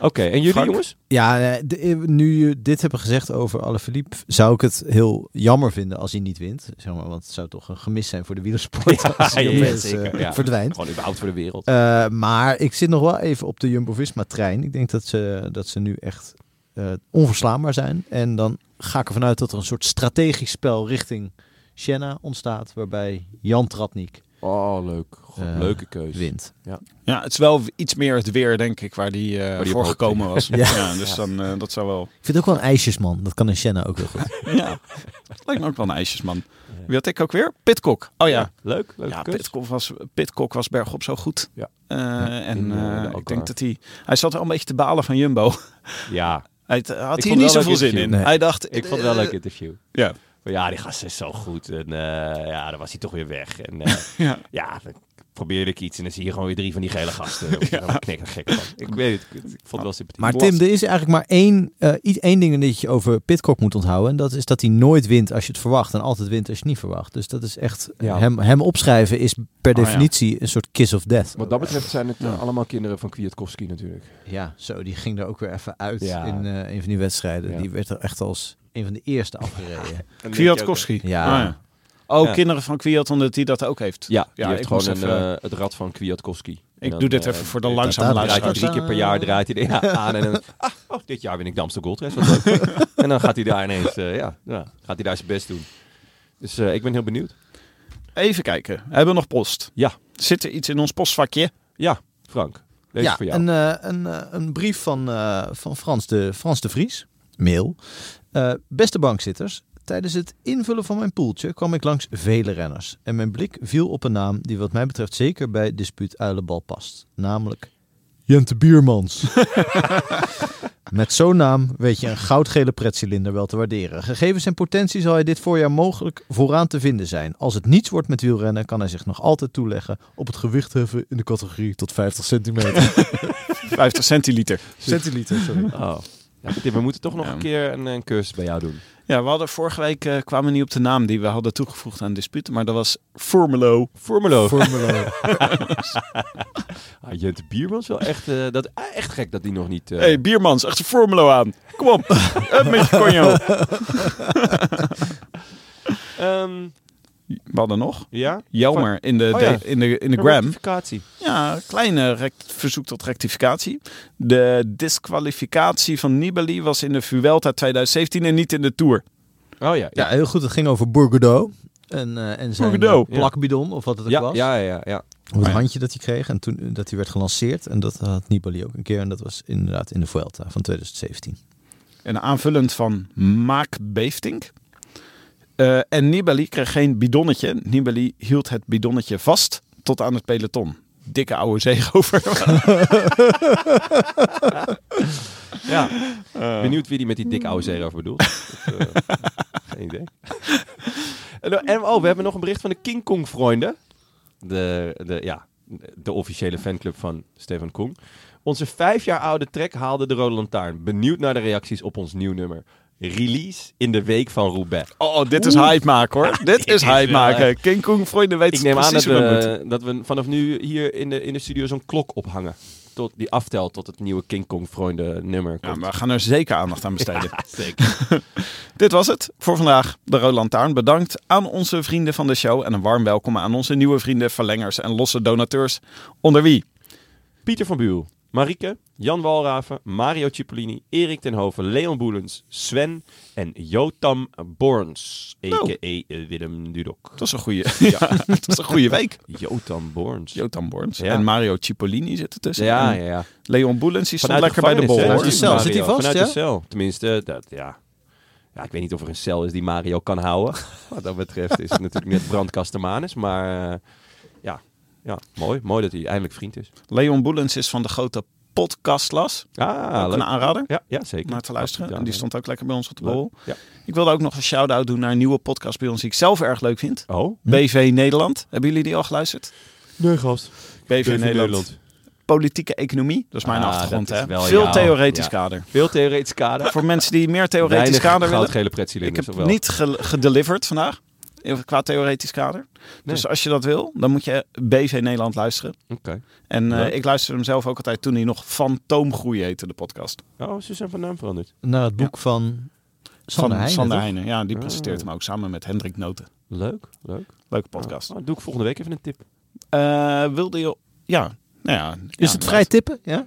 [SPEAKER 2] Oké, en jullie
[SPEAKER 4] Frank?
[SPEAKER 2] jongens?
[SPEAKER 3] Ja, eh, de- eh, nu je dit hebben gezegd over Alaphilippe, zou ik het heel jammer vinden als hij niet wint. Zeg maar, want het zou toch een gemis zijn voor de wielersport als hij
[SPEAKER 2] ja,
[SPEAKER 3] opeens, eh,
[SPEAKER 2] zeker, ja.
[SPEAKER 3] verdwijnt.
[SPEAKER 2] Gewoon überhaupt voor de wereld.
[SPEAKER 3] Eh, maar ik zit nog wel even op de Jumbo-Visma-trein. Ik denk dat ze, dat ze nu echt eh, onverslaanbaar zijn. En dan ga ik ervan uit dat er een soort strategisch spel richting Siena ontstaat, waarbij Jan Tratnik
[SPEAKER 2] Oh, leuk. God,
[SPEAKER 3] Eh,
[SPEAKER 2] leuke keuze.
[SPEAKER 3] wint.
[SPEAKER 4] Ja, het is wel iets meer het weer, denk ik, waar die, eh
[SPEAKER 2] Waar die op
[SPEAKER 4] voor
[SPEAKER 2] hoopt,
[SPEAKER 4] gekomen was.
[SPEAKER 3] Ja.
[SPEAKER 4] Ja. dus dan, eh, dat zou wel...
[SPEAKER 3] Ik vind ook wel een ijsjesman. Dat kan in Siena ook heel goed.
[SPEAKER 4] Ja, lijkt me ook wel een ijsjesman. Wie had ik ook weer? Pitcock. Oh ja.
[SPEAKER 2] Leuk, leuke
[SPEAKER 4] Ja,
[SPEAKER 2] keuze.
[SPEAKER 4] Pitcock was, Pitcock was bergop zo goed.
[SPEAKER 2] Ja.
[SPEAKER 4] Eh, en
[SPEAKER 2] in, eh,
[SPEAKER 4] eh,
[SPEAKER 2] de
[SPEAKER 4] ik
[SPEAKER 2] Algarve.
[SPEAKER 4] denk dat hij... Hij zat wel een beetje te balen van Jumbo.
[SPEAKER 2] Ja,
[SPEAKER 4] Hij had- had
[SPEAKER 2] wel
[SPEAKER 4] hier niet
[SPEAKER 2] een
[SPEAKER 4] zoveel
[SPEAKER 2] leuk
[SPEAKER 4] zin in.
[SPEAKER 2] interview.
[SPEAKER 4] Hij dacht...
[SPEAKER 2] ik vond het wel een
[SPEAKER 4] eh,
[SPEAKER 2] leuk interview.
[SPEAKER 4] Ja.
[SPEAKER 2] Van, Ja, die gast is zo goed. En eh, ja, dan was hij toch weer weg. En eh, ja.
[SPEAKER 4] Ja.
[SPEAKER 2] dan probeerde ik iets en dan zie je gewoon weer drie van die gele gasten. ja. Daar knik ik gek van. Ik weet het, ik vond het wel sympathiek.
[SPEAKER 3] Maar Tim, er is eigenlijk maar één, eh, iets, één ding dat je over Pitcock moet onthouden. En dat is dat hij nooit wint als je het verwacht. En altijd wint als je het niet verwacht. Dus dat is echt,
[SPEAKER 2] Ja. Ah,
[SPEAKER 3] hem, hem opschrijven is per
[SPEAKER 4] ja.
[SPEAKER 3] definitie een soort kiss of death.
[SPEAKER 2] Wat dat betreft zijn het eh, allemaal kinderen van Kwiatkowski natuurlijk.
[SPEAKER 3] Ja, zo, die ging er ook weer even uit
[SPEAKER 2] Ja.
[SPEAKER 3] in eh, een van die wedstrijden.
[SPEAKER 2] Ja.
[SPEAKER 3] Die werd er echt als een van de eerste afgereden.
[SPEAKER 4] Kwiatkowski.
[SPEAKER 3] Ja.
[SPEAKER 4] Oh, ja. Oh,
[SPEAKER 2] Ja.
[SPEAKER 4] kinderen van Kwiat, omdat hij dat ook heeft.
[SPEAKER 2] Ja, die
[SPEAKER 4] Ja,
[SPEAKER 2] heeft
[SPEAKER 4] ik
[SPEAKER 2] gewoon
[SPEAKER 4] moest
[SPEAKER 2] een,
[SPEAKER 4] even-
[SPEAKER 2] eh, het rad van Kwiatkowski. En
[SPEAKER 4] Ik
[SPEAKER 2] dan,
[SPEAKER 4] doe dit
[SPEAKER 2] eh,
[SPEAKER 4] even voor de
[SPEAKER 2] doet-
[SPEAKER 4] langzame
[SPEAKER 3] dat-
[SPEAKER 2] draait hij
[SPEAKER 4] luisteraars.
[SPEAKER 2] drie keer per jaar draait hij er ja, aan en dan, ah, oh, dit jaar win ik de Amsterdam Gold Race, wat leuk. en dan gaat hij daar ineens, eh, ja, ja, gaat hij daar zijn best doen. Dus eh, ik ben heel benieuwd.
[SPEAKER 4] Even kijken. Hebben we nog post?
[SPEAKER 2] Ja.
[SPEAKER 4] Zit er iets in ons postvakje?
[SPEAKER 2] Ja, Frank, deze
[SPEAKER 3] ja,
[SPEAKER 2] voor jou.
[SPEAKER 3] Een, eh, een, eh, een brief van, eh, van Frans, de, Frans de Vries, mail. Eh, beste bankzitters, tijdens het invullen van mijn poeltje kwam ik langs vele renners. En mijn blik viel op een naam die wat mij betreft zeker bij dispuut uilenbal past. Namelijk Jente Biermans. Met zo'n naam weet je een goudgele pretcilinder wel te waarderen. Gegeven zijn potentie zal hij dit voorjaar mogelijk vooraan te vinden zijn. Als het niets wordt met wielrennen, kan hij zich nog altijd toeleggen op het gewicht heffen in de categorie tot 50 centimeter.
[SPEAKER 4] 50 centiliter.
[SPEAKER 3] Centiliter, sorry.
[SPEAKER 2] Oh. Ja, Tim, we moeten toch nog
[SPEAKER 4] Ja.
[SPEAKER 2] een keer een, een cursus bij jou doen.
[SPEAKER 4] Ja, we hadden vorige week eh, kwamen we niet op de naam die we hadden toegevoegd aan disputen, maar dat was Formulo.
[SPEAKER 2] Formulo.
[SPEAKER 5] Formule
[SPEAKER 2] Ah, Jente Bierman is wel echt, eh, dat, ah, echt gek dat die nog niet... eh,
[SPEAKER 4] Hé, hey, biermans, echt een Formulo aan. Kom op, een beetje conjo.
[SPEAKER 2] ehm,
[SPEAKER 4] We hadden nog.
[SPEAKER 2] ja?
[SPEAKER 4] Jelmer in de,
[SPEAKER 2] Oh ja.
[SPEAKER 4] de- in de, in de
[SPEAKER 2] Een
[SPEAKER 4] gram.
[SPEAKER 2] rectificatie.
[SPEAKER 4] Ja, kleine rect- verzoek tot rectificatie. De disqualificatie van Nibali was in de Vuelta 2017 en niet in de Tour.
[SPEAKER 2] Oh ja.
[SPEAKER 5] Ja,
[SPEAKER 2] Ja,
[SPEAKER 5] heel goed. Het ging over Bourgodeau. En, eh, en zijn
[SPEAKER 4] Bourgodeau.
[SPEAKER 5] eh, plakbidon, of wat het ook
[SPEAKER 2] ja,
[SPEAKER 5] was.
[SPEAKER 2] ja, ja, Oh ja.
[SPEAKER 5] Of het
[SPEAKER 4] Ja.
[SPEAKER 5] handje dat hij kreeg en toen eh, dat hij werd gelanceerd. En dat had Nibali ook een keer. En dat was inderdaad in de Vuelta van 2017.
[SPEAKER 4] En aanvullend van Maak Beeftink. Eh, en Nibali kreeg geen bidonnetje. Nibali hield het bidonnetje vast tot aan het peloton. Dikke oude zeerover.
[SPEAKER 2] ja. Benieuwd wie die met die dikke oude zeerover bedoelt. Eh. Dat, eh, geen idee. en, en- oh, we hebben nog een bericht van de King Kong vrienden. De, de, ja, de officiële fanclub van Stefan Kong. Onze vijf jaar oude track haalde de Rode Lantaarn. Benieuwd naar de reacties op ons nieuw nummer. Release in de week van Roubaix.
[SPEAKER 4] oh, dit is hype maken
[SPEAKER 2] Ah,
[SPEAKER 4] hoor. dit is hype maken. King Kong, vrienden, weet
[SPEAKER 2] eh, Ik neem aan dat
[SPEAKER 4] precies hoe dat moet.
[SPEAKER 2] we, dat we vanaf nu hier in de, in de studio zo'n klok ophangen. Tot die aftelt tot het nieuwe King Kong vrienden nummer
[SPEAKER 4] Ja,
[SPEAKER 2] komt.
[SPEAKER 4] maar we gaan er zeker aandacht aan besteden. Dit was het voor vandaag. De Roland Lantaarn bedankt aan onze vrienden van de show. En een warm welkom aan onze nieuwe vrienden, verlengers en losse donateurs. Onder wie?
[SPEAKER 2] Pieter van Buul, Marieke, Jan Walraven, Mario Cipollini, Erik ten Hoven, Leon Boelens, Sven en Jotam Borns, a.k.a.
[SPEAKER 4] Nou.
[SPEAKER 2] Willem Dudok.
[SPEAKER 4] Dat is een goede, ja. dat is een goede week.
[SPEAKER 2] Jotam Borns.
[SPEAKER 4] Jotan Borns
[SPEAKER 2] Ja.
[SPEAKER 4] en Mario Cipollini zitten tussen.
[SPEAKER 2] ja,
[SPEAKER 4] En
[SPEAKER 2] ja, ja.
[SPEAKER 4] Leon Boelens die stond
[SPEAKER 2] Vanuit
[SPEAKER 4] lekker bij de bol.
[SPEAKER 2] gevangenis, hè?
[SPEAKER 4] hoor.
[SPEAKER 5] Vanuit de cel.
[SPEAKER 2] Mario.
[SPEAKER 5] Zit hij vast, ja?
[SPEAKER 2] Vanuit de cel. Tenminste, eh, dat, ja. ja. Ik weet niet of er een cel is die Mario kan houden. Wat dat betreft is het natuurlijk net brandkastenmanus. Maar eh, ja. ja, mooi. Mooi dat hij eindelijk vriend is.
[SPEAKER 4] Leon Boelens is van de grote podcastlas.
[SPEAKER 2] Ah,
[SPEAKER 4] ook
[SPEAKER 2] leuk.
[SPEAKER 4] een aanrader
[SPEAKER 2] Ja, ja, zeker. Oh,
[SPEAKER 4] om naar te luisteren.
[SPEAKER 2] Ja,
[SPEAKER 4] en die stond ook lekker bij ons op de
[SPEAKER 2] leuk.
[SPEAKER 4] bol.
[SPEAKER 2] Ja.
[SPEAKER 4] Ik wilde ook nog een shout-out doen naar een nieuwe podcast bij ons die ik zelf erg leuk vind.
[SPEAKER 2] Oh?
[SPEAKER 4] BV Nederland. Hebben jullie die al geluisterd?
[SPEAKER 2] Nee, gast.
[SPEAKER 4] BV, Nederland. Politieke economie. Dat is mijn
[SPEAKER 2] Ah,
[SPEAKER 4] achtergrond.
[SPEAKER 2] dat is
[SPEAKER 4] Hè?
[SPEAKER 2] wel
[SPEAKER 4] Veel
[SPEAKER 2] jouw-
[SPEAKER 4] theoretisch
[SPEAKER 2] ja.
[SPEAKER 4] kader.
[SPEAKER 2] Veel theoretisch kader.
[SPEAKER 4] Voor mensen die meer theoretisch
[SPEAKER 2] Weinig
[SPEAKER 4] kader willen.
[SPEAKER 2] goudgele
[SPEAKER 4] Ik
[SPEAKER 2] pretzelinders,
[SPEAKER 4] heb
[SPEAKER 2] of wel?
[SPEAKER 4] niet ge- gedeliverd vandaag. eh, Qua theoretisch kader. Dus als je dat wil, dan moet je BV Nederland luisteren.
[SPEAKER 2] Oké.
[SPEAKER 4] En eh,
[SPEAKER 2] Leuk.
[SPEAKER 4] ik luisterde hem zelf ook altijd toen hij nog Fantoomgroei heette, de podcast.
[SPEAKER 2] Oh, ze zijn van naam veranderd.
[SPEAKER 5] Naar het boek van Sander
[SPEAKER 4] van
[SPEAKER 5] Heijnen.
[SPEAKER 4] Sander
[SPEAKER 5] toch?
[SPEAKER 4] Heijnen. Ja, die
[SPEAKER 2] Ah.
[SPEAKER 4] presenteert hem ook samen met Hendrik Noten.
[SPEAKER 2] Leuk, leuk.
[SPEAKER 4] Leuke podcast.
[SPEAKER 2] Ah, doe ik volgende week even een tip.
[SPEAKER 4] Eh, wilde je... Ja, nou ja.
[SPEAKER 5] Is het vrij tippen? Ja?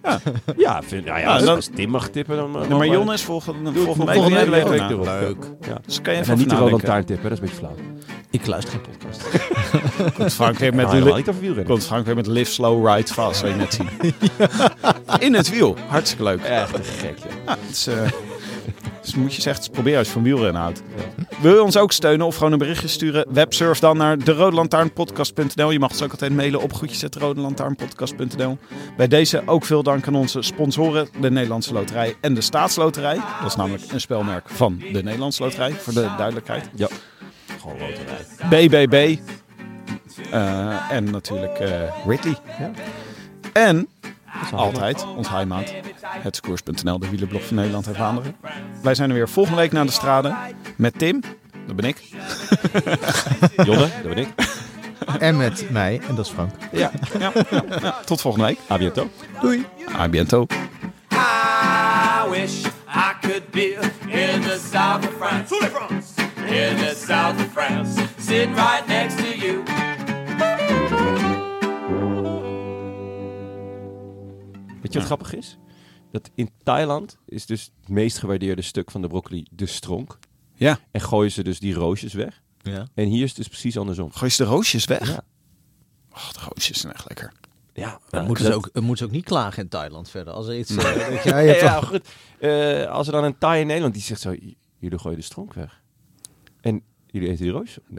[SPEAKER 2] ja, vind, nou ja,
[SPEAKER 4] Nou,
[SPEAKER 2] als-
[SPEAKER 4] dan-
[SPEAKER 2] als Tim mag tippen, dan...
[SPEAKER 4] Ja, nou, maar Jon is volgende, volgende week.
[SPEAKER 2] volgende
[SPEAKER 4] weer
[SPEAKER 2] week
[SPEAKER 4] leuk.
[SPEAKER 2] week
[SPEAKER 4] Nou,
[SPEAKER 2] erop.
[SPEAKER 5] Leuk.
[SPEAKER 4] Dus kan je
[SPEAKER 2] En
[SPEAKER 4] even
[SPEAKER 2] niet de Roland
[SPEAKER 4] nadenken.
[SPEAKER 2] Taarn tippen, hè, dat is een beetje flauw.
[SPEAKER 5] Ik luister geen podcast.
[SPEAKER 2] Ah,
[SPEAKER 4] Komt Frank weer met,
[SPEAKER 2] Nou, helemaal
[SPEAKER 4] li-
[SPEAKER 2] niet over wielrennen.
[SPEAKER 4] komt Frank weer met Live Slow Ride Fast, zou je net zien. In het wiel. Hartstikke leuk.
[SPEAKER 2] Echt te gek, ja.
[SPEAKER 4] Ja, het is, eh, dus moet je zeggen, probeer als je van wielrennen houdt. Wil je ons ook steunen of gewoon een berichtje sturen? Websurf dan naar derodelantaarnpodcast.nl. Je mag ons ook altijd mailen op groetjes.derodelantaarnpodcast.nl. Bij deze ook veel dank aan onze sponsoren, de Nederlandse Loterij en de Staatsloterij. Dat is namelijk een spelmerk van de Nederlandse Loterij, voor de duidelijkheid.
[SPEAKER 2] Ja.
[SPEAKER 4] BBB. Eh, en natuurlijk eh, Ridley. En altijd ons heimaat. Hetskoers.nl, de wielerblog van Nederland en Vlaanderen. Wij zijn er weer volgende week naar de straden met Tim. Dat ben ik.
[SPEAKER 2] Jonne, dat ben ik.
[SPEAKER 5] en met mij, en dat is Frank.
[SPEAKER 4] Ja. ja, ja, ja. Tot volgende week.
[SPEAKER 2] A bientôt.
[SPEAKER 4] A bientôt.
[SPEAKER 6] I wish I could be in the south of France. In the south of France. Sitting right next to you.
[SPEAKER 2] Weet je wat grappig is? Dat in Thailand is dus het meest gewaardeerde stuk van de broccoli de stronk.
[SPEAKER 4] Ja.
[SPEAKER 2] En gooien ze dus die roosjes weg.
[SPEAKER 5] Ja.
[SPEAKER 2] En hier is het dus precies andersom.
[SPEAKER 4] Gooi ze de roosjes weg?
[SPEAKER 2] Ja.
[SPEAKER 4] Och, de roosjes zijn echt lekker.
[SPEAKER 2] Ja,
[SPEAKER 5] Dan
[SPEAKER 2] eh,
[SPEAKER 5] moeten ze,
[SPEAKER 2] dat-
[SPEAKER 5] ook, dan moeten ze ook niet klagen in Thailand verder. Als er iets... eh, weet je, hij hebt
[SPEAKER 2] ja,
[SPEAKER 5] al-
[SPEAKER 2] goed. Eh, als er dan een Thai in Nederland die zegt zo, "J- jullie gooien de stronk weg. En jullie eten die roos. Nee.